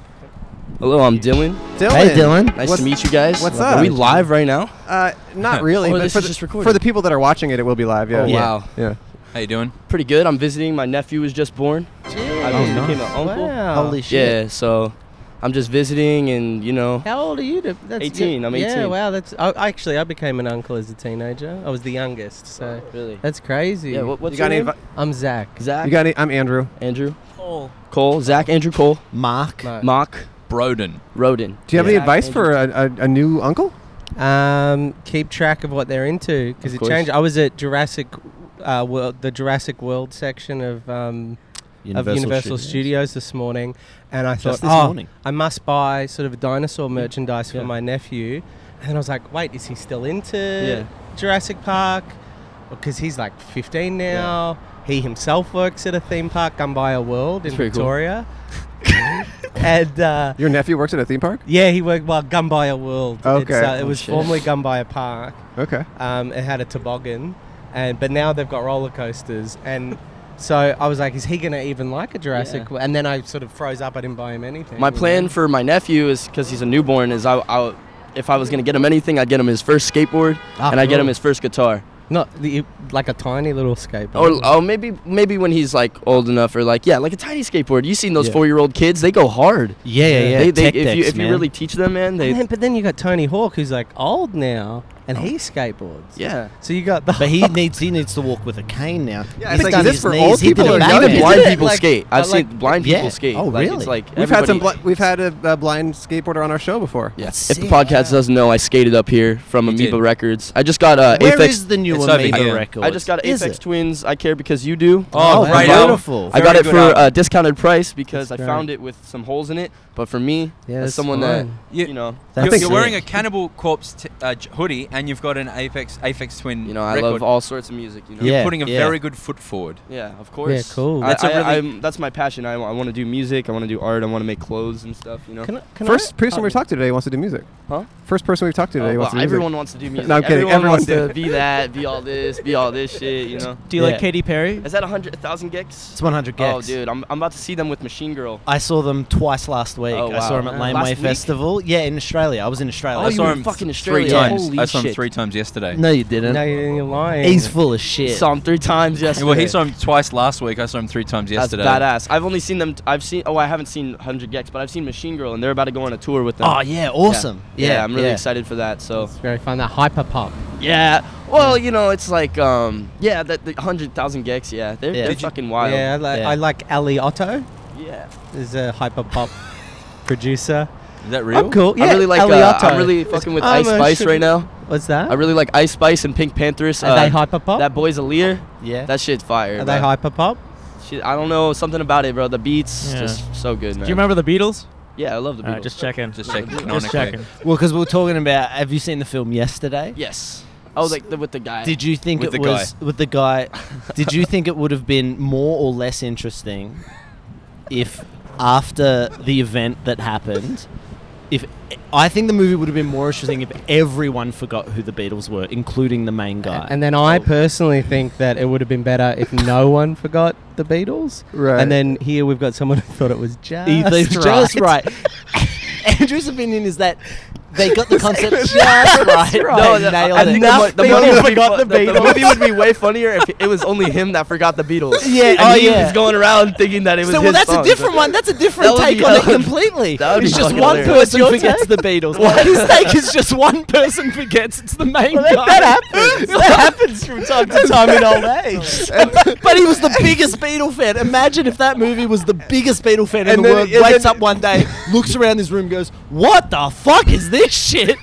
[SPEAKER 11] Hello, I'm Dylan.
[SPEAKER 1] Dylan.
[SPEAKER 6] Hey, Dylan.
[SPEAKER 11] Nice
[SPEAKER 1] What's-
[SPEAKER 11] to meet you guys.
[SPEAKER 1] what's
[SPEAKER 11] Are
[SPEAKER 1] up?
[SPEAKER 11] we live right now?
[SPEAKER 1] Uh, not really,
[SPEAKER 11] Oh,
[SPEAKER 1] but
[SPEAKER 11] this
[SPEAKER 1] for
[SPEAKER 11] is
[SPEAKER 1] the,
[SPEAKER 11] just recorded.
[SPEAKER 1] for the people that are watching it, it will be live. Yeah.
[SPEAKER 11] Oh,
[SPEAKER 1] yeah.
[SPEAKER 11] wow.
[SPEAKER 1] Yeah.
[SPEAKER 7] How you doing?
[SPEAKER 11] Pretty good. I'm visiting. My nephew was just born. I just
[SPEAKER 1] Oh, nice.
[SPEAKER 11] became an uncle.
[SPEAKER 6] Holy shit.
[SPEAKER 11] Yeah, so I'm just visiting and, you know,
[SPEAKER 9] How old are you? To, that's
[SPEAKER 11] 18, I'm
[SPEAKER 9] Yeah,
[SPEAKER 11] 18.
[SPEAKER 9] wow. That's I, actually I became an uncle as a teenager. I was the youngest, so
[SPEAKER 11] Uh, really.
[SPEAKER 9] that's crazy.
[SPEAKER 11] Yeah, what, what's
[SPEAKER 1] You got,
[SPEAKER 11] your
[SPEAKER 1] any,
[SPEAKER 11] name?
[SPEAKER 1] advi-
[SPEAKER 9] I'm Zach.
[SPEAKER 11] Zach,
[SPEAKER 1] you got any? I'm Andrew.
[SPEAKER 11] Andrew, Cole, Zach, Andrew, Cole,
[SPEAKER 6] Mark.
[SPEAKER 9] No.
[SPEAKER 11] Mock,
[SPEAKER 7] Broden.
[SPEAKER 11] Roden.
[SPEAKER 1] Do you have
[SPEAKER 9] Yeah.
[SPEAKER 1] any advice for a, a, a new uncle?
[SPEAKER 9] Um, keep track of what they're into because
[SPEAKER 11] Of
[SPEAKER 9] it
[SPEAKER 11] course.
[SPEAKER 9] changed. I was at Jurassic uh, World, the Jurassic World section of um, of Universal Studios. this morning, and I
[SPEAKER 6] Just
[SPEAKER 9] thought,
[SPEAKER 6] this
[SPEAKER 9] oh,
[SPEAKER 6] morning.
[SPEAKER 9] I must buy sort of dinosaur merchandise
[SPEAKER 6] Yeah.
[SPEAKER 9] for my nephew, and then I was like, wait, is he still into Jurassic Park? Because he's like 15 now. He himself works at a theme park, Gumbaya World in
[SPEAKER 11] pretty cool.
[SPEAKER 9] Victoria, and. Uh,
[SPEAKER 1] Your nephew works at a theme park.
[SPEAKER 9] yeah, he worked well. Gumbaya World. It's,
[SPEAKER 1] Okay.
[SPEAKER 9] uh, it
[SPEAKER 11] Oh,
[SPEAKER 9] was
[SPEAKER 11] shit.
[SPEAKER 9] formerly Gumbaya Park.
[SPEAKER 1] Okay.
[SPEAKER 9] Um, it had a toboggan, and but now they've got roller coasters. And so I was like, is he gonna even like a Jurassic?
[SPEAKER 11] Yeah.
[SPEAKER 9] World? And then I sort of froze up. I didn't buy him anything.
[SPEAKER 11] My
[SPEAKER 9] you know?
[SPEAKER 11] plan for my nephew is because he's a newborn is I, I if I was gonna get him anything, I'd get him his first skateboard
[SPEAKER 6] Ah,
[SPEAKER 11] and I would get
[SPEAKER 6] cool.
[SPEAKER 11] him his first guitar.
[SPEAKER 9] Not the, like a tiny little skateboard.
[SPEAKER 11] Or oh, maybe maybe when he's like old enough, or like yeah, like a tiny skateboard. You seen those
[SPEAKER 9] Yeah.
[SPEAKER 11] four year old kids? They go hard.
[SPEAKER 6] Yeah, yeah, yeah.
[SPEAKER 11] They, they,
[SPEAKER 6] Tech
[SPEAKER 11] if you
[SPEAKER 6] decks,
[SPEAKER 11] if you
[SPEAKER 6] man.
[SPEAKER 11] really teach them, man, they
[SPEAKER 9] And then- but then you got Tony Hawk, who's like old now, and he skateboards.
[SPEAKER 11] yeah.
[SPEAKER 9] So you got the.
[SPEAKER 6] But he needs he needs to walk with a cane now.
[SPEAKER 11] Yeah,
[SPEAKER 6] He's
[SPEAKER 11] it's like,
[SPEAKER 6] done
[SPEAKER 11] is this
[SPEAKER 6] his
[SPEAKER 11] for
[SPEAKER 6] knees,
[SPEAKER 11] old
[SPEAKER 6] he did
[SPEAKER 11] people
[SPEAKER 6] a
[SPEAKER 11] or
[SPEAKER 6] back
[SPEAKER 11] even
[SPEAKER 6] bend.
[SPEAKER 11] blind
[SPEAKER 6] Yeah,
[SPEAKER 11] people
[SPEAKER 6] like-
[SPEAKER 11] skate? I've
[SPEAKER 6] but like-
[SPEAKER 11] seen blind
[SPEAKER 6] yeah.
[SPEAKER 11] people skate.
[SPEAKER 6] Oh,
[SPEAKER 11] Like,
[SPEAKER 6] really?
[SPEAKER 11] It's like
[SPEAKER 6] We've
[SPEAKER 1] We've had some.
[SPEAKER 11] everybody-
[SPEAKER 1] Bl- we've had a, a blind skateboarder on our show before.
[SPEAKER 11] Yeah. If the podcast doesn't know, I skated up here from
[SPEAKER 7] did.
[SPEAKER 11] Amoeba Records. I just got uh,
[SPEAKER 6] Where
[SPEAKER 11] Aphex.
[SPEAKER 6] is the new
[SPEAKER 7] It's over
[SPEAKER 6] Amoeba
[SPEAKER 7] here.
[SPEAKER 6] record?
[SPEAKER 11] I just got
[SPEAKER 6] Is
[SPEAKER 11] Aphex
[SPEAKER 6] it?
[SPEAKER 11] Twins. I care because you do.
[SPEAKER 7] Oh,
[SPEAKER 6] Oh,
[SPEAKER 7] right.
[SPEAKER 6] beautiful.
[SPEAKER 11] I got
[SPEAKER 7] Very
[SPEAKER 11] it
[SPEAKER 7] good
[SPEAKER 11] for uh,
[SPEAKER 7] album.
[SPEAKER 11] a discounted price because I
[SPEAKER 9] That's
[SPEAKER 11] found it with some holes in it. But for me,
[SPEAKER 9] Yeah,
[SPEAKER 11] as
[SPEAKER 9] that's
[SPEAKER 11] someone
[SPEAKER 9] fine.
[SPEAKER 11] that you know,
[SPEAKER 6] That's
[SPEAKER 7] you're, you're
[SPEAKER 6] sick.
[SPEAKER 7] wearing a Cannibal Corpse t- uh, j- hoodie, and you've got an Apex Apex Twin.
[SPEAKER 11] you know, I
[SPEAKER 7] record.
[SPEAKER 11] love all sorts of music. You know,
[SPEAKER 7] You're
[SPEAKER 6] Yeah,
[SPEAKER 7] putting a
[SPEAKER 6] yeah.
[SPEAKER 7] very good foot forward.
[SPEAKER 11] yeah, of course.
[SPEAKER 9] cool.
[SPEAKER 11] I,
[SPEAKER 7] That's a
[SPEAKER 11] I-
[SPEAKER 7] really-
[SPEAKER 11] I'm- that's my passion. I, want to do music. I want to do art. I want to make clothes and stuff. You know,
[SPEAKER 9] Can I, can
[SPEAKER 1] First
[SPEAKER 9] I-
[SPEAKER 1] person
[SPEAKER 9] oh,
[SPEAKER 1] we've talked to today wants to do music.
[SPEAKER 11] Huh?
[SPEAKER 1] First person we've talked to
[SPEAKER 11] Oh,
[SPEAKER 1] today
[SPEAKER 11] well,
[SPEAKER 1] wants to do music.
[SPEAKER 11] everyone wants to do music.
[SPEAKER 1] I'm kidding,
[SPEAKER 11] Everyone,
[SPEAKER 1] everyone
[SPEAKER 11] wants to
[SPEAKER 1] did.
[SPEAKER 11] be that, be all this, be all this shit. You know,
[SPEAKER 12] Do you
[SPEAKER 6] Yeah.
[SPEAKER 12] like Katy Perry?
[SPEAKER 11] is that a hundred, a thousand gigs?
[SPEAKER 6] It's 100 gigs.
[SPEAKER 11] Oh, dude, I'm, I'm about to see them with Machine Girl.
[SPEAKER 6] I saw them twice last week.
[SPEAKER 11] Oh,
[SPEAKER 6] I saw
[SPEAKER 11] wow.
[SPEAKER 6] them at
[SPEAKER 11] Uh,
[SPEAKER 6] Laneway
[SPEAKER 11] last week?
[SPEAKER 6] Festival. Yeah, in Australia. I was in Australia.
[SPEAKER 11] Oh,
[SPEAKER 7] I
[SPEAKER 11] you
[SPEAKER 7] saw
[SPEAKER 11] were
[SPEAKER 7] him
[SPEAKER 11] fucking
[SPEAKER 7] three
[SPEAKER 11] Australia.
[SPEAKER 7] times.
[SPEAKER 11] Holy
[SPEAKER 7] I saw him
[SPEAKER 11] shit.
[SPEAKER 7] three times yesterday.
[SPEAKER 6] No, you didn't.
[SPEAKER 9] No, you're lying.
[SPEAKER 6] He's full of shit.
[SPEAKER 11] Saw them three times
[SPEAKER 7] Yeah,
[SPEAKER 11] yesterday.
[SPEAKER 7] well, he saw him twice last week. I saw him three times
[SPEAKER 11] That's
[SPEAKER 7] yesterday.
[SPEAKER 11] badass. I've only seen them. T- I've seen. Oh, I haven't seen 100 Gex, but I've seen Machine Girl, and they're about to go on a tour with them.
[SPEAKER 6] oh yeah, awesome.
[SPEAKER 11] Yeah,
[SPEAKER 6] Yeah,
[SPEAKER 11] I'm really
[SPEAKER 6] yeah.
[SPEAKER 11] excited for that. So
[SPEAKER 9] It's very fun. That hyper pop.
[SPEAKER 11] yeah. Well, you know, it's like um, yeah, that the 100,000 Gex. Yeah, they're,
[SPEAKER 6] Yeah.
[SPEAKER 11] they're
[SPEAKER 6] Did you-
[SPEAKER 11] fucking wild.
[SPEAKER 9] Yeah, I like,
[SPEAKER 6] Yeah.
[SPEAKER 9] I like Ali Otto.
[SPEAKER 11] yeah.
[SPEAKER 9] Is a hyper pop producer.
[SPEAKER 7] Is that real?
[SPEAKER 9] I'm cool. Yeah,
[SPEAKER 11] I really like.
[SPEAKER 9] Ali
[SPEAKER 11] Uh,
[SPEAKER 9] Otto.
[SPEAKER 11] I'm really fucking with
[SPEAKER 9] I'm
[SPEAKER 11] Ice
[SPEAKER 9] a
[SPEAKER 11] Spice
[SPEAKER 9] sugar-
[SPEAKER 11] right now.
[SPEAKER 9] What's that?
[SPEAKER 11] I really like Ice Spice and Pink Panthers.
[SPEAKER 9] Are they hyper pop?
[SPEAKER 11] uh, That boy's a leer.
[SPEAKER 6] Yeah.
[SPEAKER 11] That shit's fire.
[SPEAKER 9] Are they
[SPEAKER 11] bro.
[SPEAKER 9] hyper pop?
[SPEAKER 11] Shit, I don't know something about it, bro. The beats
[SPEAKER 2] Yeah.
[SPEAKER 11] just so good, man.
[SPEAKER 2] Do you remember the Beatles?
[SPEAKER 11] Yeah, I love the beats.
[SPEAKER 2] Alright, just checking.
[SPEAKER 7] Just checking.
[SPEAKER 2] Just
[SPEAKER 7] Canonically.
[SPEAKER 2] checking.
[SPEAKER 6] Well, because we were talking about. Have you seen the film yesterday?
[SPEAKER 11] Yes. I was like the, with the guy.
[SPEAKER 6] Did you think
[SPEAKER 7] With
[SPEAKER 6] it
[SPEAKER 7] the guy.
[SPEAKER 6] was with the guy? did you think it would have been more or less interesting if after the event that happened? If I think the movie would have been more interesting if everyone forgot who the Beatles were, including the main guy.
[SPEAKER 9] And then I personally think that it would have been better if no one forgot the Beatles.
[SPEAKER 1] Right.
[SPEAKER 9] And then here we've got someone who thought it was just
[SPEAKER 6] He
[SPEAKER 9] right.
[SPEAKER 6] thinks just right. Andrew's opinion is that they got the concept just right.
[SPEAKER 11] No,
[SPEAKER 6] They
[SPEAKER 11] the,
[SPEAKER 6] nailed
[SPEAKER 11] I
[SPEAKER 6] it.
[SPEAKER 11] think the, mo- the
[SPEAKER 6] people
[SPEAKER 11] movie would be
[SPEAKER 6] forgot
[SPEAKER 11] fu-
[SPEAKER 6] the
[SPEAKER 11] the movie would be way funnier if it was only him that forgot the Beatles.
[SPEAKER 6] Yeah,
[SPEAKER 11] and
[SPEAKER 6] oh,
[SPEAKER 11] he
[SPEAKER 6] yeah.
[SPEAKER 11] was going around thinking that it was.
[SPEAKER 6] So well,
[SPEAKER 11] his
[SPEAKER 6] that's a
[SPEAKER 11] song,
[SPEAKER 6] different
[SPEAKER 11] but-
[SPEAKER 6] one. That's a different
[SPEAKER 11] That would
[SPEAKER 6] take
[SPEAKER 11] be-
[SPEAKER 6] on it
[SPEAKER 11] that would-
[SPEAKER 6] completely.
[SPEAKER 11] that would be
[SPEAKER 6] It's just
[SPEAKER 11] fucking
[SPEAKER 6] one
[SPEAKER 11] hilarious.
[SPEAKER 6] person forgets the Beatles. His take is just one person forgets it's the main guy.
[SPEAKER 9] that
[SPEAKER 6] happens. that happens from time to time in old age. but he was the biggest Beatle fan. Imagine if that movie was the biggest Beatle fan in
[SPEAKER 1] And
[SPEAKER 6] the
[SPEAKER 1] then-
[SPEAKER 6] world.
[SPEAKER 1] and
[SPEAKER 6] Wakes
[SPEAKER 1] then-
[SPEAKER 6] up one day, looks around his room, goes, "What the fuck is this shit?"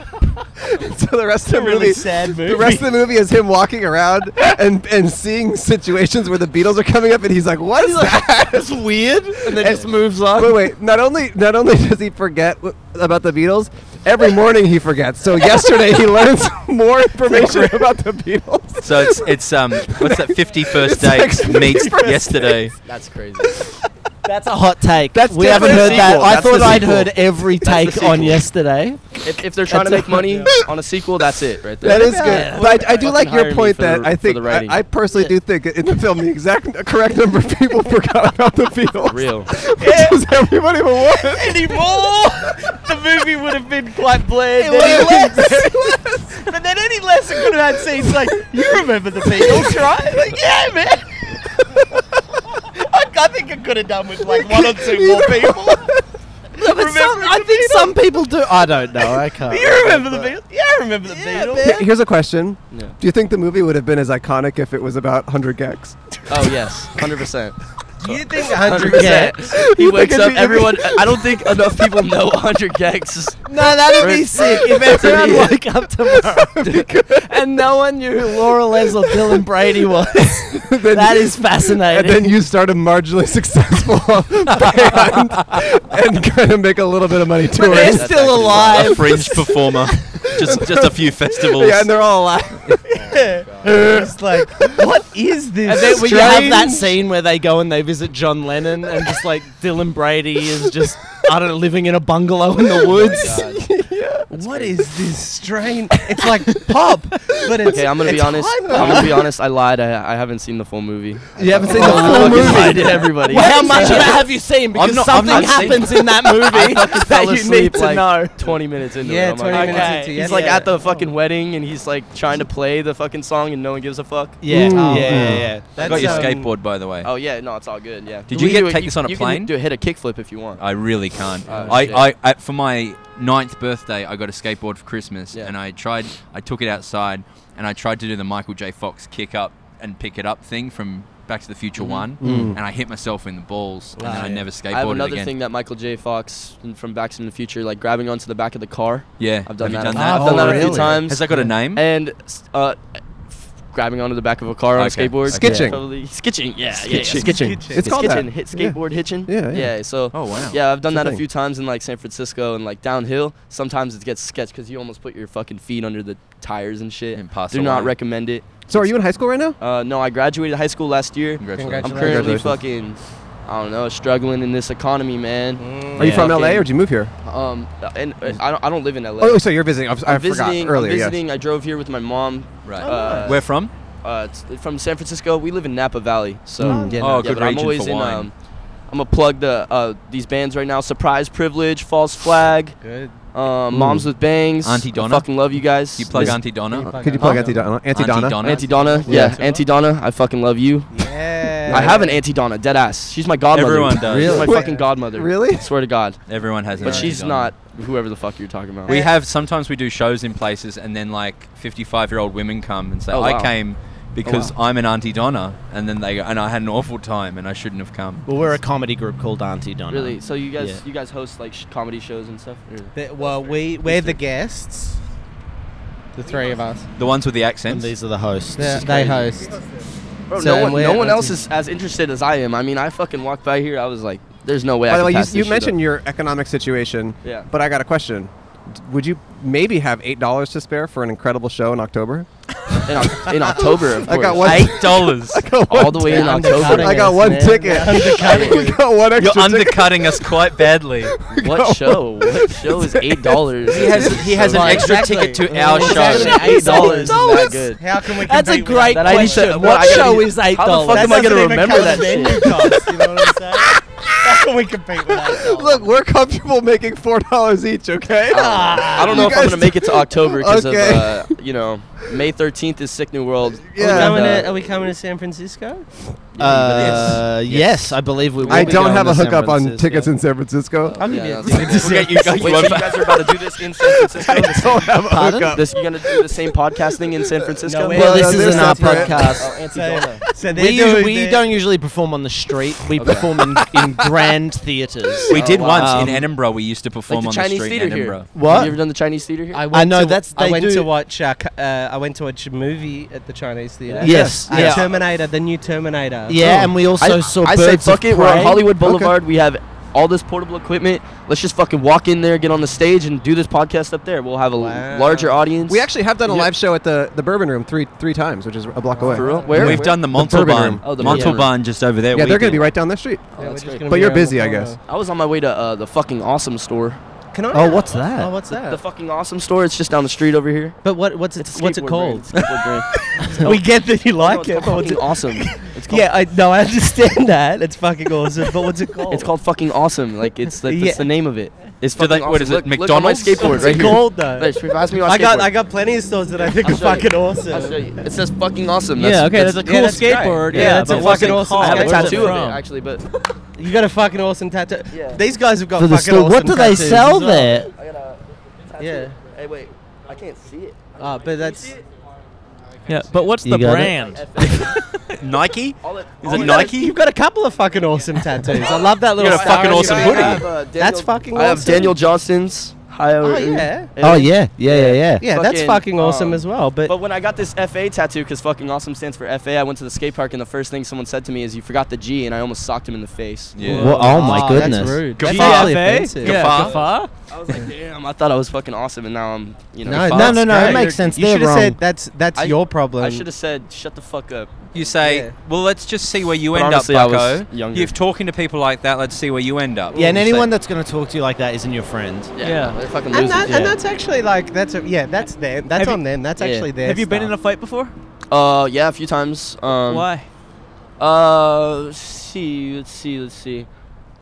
[SPEAKER 1] so the rest of the
[SPEAKER 6] really
[SPEAKER 1] movie,
[SPEAKER 6] sad movie.
[SPEAKER 1] the rest of the movie is him walking around and and seeing situations where the Beatles are coming up, and he's like, "What is that?"
[SPEAKER 6] That's weird. And then
[SPEAKER 1] And-
[SPEAKER 6] just moves on.
[SPEAKER 1] wait, wait. Not only not only does he forget w- about the Beatles, every morning he forgets. So yesterday he learns more information about the Beatles.
[SPEAKER 7] So it's it's um what's that fifty
[SPEAKER 1] It's
[SPEAKER 7] first
[SPEAKER 1] like
[SPEAKER 7] date meets
[SPEAKER 1] 51st
[SPEAKER 7] yesterday.
[SPEAKER 11] That's crazy.
[SPEAKER 6] That's a hot take.
[SPEAKER 1] That's
[SPEAKER 6] we haven't heard
[SPEAKER 1] definitely
[SPEAKER 6] that.
[SPEAKER 1] sequel.
[SPEAKER 6] I
[SPEAKER 1] That's
[SPEAKER 6] thought
[SPEAKER 1] the
[SPEAKER 6] I'd
[SPEAKER 1] sequel.
[SPEAKER 6] heard every
[SPEAKER 11] That's the
[SPEAKER 6] take on
[SPEAKER 11] sequel.
[SPEAKER 6] yesterday.
[SPEAKER 11] if, if they're trying to
[SPEAKER 6] That's
[SPEAKER 11] make money on a sequel, that's it right there.
[SPEAKER 1] That is
[SPEAKER 6] Yeah.
[SPEAKER 1] good. But I, I do
[SPEAKER 11] Fucking
[SPEAKER 1] like
[SPEAKER 11] hire
[SPEAKER 1] your
[SPEAKER 11] me
[SPEAKER 1] point
[SPEAKER 11] for the-
[SPEAKER 1] that I
[SPEAKER 11] for
[SPEAKER 1] think
[SPEAKER 11] the writing.
[SPEAKER 1] I, I personally do think in the film the exact correct number of people forgot about the Beatles.
[SPEAKER 11] real.
[SPEAKER 1] Which is everybody but one.
[SPEAKER 6] Anymore, the movie would have been quite bland.
[SPEAKER 1] would've
[SPEAKER 6] less, but then any less it could have had scenes like you remember the Beatles, right? Like, yeah, man. I, I think I could have done with like one or two more people. I think some people do. I don't know. I can't. You remember the Beatles? Yeah, I remember the Beatles.
[SPEAKER 1] Here- Here's a question.
[SPEAKER 11] Yeah.
[SPEAKER 1] Do you think the movie would have been as iconic if it was about 100 gex?
[SPEAKER 11] Oh yes, hundred percent.
[SPEAKER 6] You think
[SPEAKER 11] 100 Gex. He
[SPEAKER 1] You
[SPEAKER 11] wakes
[SPEAKER 1] think
[SPEAKER 11] up.
[SPEAKER 1] it'd be-
[SPEAKER 11] Everyone.
[SPEAKER 6] uh,
[SPEAKER 11] I don't think enough people know 100 Gex.
[SPEAKER 6] No, that'd be sick if everyone
[SPEAKER 11] Yeah.
[SPEAKER 6] woke up tomorrow and no one knew who Laura Les or Dylan Brady was.
[SPEAKER 1] Then-
[SPEAKER 6] that is fascinating.
[SPEAKER 1] And then you start a marginally successful band and kind of make a little bit of money
[SPEAKER 6] but
[SPEAKER 1] touring.
[SPEAKER 6] they're
[SPEAKER 11] That's actually
[SPEAKER 6] still alive.
[SPEAKER 7] A fringe performer. Just just a few festivals.
[SPEAKER 1] Yeah, and they're all alive.
[SPEAKER 6] Oh It's like, what is this? And then we have that scene where they go and they visit John Lennon Oh and just like Dylan Brady is just, I don't know, living in a bungalow in the woods.
[SPEAKER 9] Yeah. What is this strain? It's like pop, but it's
[SPEAKER 11] okay, I'm gonna be
[SPEAKER 9] it's
[SPEAKER 11] honest.
[SPEAKER 9] hyper.
[SPEAKER 11] I'm gonna be honest. I lied. I, I haven't seen the full movie.
[SPEAKER 1] You haven't
[SPEAKER 6] Oh,
[SPEAKER 1] seen the
[SPEAKER 11] I
[SPEAKER 1] full
[SPEAKER 11] fucking
[SPEAKER 1] movie?
[SPEAKER 11] Lied to everybody.
[SPEAKER 6] Well, how much of it have you seen?
[SPEAKER 11] I'm
[SPEAKER 6] Because
[SPEAKER 11] not- I'm
[SPEAKER 6] something
[SPEAKER 11] not seeing
[SPEAKER 6] happens
[SPEAKER 11] it.
[SPEAKER 6] in that movie
[SPEAKER 11] I fucking
[SPEAKER 6] that
[SPEAKER 11] fell
[SPEAKER 6] you
[SPEAKER 11] asleep,
[SPEAKER 6] need to
[SPEAKER 11] like,
[SPEAKER 6] know.
[SPEAKER 11] 20 minutes into
[SPEAKER 9] Yeah,
[SPEAKER 11] it. I'm
[SPEAKER 9] 20
[SPEAKER 11] like,
[SPEAKER 9] minutes
[SPEAKER 11] okay.
[SPEAKER 9] into it,
[SPEAKER 11] He's
[SPEAKER 9] yeah.
[SPEAKER 11] like
[SPEAKER 9] Yeah.
[SPEAKER 11] at the fucking wedding and he's like trying to play the fucking song and no one gives a fuck.
[SPEAKER 9] Yeah.
[SPEAKER 7] Mm.
[SPEAKER 9] yeah, yeah, yeah.
[SPEAKER 7] I got your
[SPEAKER 9] um,
[SPEAKER 7] skateboard, by the way.
[SPEAKER 11] Oh yeah, no, it's all good. Yeah.
[SPEAKER 7] Did you
[SPEAKER 11] We
[SPEAKER 7] get
[SPEAKER 11] do
[SPEAKER 7] take this on a
[SPEAKER 11] you
[SPEAKER 7] plane?
[SPEAKER 11] Can do, hit a kickflip if you want.
[SPEAKER 7] I really can't.
[SPEAKER 11] Oh, shit.
[SPEAKER 7] I, I, I, for my ninth birthday, I got a skateboard for Christmas,
[SPEAKER 11] Yeah.
[SPEAKER 7] and I tried. I took it outside, and I tried to do the Michael J. Fox kick up and pick it up thing from Back to the Future One, and I hit myself in the balls, and then I never skateboarded
[SPEAKER 11] Mm-hmm. I have another
[SPEAKER 7] again.
[SPEAKER 11] thing that Michael J. Fox in- from Back to the Future, like grabbing onto the back of the car.
[SPEAKER 7] Yeah,
[SPEAKER 11] I've done
[SPEAKER 7] have
[SPEAKER 11] that.
[SPEAKER 7] You done that?
[SPEAKER 11] I've done
[SPEAKER 9] Oh,
[SPEAKER 11] that a few
[SPEAKER 9] really?
[SPEAKER 11] times.
[SPEAKER 7] Has that got a name?
[SPEAKER 11] and s- uh, f- grabbing onto the back of a car on
[SPEAKER 7] Okay.
[SPEAKER 11] a skateboard.
[SPEAKER 1] Skitching.
[SPEAKER 11] Probably- Skitching. Yeah, yeah, yeah.
[SPEAKER 1] Skitching.
[SPEAKER 11] Skitching.
[SPEAKER 1] Skitching. It's called
[SPEAKER 11] Skitching,
[SPEAKER 1] that.
[SPEAKER 11] Hit
[SPEAKER 1] Yeah.
[SPEAKER 11] skateboard hitching.
[SPEAKER 1] Yeah, yeah.
[SPEAKER 11] So.
[SPEAKER 7] Oh, wow.
[SPEAKER 11] Yeah, I've done
[SPEAKER 1] It's a
[SPEAKER 11] that a
[SPEAKER 1] thing.
[SPEAKER 11] few times in like San Francisco and like downhill. Sometimes it gets sketched because you almost put your fucking feet under the tires and shit.
[SPEAKER 7] Impossible.
[SPEAKER 11] Do not recommend it.
[SPEAKER 1] So are you in high school right now?
[SPEAKER 11] Uh, no, I graduated high school last year.
[SPEAKER 7] Congratulations.
[SPEAKER 11] I'm currently
[SPEAKER 1] Congratulations.
[SPEAKER 11] fucking, I don't know, struggling in this economy, man.
[SPEAKER 9] mm,
[SPEAKER 1] Are you from
[SPEAKER 11] Fucking-
[SPEAKER 1] LA or did you move here?
[SPEAKER 11] Um, and uh, I don't, I don't live in LA.
[SPEAKER 1] Oh, so you're visiting. I, I
[SPEAKER 11] I'm visiting,
[SPEAKER 1] forgot earlier.
[SPEAKER 11] I'm
[SPEAKER 1] yes.
[SPEAKER 11] visiting. I drove here with my mom.
[SPEAKER 7] Right.
[SPEAKER 11] Uh,
[SPEAKER 7] Where from?
[SPEAKER 11] uh, it's from San Francisco. We live in Napa Valley, so
[SPEAKER 1] Mm.
[SPEAKER 11] yeah,
[SPEAKER 7] Oh,
[SPEAKER 11] yeah,
[SPEAKER 7] good
[SPEAKER 11] but I'm
[SPEAKER 7] region
[SPEAKER 11] always
[SPEAKER 7] for
[SPEAKER 11] in.
[SPEAKER 7] wine.
[SPEAKER 11] Um, I'm gonna plug the uh, these bands right now. Surprise, Privilege, False Flag,
[SPEAKER 9] Good.
[SPEAKER 11] uh, Moms with Bangs.
[SPEAKER 7] Auntie
[SPEAKER 11] I
[SPEAKER 7] Donna?
[SPEAKER 11] fucking love you guys.
[SPEAKER 7] You plug
[SPEAKER 11] Miss-
[SPEAKER 7] Auntie Donna.
[SPEAKER 1] Could you plug
[SPEAKER 11] Huh?
[SPEAKER 1] Auntie Donna? Auntie
[SPEAKER 7] Auntie
[SPEAKER 1] Donna.
[SPEAKER 7] Donna.
[SPEAKER 11] Auntie Donna, yeah,
[SPEAKER 9] Yeah.
[SPEAKER 11] Auntie Donna, I fucking love you.
[SPEAKER 9] Yeah.
[SPEAKER 11] I have an Auntie Donna, dead ass. She's my godmother.
[SPEAKER 7] Everyone does.
[SPEAKER 11] She's my
[SPEAKER 1] Really?
[SPEAKER 11] fucking godmother.
[SPEAKER 1] Really?
[SPEAKER 11] swear to God.
[SPEAKER 7] Everyone has. an
[SPEAKER 11] But
[SPEAKER 7] Auntie
[SPEAKER 11] she's
[SPEAKER 7] Donna.
[SPEAKER 11] not whoever the fuck you're talking about.
[SPEAKER 7] We have sometimes we do shows in places, and then like fifty-five-year-old women come and say,
[SPEAKER 11] Oh,
[SPEAKER 7] "I
[SPEAKER 11] wow. Oh,
[SPEAKER 7] came because I'm an Auntie Donna," and then they go, "And I had an awful time, and I shouldn't have come."
[SPEAKER 6] Well, we're a comedy group called Auntie Donna.
[SPEAKER 11] Really? So you guys,
[SPEAKER 6] Yeah.
[SPEAKER 11] you guys host like sh- comedy shows and stuff? Or-
[SPEAKER 9] The- well, we we're the guests. The three of us.
[SPEAKER 7] The ones with the
[SPEAKER 6] And
[SPEAKER 7] accents.
[SPEAKER 6] these are the hosts.
[SPEAKER 9] They, they host.
[SPEAKER 11] Bro,
[SPEAKER 9] So
[SPEAKER 11] no one,
[SPEAKER 9] we're
[SPEAKER 11] no one
[SPEAKER 9] Auntie-
[SPEAKER 11] else is as interested as I am. I mean, I fucking walked by here. I was like, "There's no way." I
[SPEAKER 1] By the
[SPEAKER 11] can
[SPEAKER 1] way, you,
[SPEAKER 11] pass this
[SPEAKER 1] you
[SPEAKER 11] shit
[SPEAKER 1] mentioned
[SPEAKER 11] up.
[SPEAKER 1] your economic situation.
[SPEAKER 11] Yeah.
[SPEAKER 1] But I got a question. D- Would you maybe have eight dollars to spare for an incredible show in October?
[SPEAKER 11] in, Oc- in October. Of
[SPEAKER 1] I got
[SPEAKER 11] course.
[SPEAKER 1] one.
[SPEAKER 7] Eight dollars.
[SPEAKER 11] all the way in October.
[SPEAKER 1] I got one ticket. we got one
[SPEAKER 7] You're
[SPEAKER 1] extra ticket.
[SPEAKER 7] undercutting us quite badly.
[SPEAKER 11] What show? What show is eight dollars?
[SPEAKER 7] He has he has an
[SPEAKER 9] Right,
[SPEAKER 7] extra
[SPEAKER 9] exactly.
[SPEAKER 7] ticket to our
[SPEAKER 9] Exactly.
[SPEAKER 7] show.
[SPEAKER 11] Eight dollars is that
[SPEAKER 1] $8.
[SPEAKER 11] good?
[SPEAKER 9] How can we?
[SPEAKER 6] That's a
[SPEAKER 9] compete with
[SPEAKER 6] great
[SPEAKER 11] That I need to-
[SPEAKER 6] question.
[SPEAKER 11] what
[SPEAKER 6] what
[SPEAKER 11] I gotta
[SPEAKER 6] show
[SPEAKER 11] do-
[SPEAKER 6] is eight
[SPEAKER 11] How the
[SPEAKER 6] dollars?
[SPEAKER 11] fuck am I gonna remember that
[SPEAKER 9] You
[SPEAKER 11] shit?
[SPEAKER 9] know what I'm saying? How can we compete with that?
[SPEAKER 1] Look, we're comfortable making four dollars each. Okay.
[SPEAKER 11] I don't know
[SPEAKER 1] You
[SPEAKER 11] if I'm
[SPEAKER 1] guys-
[SPEAKER 11] gonna make it to October because
[SPEAKER 1] Okay.
[SPEAKER 11] of uh, you know May 13th is Sick New World.
[SPEAKER 1] Yeah.
[SPEAKER 11] And, uh,
[SPEAKER 6] we coming to San Francisco?
[SPEAKER 7] Uh,
[SPEAKER 6] Uh, yes. I believe we. Will
[SPEAKER 1] I
[SPEAKER 6] be
[SPEAKER 1] don't
[SPEAKER 6] going
[SPEAKER 1] have
[SPEAKER 6] to
[SPEAKER 1] a
[SPEAKER 6] San
[SPEAKER 1] hookup on
[SPEAKER 6] Francisco.
[SPEAKER 1] tickets in San Francisco.
[SPEAKER 6] I'll give
[SPEAKER 11] Yeah,
[SPEAKER 6] you
[SPEAKER 11] no,
[SPEAKER 6] a
[SPEAKER 11] it's
[SPEAKER 7] We'll
[SPEAKER 11] okay.
[SPEAKER 7] get you guys
[SPEAKER 11] Wait, so you guys are about to do this in San Francisco?
[SPEAKER 1] I don't have a
[SPEAKER 6] Pardon?
[SPEAKER 1] hookup.
[SPEAKER 11] This, you're gonna do the same podcast thing in San Francisco?
[SPEAKER 6] No,
[SPEAKER 1] Well,
[SPEAKER 6] well,
[SPEAKER 1] no,
[SPEAKER 6] this
[SPEAKER 1] they're
[SPEAKER 6] isn't our
[SPEAKER 1] separate.
[SPEAKER 6] podcast.
[SPEAKER 11] Auntie
[SPEAKER 9] So-
[SPEAKER 11] Donna.
[SPEAKER 9] So they're
[SPEAKER 6] We,
[SPEAKER 9] doing
[SPEAKER 6] we
[SPEAKER 9] their-
[SPEAKER 6] don't usually perform on the street. We perform in, in grand theaters.
[SPEAKER 7] We did
[SPEAKER 11] Oh, wow.
[SPEAKER 7] once in
[SPEAKER 6] Um,
[SPEAKER 7] Edinburgh. We used to
[SPEAKER 11] Like
[SPEAKER 7] perform
[SPEAKER 11] the
[SPEAKER 7] on
[SPEAKER 11] Chinese
[SPEAKER 7] the street
[SPEAKER 11] theater
[SPEAKER 7] in
[SPEAKER 11] here.
[SPEAKER 7] Edinburgh.
[SPEAKER 6] What?
[SPEAKER 11] Have you ever done the Chinese theater here?
[SPEAKER 9] I, went
[SPEAKER 6] know,
[SPEAKER 9] to,
[SPEAKER 6] that's-
[SPEAKER 9] I
[SPEAKER 6] they
[SPEAKER 9] went
[SPEAKER 6] do-
[SPEAKER 9] to watch. Uh, c- uh, I went to watch a movie at the Chinese theater.
[SPEAKER 6] Yes,
[SPEAKER 9] Uh,
[SPEAKER 6] yeah.
[SPEAKER 9] Terminator, the new Terminator.
[SPEAKER 6] Yeah, and we also
[SPEAKER 11] I,
[SPEAKER 6] saw
[SPEAKER 11] I
[SPEAKER 6] Birds
[SPEAKER 11] say
[SPEAKER 6] of
[SPEAKER 11] fuck it. We're on
[SPEAKER 6] Prey.
[SPEAKER 11] Hollywood Boulevard. We have all this portable equipment. Let's just fucking walk in there, get on the stage, and do this podcast up there. We'll have a l-
[SPEAKER 9] Wow.
[SPEAKER 11] larger audience.
[SPEAKER 1] We actually have done a live show at the, the Bourbon Room three three times, which is a block away.
[SPEAKER 11] Oh, For real? Where?
[SPEAKER 7] We've done the
[SPEAKER 1] Bourbon Room.
[SPEAKER 7] Montalban.
[SPEAKER 11] Oh, the Bourbon
[SPEAKER 7] Montalban just over there.
[SPEAKER 1] Yeah,
[SPEAKER 7] We
[SPEAKER 1] they're going
[SPEAKER 7] did.
[SPEAKER 1] to be right down the street.
[SPEAKER 11] Oh, that's great.
[SPEAKER 1] But you're busy, I guess.
[SPEAKER 11] I was on my way to uh, the fucking awesome store.
[SPEAKER 9] Can I?
[SPEAKER 6] Oh, what's that?
[SPEAKER 9] Oh, what's that?
[SPEAKER 11] The fucking awesome store. It's just down the street over here.
[SPEAKER 9] but what? What's it?
[SPEAKER 11] It's a
[SPEAKER 9] What's it
[SPEAKER 11] skateboard brand.
[SPEAKER 9] called?
[SPEAKER 11] It's a skateboard brand.
[SPEAKER 9] we get that you
[SPEAKER 11] No,
[SPEAKER 9] like
[SPEAKER 11] it's
[SPEAKER 9] it,
[SPEAKER 11] called
[SPEAKER 9] but what's
[SPEAKER 11] fucking
[SPEAKER 9] it?
[SPEAKER 11] awesome. It's called.
[SPEAKER 9] Yeah, I no, I understand that. It's fucking awesome, but what's it called?
[SPEAKER 11] It's called fucking awesome. Like it's like that's
[SPEAKER 9] Yeah.
[SPEAKER 11] the name of it. It's
[SPEAKER 7] Do
[SPEAKER 11] fucking
[SPEAKER 7] they-
[SPEAKER 11] awesome.
[SPEAKER 7] what is it,
[SPEAKER 11] Look- look on my
[SPEAKER 7] McDonald's?
[SPEAKER 11] skateboard
[SPEAKER 9] What's
[SPEAKER 11] right
[SPEAKER 9] it
[SPEAKER 11] here.
[SPEAKER 9] called though?
[SPEAKER 11] Wait, should we pass me my
[SPEAKER 9] I got
[SPEAKER 11] skateboard?
[SPEAKER 9] I got plenty of stores that I think
[SPEAKER 11] I'll
[SPEAKER 9] are
[SPEAKER 11] show you.
[SPEAKER 9] fucking
[SPEAKER 11] I'll show
[SPEAKER 9] awesome.
[SPEAKER 11] you. It says fucking awesome.
[SPEAKER 6] Yeah, okay, that's a
[SPEAKER 11] yeah,
[SPEAKER 6] cool
[SPEAKER 11] great.
[SPEAKER 6] skateboard.
[SPEAKER 9] Yeah, that's a
[SPEAKER 11] but what's
[SPEAKER 9] fucking
[SPEAKER 11] it
[SPEAKER 9] awesome
[SPEAKER 11] called? I have a
[SPEAKER 9] skateboard.
[SPEAKER 11] tattoo of
[SPEAKER 9] From?
[SPEAKER 11] it actually, but
[SPEAKER 9] You got a fucking awesome tattoo.
[SPEAKER 11] Yeah.
[SPEAKER 9] These guys have got
[SPEAKER 6] For the
[SPEAKER 9] fucking
[SPEAKER 6] store,
[SPEAKER 9] awesome
[SPEAKER 6] what do they
[SPEAKER 9] tattoos
[SPEAKER 6] sell
[SPEAKER 9] as well.
[SPEAKER 6] there?
[SPEAKER 11] I got a tattoo.
[SPEAKER 9] Yeah.
[SPEAKER 11] Hey, wait. I can't see it.
[SPEAKER 9] Ah, but that's
[SPEAKER 10] Yeah, but what's
[SPEAKER 6] You
[SPEAKER 10] the
[SPEAKER 6] got it?
[SPEAKER 10] brand?
[SPEAKER 7] Nike.
[SPEAKER 11] All it,
[SPEAKER 7] Is it
[SPEAKER 9] Oh, You've got a-
[SPEAKER 7] Nike?
[SPEAKER 9] You've got a couple of fucking awesome tattoos. I love that
[SPEAKER 7] You
[SPEAKER 9] little
[SPEAKER 7] got a
[SPEAKER 9] star
[SPEAKER 7] fucking
[SPEAKER 9] on your
[SPEAKER 7] awesome
[SPEAKER 9] back.
[SPEAKER 7] hoodie.
[SPEAKER 9] That's uh, fucking
[SPEAKER 11] I have
[SPEAKER 9] awesome.
[SPEAKER 11] Daniel Johnson's. High
[SPEAKER 9] Oh yeah.
[SPEAKER 6] Oh yeah, yeah, yeah, yeah.
[SPEAKER 9] Yeah, that's
[SPEAKER 11] Fucking,
[SPEAKER 9] fucking awesome
[SPEAKER 11] um,
[SPEAKER 9] as well. But,
[SPEAKER 11] But when I got this FA tattoo, because fucking awesome stands for FA, I went to the skate park and the first thing someone said to me is, "You forgot the G," and I almost socked him in the face.
[SPEAKER 7] Yeah.
[SPEAKER 6] Well, oh my
[SPEAKER 9] Ah,
[SPEAKER 6] goodness.
[SPEAKER 9] that's rude.
[SPEAKER 7] Gaffa.
[SPEAKER 9] That's actually
[SPEAKER 10] Gaffa.
[SPEAKER 9] offensive.
[SPEAKER 10] Yeah,
[SPEAKER 7] Gaffa.
[SPEAKER 10] Gaffa.
[SPEAKER 11] I was like, "Damn!" I thought I was fucking awesome, and now I'm, you know,
[SPEAKER 9] No,
[SPEAKER 6] No,
[SPEAKER 9] Fuck,
[SPEAKER 6] no, no,
[SPEAKER 9] it's
[SPEAKER 6] no. It
[SPEAKER 9] great.
[SPEAKER 6] makes sense.
[SPEAKER 9] You
[SPEAKER 6] They're
[SPEAKER 9] should have
[SPEAKER 6] wrong.
[SPEAKER 9] said that's that's
[SPEAKER 11] I-
[SPEAKER 9] your problem.
[SPEAKER 11] I should have said, "Shut the fuck up."
[SPEAKER 7] You say,
[SPEAKER 9] Yeah.
[SPEAKER 7] well, let's just see where you
[SPEAKER 11] But
[SPEAKER 7] end
[SPEAKER 11] honestly, I
[SPEAKER 7] up,
[SPEAKER 11] was
[SPEAKER 7] Bucko.
[SPEAKER 11] younger.
[SPEAKER 7] You're talking to people like that. Let's see where you end up.
[SPEAKER 13] Yeah, and
[SPEAKER 7] So-
[SPEAKER 13] anyone that's going to talk to you like that isn't your friend.
[SPEAKER 7] Yeah.
[SPEAKER 11] they're fucking
[SPEAKER 9] And,
[SPEAKER 11] losers.
[SPEAKER 9] that,
[SPEAKER 11] yeah.
[SPEAKER 9] and that's actually like that's a, yeah that's them that's
[SPEAKER 13] Have you-
[SPEAKER 9] on them that's
[SPEAKER 11] yeah.
[SPEAKER 9] actually their
[SPEAKER 10] Have you been in
[SPEAKER 9] stuff.
[SPEAKER 10] a fight before?
[SPEAKER 11] uh, yeah, a few times. Um,
[SPEAKER 10] Why?
[SPEAKER 11] Uh, let's see, let's see, let's see.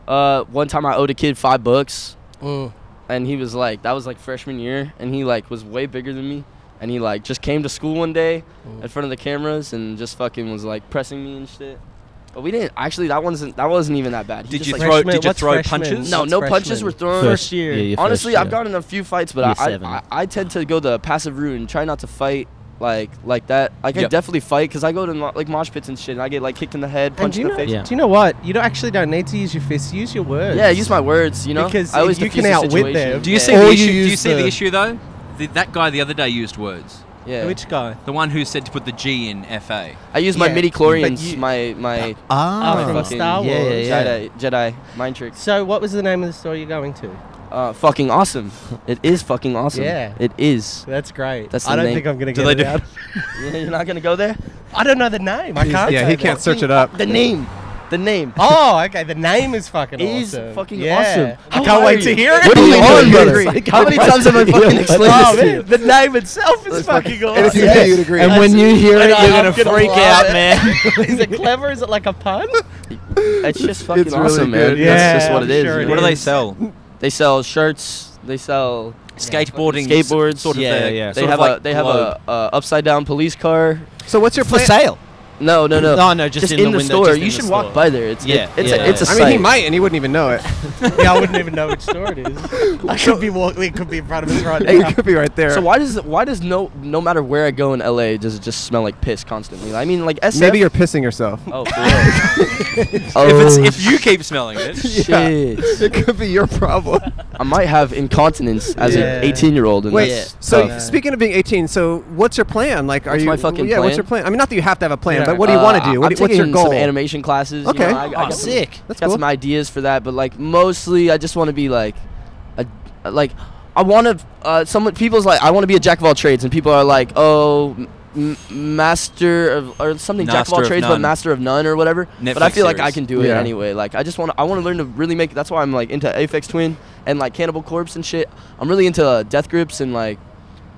[SPEAKER 11] Uh, one time I owed a kid five bucks, and he was like, that was like freshman year, and he like was way bigger than me, and he like just came to school one day in front of the cameras and just fucking was like pressing me and shit. But we didn't actually. That wasn't. That wasn't even that bad. He
[SPEAKER 7] Did
[SPEAKER 11] just,
[SPEAKER 7] you
[SPEAKER 11] like,
[SPEAKER 7] throw- Freshman- did you what's throw freshman? punches?
[SPEAKER 11] No,
[SPEAKER 7] What's
[SPEAKER 11] no punches
[SPEAKER 9] freshman?
[SPEAKER 11] were thrown.
[SPEAKER 13] First year. Yeah, your first
[SPEAKER 11] Honestly, I've
[SPEAKER 13] year.
[SPEAKER 11] gotten in a few fights,
[SPEAKER 13] Year
[SPEAKER 11] but I,
[SPEAKER 13] seven.
[SPEAKER 11] I, I I tend to go the passive route and try not to fight like like that. Like I
[SPEAKER 7] Yep.
[SPEAKER 11] definitely fight because I go to mo- like mosh pits and shit, and I get like kicked in the head,
[SPEAKER 9] and
[SPEAKER 11] punched
[SPEAKER 9] do
[SPEAKER 11] in
[SPEAKER 9] you
[SPEAKER 11] the
[SPEAKER 9] know
[SPEAKER 11] face.
[SPEAKER 13] Yeah.
[SPEAKER 9] do you know what you don't actually don't need to use your fists use your words
[SPEAKER 11] Yeah, I use my words, you know.
[SPEAKER 9] Because
[SPEAKER 11] I always
[SPEAKER 9] you can
[SPEAKER 11] diffuse the
[SPEAKER 9] outwit
[SPEAKER 11] situation.
[SPEAKER 9] them.
[SPEAKER 7] Do you
[SPEAKER 11] Yeah.
[SPEAKER 7] see
[SPEAKER 9] Or
[SPEAKER 7] the
[SPEAKER 9] you
[SPEAKER 7] issue? Do you
[SPEAKER 9] use
[SPEAKER 7] see the
[SPEAKER 9] the-
[SPEAKER 7] issue though? The, that guy the other day used words.
[SPEAKER 11] Yeah.
[SPEAKER 9] which guy
[SPEAKER 7] The one who said to put the G in FA.
[SPEAKER 11] I use my
[SPEAKER 9] Yeah,
[SPEAKER 11] midi
[SPEAKER 9] but
[SPEAKER 11] chlorians,
[SPEAKER 9] you-
[SPEAKER 11] my my Oh,
[SPEAKER 13] Ah,
[SPEAKER 9] from
[SPEAKER 11] fucking
[SPEAKER 9] Star
[SPEAKER 13] yeah,
[SPEAKER 9] Wars.
[SPEAKER 13] yeah, yeah.
[SPEAKER 11] Jedi Jedi mind tricks.
[SPEAKER 9] so what was the name of the store you're going to
[SPEAKER 11] Uh, fucking awesome. It is fucking awesome.
[SPEAKER 9] Yeah.
[SPEAKER 11] It is.
[SPEAKER 9] that's great
[SPEAKER 11] That's
[SPEAKER 9] I
[SPEAKER 11] the
[SPEAKER 9] don't
[SPEAKER 11] name.
[SPEAKER 9] think I'm gonna
[SPEAKER 7] Do
[SPEAKER 9] get
[SPEAKER 7] they
[SPEAKER 9] it
[SPEAKER 7] do-
[SPEAKER 9] out
[SPEAKER 11] You're not gonna go there.
[SPEAKER 9] I don't know the name I
[SPEAKER 1] He's-
[SPEAKER 9] can't
[SPEAKER 1] yeah,
[SPEAKER 9] say
[SPEAKER 1] he
[SPEAKER 9] that.
[SPEAKER 1] can't search it up.
[SPEAKER 11] The name. The name.
[SPEAKER 9] oh okay the name is fucking
[SPEAKER 11] Is
[SPEAKER 9] awesome
[SPEAKER 11] fucking
[SPEAKER 9] yeah.
[SPEAKER 11] awesome.
[SPEAKER 9] I
[SPEAKER 11] How
[SPEAKER 9] can't
[SPEAKER 11] are
[SPEAKER 9] wait
[SPEAKER 11] you?
[SPEAKER 9] to hear it
[SPEAKER 11] What are you
[SPEAKER 9] Oh,
[SPEAKER 11] on,
[SPEAKER 9] yeah.
[SPEAKER 11] brother? How many times have I fucking explained
[SPEAKER 9] oh
[SPEAKER 11] this to
[SPEAKER 9] man
[SPEAKER 11] you?
[SPEAKER 9] the name itself is fucking awesome
[SPEAKER 1] If you do, you'd agree.
[SPEAKER 13] And when you hear it,
[SPEAKER 9] And I-
[SPEAKER 13] you're
[SPEAKER 9] I'm
[SPEAKER 13] going to
[SPEAKER 9] gonna
[SPEAKER 13] freak
[SPEAKER 9] love
[SPEAKER 13] out,
[SPEAKER 9] it.
[SPEAKER 13] man.
[SPEAKER 9] is it clever is it like a pun
[SPEAKER 11] It's just fucking
[SPEAKER 1] really
[SPEAKER 11] awesome, man.
[SPEAKER 1] good.
[SPEAKER 9] Yeah,
[SPEAKER 11] That's just what
[SPEAKER 9] I'm
[SPEAKER 11] it is.
[SPEAKER 9] sure it
[SPEAKER 11] man.
[SPEAKER 7] What do they sell?
[SPEAKER 11] They sell shirts. They sell.
[SPEAKER 7] Skateboarding.
[SPEAKER 11] Skateboards,
[SPEAKER 7] Sort of
[SPEAKER 13] yeah,
[SPEAKER 7] their-
[SPEAKER 13] yeah.
[SPEAKER 11] They
[SPEAKER 7] sort of
[SPEAKER 11] have
[SPEAKER 7] like
[SPEAKER 11] a. They have
[SPEAKER 7] globe.
[SPEAKER 11] a, a upside down police car.
[SPEAKER 1] So what's your
[SPEAKER 13] For
[SPEAKER 1] plan?
[SPEAKER 13] sale.
[SPEAKER 11] No, no, Oh, no.
[SPEAKER 13] No, no, just,
[SPEAKER 11] just
[SPEAKER 13] in, the, window,
[SPEAKER 11] store.
[SPEAKER 13] just
[SPEAKER 11] you
[SPEAKER 13] in
[SPEAKER 11] should
[SPEAKER 13] the
[SPEAKER 11] walk
[SPEAKER 13] store.
[SPEAKER 11] by there. It's
[SPEAKER 13] Yeah,
[SPEAKER 11] it, it's
[SPEAKER 13] yeah.
[SPEAKER 11] a it's a
[SPEAKER 1] I
[SPEAKER 11] sight.
[SPEAKER 1] mean, he might, and he wouldn't even know it.
[SPEAKER 9] yeah I wouldn't even know which store it is I could be walking it could be in front of us right
[SPEAKER 11] Hey,
[SPEAKER 9] now
[SPEAKER 1] It could be right there.
[SPEAKER 11] So why does why does no no matter where I go in LA does it just smell like piss constantly? I mean like SF.
[SPEAKER 1] Maybe you're pissing yourself.
[SPEAKER 11] Oh, boy.
[SPEAKER 7] If,
[SPEAKER 11] Oh,
[SPEAKER 7] it's, if you keep smelling it,
[SPEAKER 11] shit.
[SPEAKER 1] It could be your problem.
[SPEAKER 11] I might have incontinence as
[SPEAKER 9] Yeah.
[SPEAKER 11] an 18 year old. and
[SPEAKER 1] Wait,
[SPEAKER 11] that's
[SPEAKER 1] so
[SPEAKER 11] tough.
[SPEAKER 1] speaking of being 18, so what's your plan? Like, are
[SPEAKER 11] What's
[SPEAKER 1] you?
[SPEAKER 11] my fucking
[SPEAKER 1] yeah, what's
[SPEAKER 11] plan?
[SPEAKER 1] your plan? I mean, not that you have to have a plan,
[SPEAKER 9] Yeah.
[SPEAKER 1] but what do you
[SPEAKER 11] Uh,
[SPEAKER 1] want to do? What
[SPEAKER 11] I'm
[SPEAKER 1] do- what's your
[SPEAKER 11] taking
[SPEAKER 1] goal?
[SPEAKER 11] Some animation classes. you
[SPEAKER 1] Okay.
[SPEAKER 11] know, I, I
[SPEAKER 13] Oh,
[SPEAKER 11] got some-
[SPEAKER 13] sick.
[SPEAKER 1] That's
[SPEAKER 11] got
[SPEAKER 1] cool.
[SPEAKER 11] some ideas for that, but like mostly I just want to be like, a, like I want to. Uh, someone people's like I want to be a jack of all trades, and people are like, oh, m- m- master of or something jack of
[SPEAKER 7] Master
[SPEAKER 11] all
[SPEAKER 7] of
[SPEAKER 11] trades,
[SPEAKER 7] none.
[SPEAKER 11] but master of none or whatever. but I
[SPEAKER 7] Netflix
[SPEAKER 11] feel like I
[SPEAKER 7] series.
[SPEAKER 11] can do it
[SPEAKER 1] Yeah.
[SPEAKER 11] anyway. Like I just want to. I want to learn to really make. That's why I'm like into Aphex Twin and like Cannibal Corpse and shit. I'm really into uh, Death Grips and like.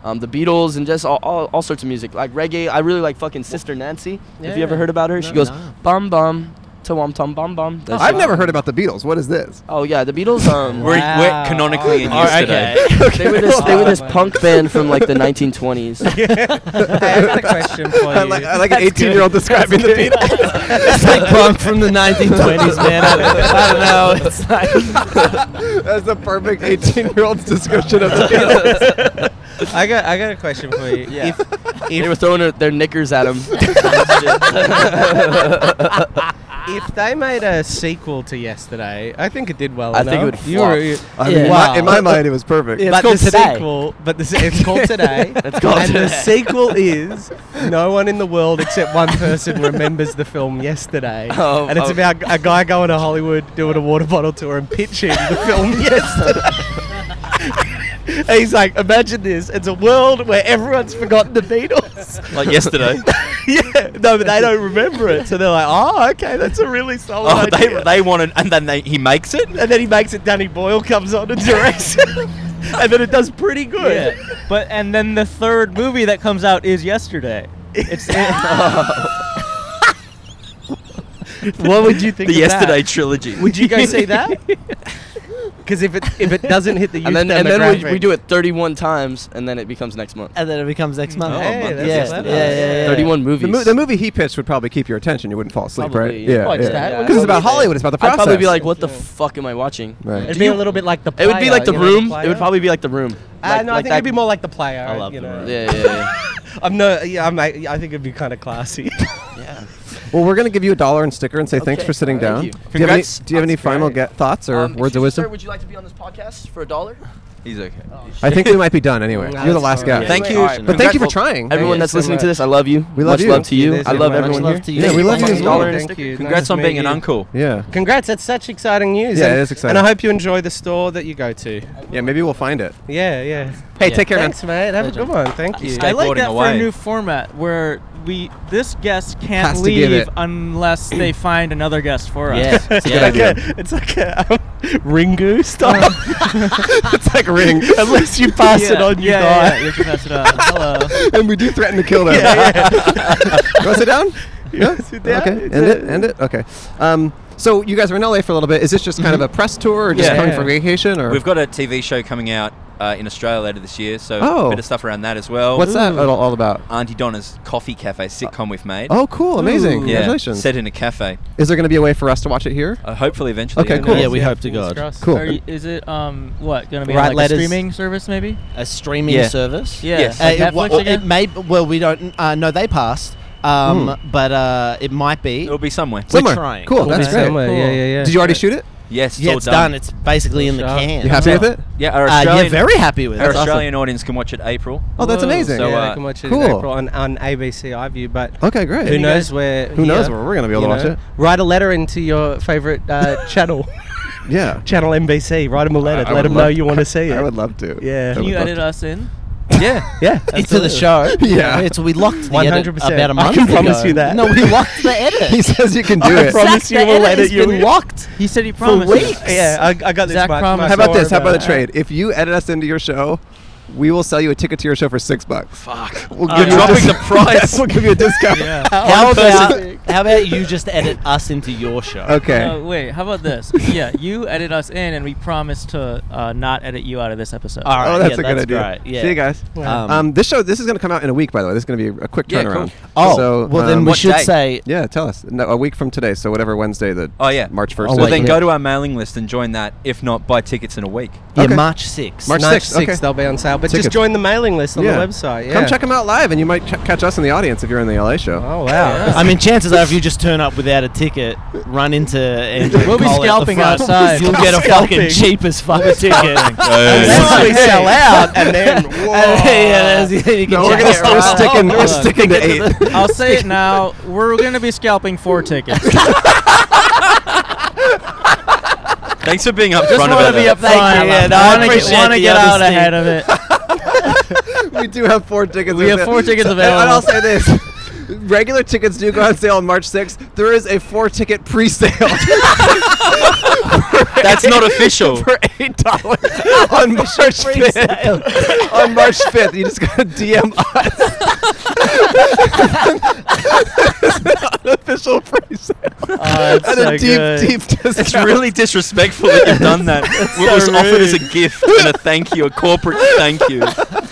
[SPEAKER 11] Um, the Beatles and just all, all, all sorts of music like reggae. I really like fucking Sister Nancy. If you ever
[SPEAKER 9] Yeah.
[SPEAKER 11] heard about her, she goes bum bum, tom tom bum bum. That's
[SPEAKER 1] I've
[SPEAKER 11] it.
[SPEAKER 1] never heard about the Beatles. What is this?
[SPEAKER 11] Oh yeah, the Beatles. Um,
[SPEAKER 7] we're, we're
[SPEAKER 9] Wow.
[SPEAKER 7] canonically in
[SPEAKER 13] Oh,
[SPEAKER 7] use today.
[SPEAKER 13] okay.
[SPEAKER 11] they were this they were this
[SPEAKER 9] Wow.
[SPEAKER 11] punk band from like the 1920s.
[SPEAKER 9] Hey, I got a question for you
[SPEAKER 1] I like, I like an 18 year old describing the Beatles.
[SPEAKER 13] It's like punk from the 1920s, man. I, I don't know. It's like,
[SPEAKER 1] That's the perfect 18 year old's description of the Beatles.
[SPEAKER 9] I got I got a question for you
[SPEAKER 11] Yeah.
[SPEAKER 9] if
[SPEAKER 11] they were throwing their, their knickers at him.
[SPEAKER 9] if they made a sequel to yesterday, I think it did well
[SPEAKER 11] I
[SPEAKER 9] enough.
[SPEAKER 11] think it would
[SPEAKER 9] You
[SPEAKER 11] flop.
[SPEAKER 9] were- you-
[SPEAKER 1] I mean,
[SPEAKER 9] Wow.
[SPEAKER 1] my- in my mind, it was perfect.
[SPEAKER 9] but
[SPEAKER 11] called
[SPEAKER 9] the
[SPEAKER 11] Today.
[SPEAKER 9] sequel, but the, se- it's called today.
[SPEAKER 11] It's called
[SPEAKER 9] and the
[SPEAKER 11] Today.
[SPEAKER 9] sequel is no one in the world except one person remembers the film yesterday,
[SPEAKER 11] Oh,
[SPEAKER 9] and it's
[SPEAKER 11] oh.
[SPEAKER 9] about a guy going to Hollywood doing a water bottle tour and pitching the film yesterday. And He's like, imagine this. It's a world where everyone's forgotten the Beatles.
[SPEAKER 7] Like yesterday.
[SPEAKER 9] yeah, no, but they don't remember it. So they're like, oh, okay, that's a really solid
[SPEAKER 7] oh,
[SPEAKER 9] idea.
[SPEAKER 7] they, they want it, and then they, he makes it.
[SPEAKER 9] and then he makes it. Danny Boyle comes on and directs it, and then it does pretty good.
[SPEAKER 10] Yeah. but and then the third movie that comes out is yesterday. It's
[SPEAKER 9] What would you think?
[SPEAKER 7] The
[SPEAKER 9] of
[SPEAKER 7] Yesterday
[SPEAKER 9] That?
[SPEAKER 7] trilogy.
[SPEAKER 9] Would you go see that? Because if it if it doesn't hit the youth
[SPEAKER 11] and then and
[SPEAKER 9] demographic,
[SPEAKER 11] then we, we do it 31 times, and then it becomes next month.
[SPEAKER 13] and then it becomes next month.
[SPEAKER 9] Hey,
[SPEAKER 13] yeah,
[SPEAKER 9] that's
[SPEAKER 13] yeah,
[SPEAKER 9] yesterday.
[SPEAKER 13] yeah, yeah, yeah.
[SPEAKER 11] 31 movies.
[SPEAKER 1] The, mo- the movie he pitched would probably keep your attention. You wouldn't fall asleep, right?
[SPEAKER 11] Probably, yeah.
[SPEAKER 1] Yeah,
[SPEAKER 9] Watch
[SPEAKER 1] yeah.
[SPEAKER 9] that. We'll
[SPEAKER 1] Because it's
[SPEAKER 9] go
[SPEAKER 1] about
[SPEAKER 9] see it.
[SPEAKER 1] Hollywood. It's about the process.
[SPEAKER 11] I'd probably be like, what the fuck am I watching?
[SPEAKER 1] Right.
[SPEAKER 9] It'd be a little bit like the.
[SPEAKER 11] It
[SPEAKER 9] Player,
[SPEAKER 11] would be like the
[SPEAKER 9] you know,
[SPEAKER 11] room.
[SPEAKER 9] Player?
[SPEAKER 11] It would probably be like the room.
[SPEAKER 9] Uh,
[SPEAKER 11] Like-
[SPEAKER 9] no, I
[SPEAKER 11] like
[SPEAKER 9] think
[SPEAKER 11] that-
[SPEAKER 9] it'd be more like the player. I
[SPEAKER 13] love
[SPEAKER 9] you
[SPEAKER 13] The
[SPEAKER 9] know.
[SPEAKER 13] Room.
[SPEAKER 11] Yeah, yeah, yeah.
[SPEAKER 9] I'm no. Yeah, I'm. like- I think it'd be kind of classy.
[SPEAKER 1] well, we're gonna give you a dollar and sticker and say thanks
[SPEAKER 11] Okay,
[SPEAKER 1] for sitting
[SPEAKER 11] thank
[SPEAKER 1] down.
[SPEAKER 11] you.
[SPEAKER 1] Do you have any,
[SPEAKER 7] Congrats.
[SPEAKER 1] do you have any
[SPEAKER 9] That's
[SPEAKER 1] final
[SPEAKER 9] great.
[SPEAKER 1] ge- thoughts or words
[SPEAKER 11] Um,
[SPEAKER 1] of
[SPEAKER 11] excuse me,
[SPEAKER 1] wisdom?
[SPEAKER 11] Sir, would you like to be on this podcast for a dollar?
[SPEAKER 7] He's okay.
[SPEAKER 1] I think we might be done anyway. You're the last guy.
[SPEAKER 7] Thank you.
[SPEAKER 1] but thank you for trying.
[SPEAKER 11] Everyone that's listening to this, I love you.
[SPEAKER 1] We love
[SPEAKER 11] much
[SPEAKER 1] you.
[SPEAKER 11] love to you. I love everyone here.
[SPEAKER 1] Yeah, we love you as well.
[SPEAKER 7] Thank you. Congrats on being an uncle.
[SPEAKER 1] Yeah.
[SPEAKER 9] Congrats, that's such exciting news.
[SPEAKER 1] Yeah,
[SPEAKER 9] and,
[SPEAKER 1] it is exciting.
[SPEAKER 9] And I hope you enjoy the store that you go to.
[SPEAKER 1] Yeah, maybe we'll find it.
[SPEAKER 9] Yeah, yeah.
[SPEAKER 1] Hey, take care, man.
[SPEAKER 9] Thanks, mate. Have a good one. Thank you.
[SPEAKER 8] I like that for a new format where we this guest can't
[SPEAKER 9] Has to give
[SPEAKER 8] leave
[SPEAKER 9] it.
[SPEAKER 8] unless they find another guest for us.
[SPEAKER 9] Yeah, it's a good idea. It's like a um, Ringu style. it's like Ring. Unless you pass it
[SPEAKER 8] Yeah,
[SPEAKER 9] on, you
[SPEAKER 8] yeah, yeah,
[SPEAKER 9] die.
[SPEAKER 8] yeah, you have to pass it on. Hello.
[SPEAKER 1] and we do threaten to kill them.
[SPEAKER 9] Yeah,
[SPEAKER 1] you want to sit down?
[SPEAKER 9] Yeah, sit down.
[SPEAKER 1] Okay,
[SPEAKER 9] It's
[SPEAKER 1] end
[SPEAKER 9] a-
[SPEAKER 1] it, end it. Okay. Um, so you guys were in LA for a little bit. Is this just kind of a press tour, or just
[SPEAKER 7] Yeah.
[SPEAKER 1] coming for vacation, or
[SPEAKER 7] We've got a TV show coming out uh, in Australia later this year, so
[SPEAKER 1] Oh.
[SPEAKER 7] a bit of stuff around that as well.
[SPEAKER 1] what's that all, all about?
[SPEAKER 7] Auntie Donna's Coffee Cafe sitcom we've made.
[SPEAKER 1] Oh, cool, amazing!
[SPEAKER 7] Yeah,
[SPEAKER 1] Congratulations.
[SPEAKER 7] Set in a cafe.
[SPEAKER 1] Is there going to be a way for us to watch it here?
[SPEAKER 7] Uh, hopefully, eventually.
[SPEAKER 1] Okay,
[SPEAKER 7] yeah.
[SPEAKER 1] cool.
[SPEAKER 7] Yeah, we hope
[SPEAKER 9] to God.
[SPEAKER 1] Cool.
[SPEAKER 8] Are you, is it um what gonna be
[SPEAKER 9] Write
[SPEAKER 8] on, like a
[SPEAKER 9] letters.
[SPEAKER 8] streaming service maybe?
[SPEAKER 9] A streaming
[SPEAKER 8] Yeah.
[SPEAKER 9] service.
[SPEAKER 8] Yeah. Yes.
[SPEAKER 9] Uh,
[SPEAKER 8] Like
[SPEAKER 9] it,
[SPEAKER 8] Netflix
[SPEAKER 9] well,
[SPEAKER 8] again?
[SPEAKER 9] it may. Well, we don't. Uh, no, they passed. Um, But uh, it might be.
[SPEAKER 7] It'll be somewhere.
[SPEAKER 9] We're
[SPEAKER 1] Somewhere.
[SPEAKER 9] trying.
[SPEAKER 1] Cool, that's great.
[SPEAKER 9] somewhere,
[SPEAKER 1] Cool. Did you already shoot it?
[SPEAKER 7] Yes, it's
[SPEAKER 9] yeah,
[SPEAKER 7] all
[SPEAKER 9] it's
[SPEAKER 7] done.
[SPEAKER 9] done. It's basically in the can.
[SPEAKER 1] You happy with it?
[SPEAKER 7] Yeah, our
[SPEAKER 9] Uh, yeah,
[SPEAKER 7] Australian,
[SPEAKER 9] very happy with it.
[SPEAKER 7] Our
[SPEAKER 9] That's awesome.
[SPEAKER 7] Australian audience can watch it April.
[SPEAKER 1] Oh, that's amazing.
[SPEAKER 7] So,
[SPEAKER 1] Yeah,
[SPEAKER 7] uh,
[SPEAKER 1] they
[SPEAKER 9] can watch
[SPEAKER 1] it in Cool. April
[SPEAKER 9] on, on ABC iView, but
[SPEAKER 1] Okay, great.
[SPEAKER 9] who
[SPEAKER 1] And you
[SPEAKER 9] knows
[SPEAKER 1] guys-
[SPEAKER 9] where?
[SPEAKER 1] Oh, who knows
[SPEAKER 9] yeah,
[SPEAKER 1] where we're gonna be able
[SPEAKER 9] you
[SPEAKER 1] to watch
[SPEAKER 9] know.
[SPEAKER 1] it.
[SPEAKER 9] Write a letter into your favorite uh, channel.
[SPEAKER 1] Yeah.
[SPEAKER 9] Channel NBC. Write them a letter.
[SPEAKER 1] I
[SPEAKER 9] Let
[SPEAKER 1] would
[SPEAKER 9] them know
[SPEAKER 1] love-
[SPEAKER 9] you want to see it.
[SPEAKER 1] I would love to.
[SPEAKER 9] Yeah.
[SPEAKER 8] Can you edit us in?
[SPEAKER 7] Yeah.
[SPEAKER 9] Yeah.
[SPEAKER 6] Into the show.
[SPEAKER 1] Yeah.
[SPEAKER 6] It's we locked the
[SPEAKER 9] One
[SPEAKER 6] edit
[SPEAKER 9] hundred percent.
[SPEAKER 6] about a month
[SPEAKER 9] I can promise
[SPEAKER 6] ago.
[SPEAKER 9] you that.
[SPEAKER 6] No, we locked the edit.
[SPEAKER 1] he says you can do
[SPEAKER 9] I
[SPEAKER 1] it.
[SPEAKER 9] promise
[SPEAKER 6] Zach,
[SPEAKER 9] you
[SPEAKER 6] the
[SPEAKER 9] we'll edit
[SPEAKER 6] edit has
[SPEAKER 9] you.
[SPEAKER 6] been
[SPEAKER 9] locked.
[SPEAKER 8] He said he
[SPEAKER 9] For
[SPEAKER 8] promised.
[SPEAKER 9] weeks. Yeah, I, I got this.
[SPEAKER 8] Zach
[SPEAKER 9] much-
[SPEAKER 8] promised.
[SPEAKER 9] much
[SPEAKER 1] How about
[SPEAKER 9] more
[SPEAKER 1] this? How about a
[SPEAKER 9] it.
[SPEAKER 1] trade? If you edit us into your show, we will sell you a ticket to your show for six bucks.
[SPEAKER 7] Fuck.
[SPEAKER 1] We'll
[SPEAKER 7] I'm
[SPEAKER 1] give you a
[SPEAKER 7] dropping
[SPEAKER 1] dis-
[SPEAKER 7] the price.
[SPEAKER 1] we'll give you a discount.
[SPEAKER 6] How about how about you just edit us into your show?
[SPEAKER 1] Okay.
[SPEAKER 8] No, wait, how about this? yeah, you edit us in and we promise to uh, not edit you out of this episode.
[SPEAKER 6] All right.
[SPEAKER 1] oh, that's
[SPEAKER 6] yeah,
[SPEAKER 1] a good
[SPEAKER 6] that's
[SPEAKER 1] idea.
[SPEAKER 6] great, yeah.
[SPEAKER 1] See you guys. Um,
[SPEAKER 6] Um,
[SPEAKER 1] this show, this is going to come out in a week, by the way. This is going to be a quick
[SPEAKER 7] Yeah,
[SPEAKER 1] turnaround.
[SPEAKER 7] cool.
[SPEAKER 6] Oh, well, then we
[SPEAKER 7] what
[SPEAKER 6] should
[SPEAKER 7] day?
[SPEAKER 6] say
[SPEAKER 1] um, Yeah, tell us. No, a week from today, so whatever Wednesday, the
[SPEAKER 7] Oh yeah,
[SPEAKER 1] March 1st.
[SPEAKER 6] Oh,
[SPEAKER 1] is.
[SPEAKER 7] well,
[SPEAKER 6] wait,
[SPEAKER 7] then
[SPEAKER 6] yeah.
[SPEAKER 7] go to our mailing list and join that. If not, buy tickets in a week.
[SPEAKER 6] yeah,
[SPEAKER 1] Okay.
[SPEAKER 6] March 6th.
[SPEAKER 1] March
[SPEAKER 9] March
[SPEAKER 1] 6th,
[SPEAKER 9] sixth,
[SPEAKER 1] okay.
[SPEAKER 9] they'll be on sale. But
[SPEAKER 1] Tickets.
[SPEAKER 9] just join the mailing list on
[SPEAKER 1] Yeah.
[SPEAKER 9] the website. Yeah.
[SPEAKER 1] Come check them out live, and you might ch- catch us in the audience if you're in the LA show.
[SPEAKER 9] Oh wow.
[SPEAKER 6] I mean, chances are, if you just turn up without a ticket, run into Andrew
[SPEAKER 8] We'll be
[SPEAKER 6] Cole at the
[SPEAKER 8] scalping
[SPEAKER 6] front,
[SPEAKER 8] outside.
[SPEAKER 6] You'll get a
[SPEAKER 9] Scalping.
[SPEAKER 6] fucking cheap as fuck ticket.
[SPEAKER 9] Once we sell out, and then
[SPEAKER 6] yeah, that's- you can
[SPEAKER 1] No, we're
[SPEAKER 6] check
[SPEAKER 1] gonna
[SPEAKER 6] it
[SPEAKER 1] we're
[SPEAKER 6] right
[SPEAKER 1] sticking.
[SPEAKER 6] out.
[SPEAKER 1] We're sticking to eight.
[SPEAKER 8] I'll say it now. We're going to be scalping four tickets.
[SPEAKER 7] Thanks for being up
[SPEAKER 8] Just
[SPEAKER 7] front about
[SPEAKER 8] want to be
[SPEAKER 7] that.
[SPEAKER 8] up front.
[SPEAKER 6] yeah, no, I
[SPEAKER 8] I want to
[SPEAKER 6] appreciate
[SPEAKER 8] get, wanna
[SPEAKER 6] the
[SPEAKER 8] get out
[SPEAKER 6] honesty.
[SPEAKER 8] ahead of it.
[SPEAKER 1] we do have four tickets.
[SPEAKER 8] We have
[SPEAKER 1] avail-
[SPEAKER 8] four tickets
[SPEAKER 1] And- And I'll
[SPEAKER 8] available.
[SPEAKER 1] say this: regular tickets do go on sale on March 6th. There is a four-ticket pre-sale
[SPEAKER 7] That's not official.
[SPEAKER 1] for eight dollars on March 5th. on March 5th, you just gotta DM us. Unofficial pre-sale
[SPEAKER 6] Uh,
[SPEAKER 8] Oh, it's
[SPEAKER 1] at
[SPEAKER 8] so
[SPEAKER 1] a deep,
[SPEAKER 8] good.
[SPEAKER 1] deep discount.
[SPEAKER 7] It's really disrespectful that you've done that. What was offered as a gift and a thank you, a corporate thank you,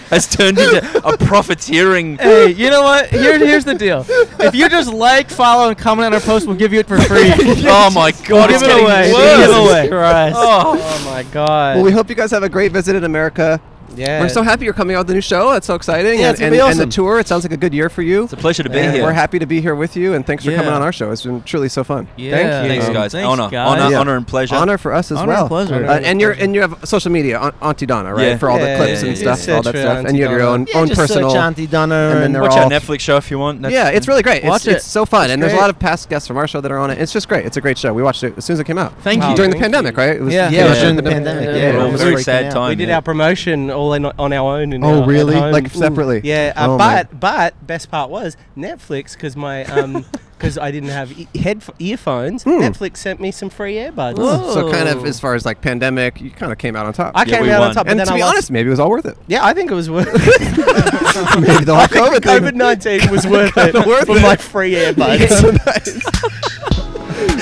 [SPEAKER 7] has turned into a profiteering.
[SPEAKER 8] Hey, you know what? Here, here's the deal. If you just like, follow, and comment on our post, we'll give you it for free.
[SPEAKER 7] oh my
[SPEAKER 8] We'll
[SPEAKER 7] god!
[SPEAKER 8] give
[SPEAKER 7] it's
[SPEAKER 8] it
[SPEAKER 7] getting
[SPEAKER 8] away.
[SPEAKER 7] worse.
[SPEAKER 8] Give it away.
[SPEAKER 9] Oh my god.
[SPEAKER 1] Well, we hope you guys have a great visit in America.
[SPEAKER 9] yeah.
[SPEAKER 1] We're so happy you're coming out with the new show. That's so exciting.
[SPEAKER 9] Yeah,
[SPEAKER 1] and,
[SPEAKER 9] it's gonna
[SPEAKER 1] and,
[SPEAKER 9] be
[SPEAKER 1] and
[SPEAKER 9] awesome.
[SPEAKER 1] the tour. It sounds like a good year for you.
[SPEAKER 7] It's a pleasure to be
[SPEAKER 1] and
[SPEAKER 7] here.
[SPEAKER 1] we're happy to be here with you. And thanks for
[SPEAKER 7] Yeah.
[SPEAKER 1] coming on our show. It's been truly so fun.
[SPEAKER 8] Yeah.
[SPEAKER 7] Thanks,
[SPEAKER 8] Um,
[SPEAKER 7] guys.
[SPEAKER 8] thanks,
[SPEAKER 7] honor,
[SPEAKER 8] guys.
[SPEAKER 7] honor,
[SPEAKER 1] Yeah.
[SPEAKER 7] honor, and pleasure.
[SPEAKER 1] Honor for us as
[SPEAKER 8] Honor and
[SPEAKER 1] well.
[SPEAKER 8] pleasure.
[SPEAKER 1] Uh, and you're and you have social media, Aunt- Auntie Donna, right?
[SPEAKER 7] Yeah.
[SPEAKER 1] For all
[SPEAKER 9] Yeah,
[SPEAKER 1] the clips
[SPEAKER 7] yeah,
[SPEAKER 1] and
[SPEAKER 7] yeah.
[SPEAKER 1] stuff, all that
[SPEAKER 9] Search for
[SPEAKER 1] stuff. And you have your
[SPEAKER 9] Auntie
[SPEAKER 1] own
[SPEAKER 9] Donna.
[SPEAKER 1] own
[SPEAKER 6] just
[SPEAKER 1] personal.
[SPEAKER 6] search Auntie Donna
[SPEAKER 1] and then
[SPEAKER 6] and,
[SPEAKER 1] they're
[SPEAKER 7] Watch
[SPEAKER 1] all
[SPEAKER 7] our Netflix show if you want. That's
[SPEAKER 1] yeah, it's really great.
[SPEAKER 8] Watch
[SPEAKER 1] it's, it's
[SPEAKER 8] it.
[SPEAKER 1] so fun, and there's a
[SPEAKER 9] great.
[SPEAKER 1] lot of past guests from our show that are on it. It's just great. It's a great show. We watched it as soon as it came out.
[SPEAKER 7] Thank you.
[SPEAKER 1] during the
[SPEAKER 9] Thank
[SPEAKER 1] pandemic, right? It was,
[SPEAKER 9] Yeah.
[SPEAKER 1] it
[SPEAKER 9] Yeah, it
[SPEAKER 1] came
[SPEAKER 9] was
[SPEAKER 1] out
[SPEAKER 9] during
[SPEAKER 6] the pandemic,
[SPEAKER 1] Yeah,
[SPEAKER 6] yeah.
[SPEAKER 1] it
[SPEAKER 7] We're all
[SPEAKER 1] was
[SPEAKER 7] very
[SPEAKER 1] freaking
[SPEAKER 7] sad
[SPEAKER 6] out.
[SPEAKER 7] time.
[SPEAKER 9] we did
[SPEAKER 7] yeah.
[SPEAKER 9] our promotion all in, on our own. In
[SPEAKER 1] Oh,
[SPEAKER 9] our, at
[SPEAKER 1] really?
[SPEAKER 9] home.
[SPEAKER 1] Like, separately?
[SPEAKER 9] Yeah. Uh,
[SPEAKER 1] Oh, man.
[SPEAKER 9] but but best part was Netflix because my um because I didn't have e- head earphones.
[SPEAKER 1] Hmm.
[SPEAKER 9] Netflix sent me some free earbuds.
[SPEAKER 1] So kind of as far as like pandemic, you kind of came out on top.
[SPEAKER 9] I
[SPEAKER 7] Yeah,
[SPEAKER 9] came
[SPEAKER 7] we
[SPEAKER 9] out
[SPEAKER 7] won.
[SPEAKER 9] on top,
[SPEAKER 1] and
[SPEAKER 9] but then
[SPEAKER 1] to
[SPEAKER 9] I
[SPEAKER 1] be
[SPEAKER 9] lost.
[SPEAKER 1] honest, maybe it was all worth it.
[SPEAKER 9] yeah, I think it was worth.
[SPEAKER 1] maybe the whole COVID,
[SPEAKER 9] COVID nineteen was worth it
[SPEAKER 1] Kinda worth
[SPEAKER 9] for
[SPEAKER 1] it.
[SPEAKER 9] my free earbuds.
[SPEAKER 1] That's so nice.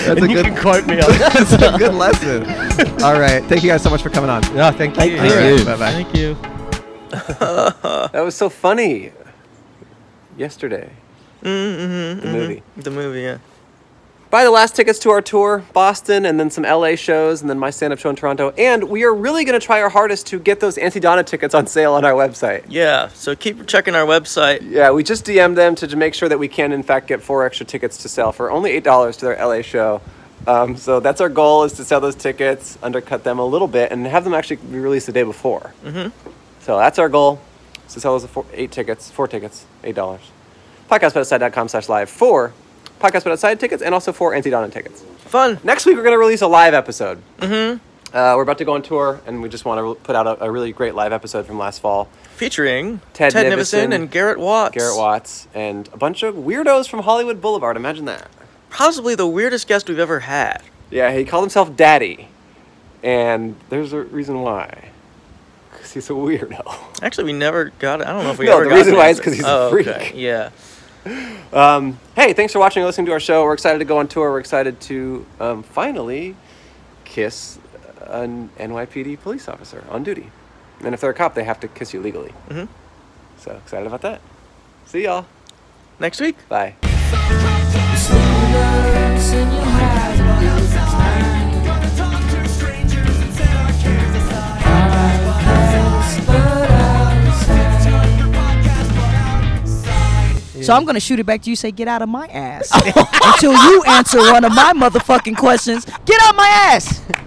[SPEAKER 1] That's a
[SPEAKER 9] and you
[SPEAKER 1] good,
[SPEAKER 9] can quote me on. it.
[SPEAKER 1] that's a good lesson. All right, thank you guys so much for coming on.
[SPEAKER 9] no, thank you.
[SPEAKER 1] All right, Bye-bye.
[SPEAKER 8] Thank you.
[SPEAKER 14] That was so funny. Yesterday,
[SPEAKER 2] Mm-hmm,
[SPEAKER 14] the movie.
[SPEAKER 2] The movie, yeah.
[SPEAKER 14] Buy the last tickets to our tour, Boston, and then some LA shows, and then my stand up show in Toronto. And we are really going to try our hardest to get those Auntie Donna tickets on sale on our website.
[SPEAKER 2] Yeah, so keep checking our website.
[SPEAKER 14] Yeah, we just DM'd them to j- make sure that we can, in fact, get four extra tickets to sell for only $8 to their LA show.
[SPEAKER 1] Um, so that's our goal is to sell those tickets, undercut them a little bit, and have them actually be released the day before.
[SPEAKER 2] Mm-hmm.
[SPEAKER 1] So that's our goal. is to sell us four, eight tickets, four tickets, eight dollars. Podcastbutoutside.com slash live for Podcast But Outside tickets and also for Anti Donna tickets.
[SPEAKER 2] Fun.
[SPEAKER 1] Next week we're going to release a live episode.
[SPEAKER 2] Mm-hmm.
[SPEAKER 1] Uh, we're about to go on tour and we just want to put out a, a really great live episode from last fall.
[SPEAKER 2] Featuring
[SPEAKER 1] Ted,
[SPEAKER 2] Ted Nivison and Garrett Watts.
[SPEAKER 1] Garrett Watts and a bunch of weirdos from Hollywood Boulevard. Imagine that.
[SPEAKER 2] Possibly the weirdest guest we've ever had.
[SPEAKER 1] Yeah, he called himself Daddy. And there's a reason why. Because he's a weirdo.
[SPEAKER 2] Actually, we never got it. I don't know if we
[SPEAKER 1] No,
[SPEAKER 2] ever
[SPEAKER 1] the
[SPEAKER 2] got
[SPEAKER 1] reason
[SPEAKER 2] the
[SPEAKER 1] why is
[SPEAKER 2] answer.
[SPEAKER 1] 'cause he's a
[SPEAKER 2] oh,
[SPEAKER 1] freak.
[SPEAKER 2] okay, Yeah.
[SPEAKER 1] Um, hey, thanks for watching and listening to our show. We're excited to go on tour. We're excited to um, finally kiss an NYPD police officer on duty. And if they're a cop, they have to kiss you legally.
[SPEAKER 2] Mhm.
[SPEAKER 1] So excited about that. See y'all
[SPEAKER 2] next week.
[SPEAKER 1] Bye.
[SPEAKER 8] So I'm gonna shoot it back to you. Say, get out of my ass until you answer one of my motherfucking questions. Get out my ass.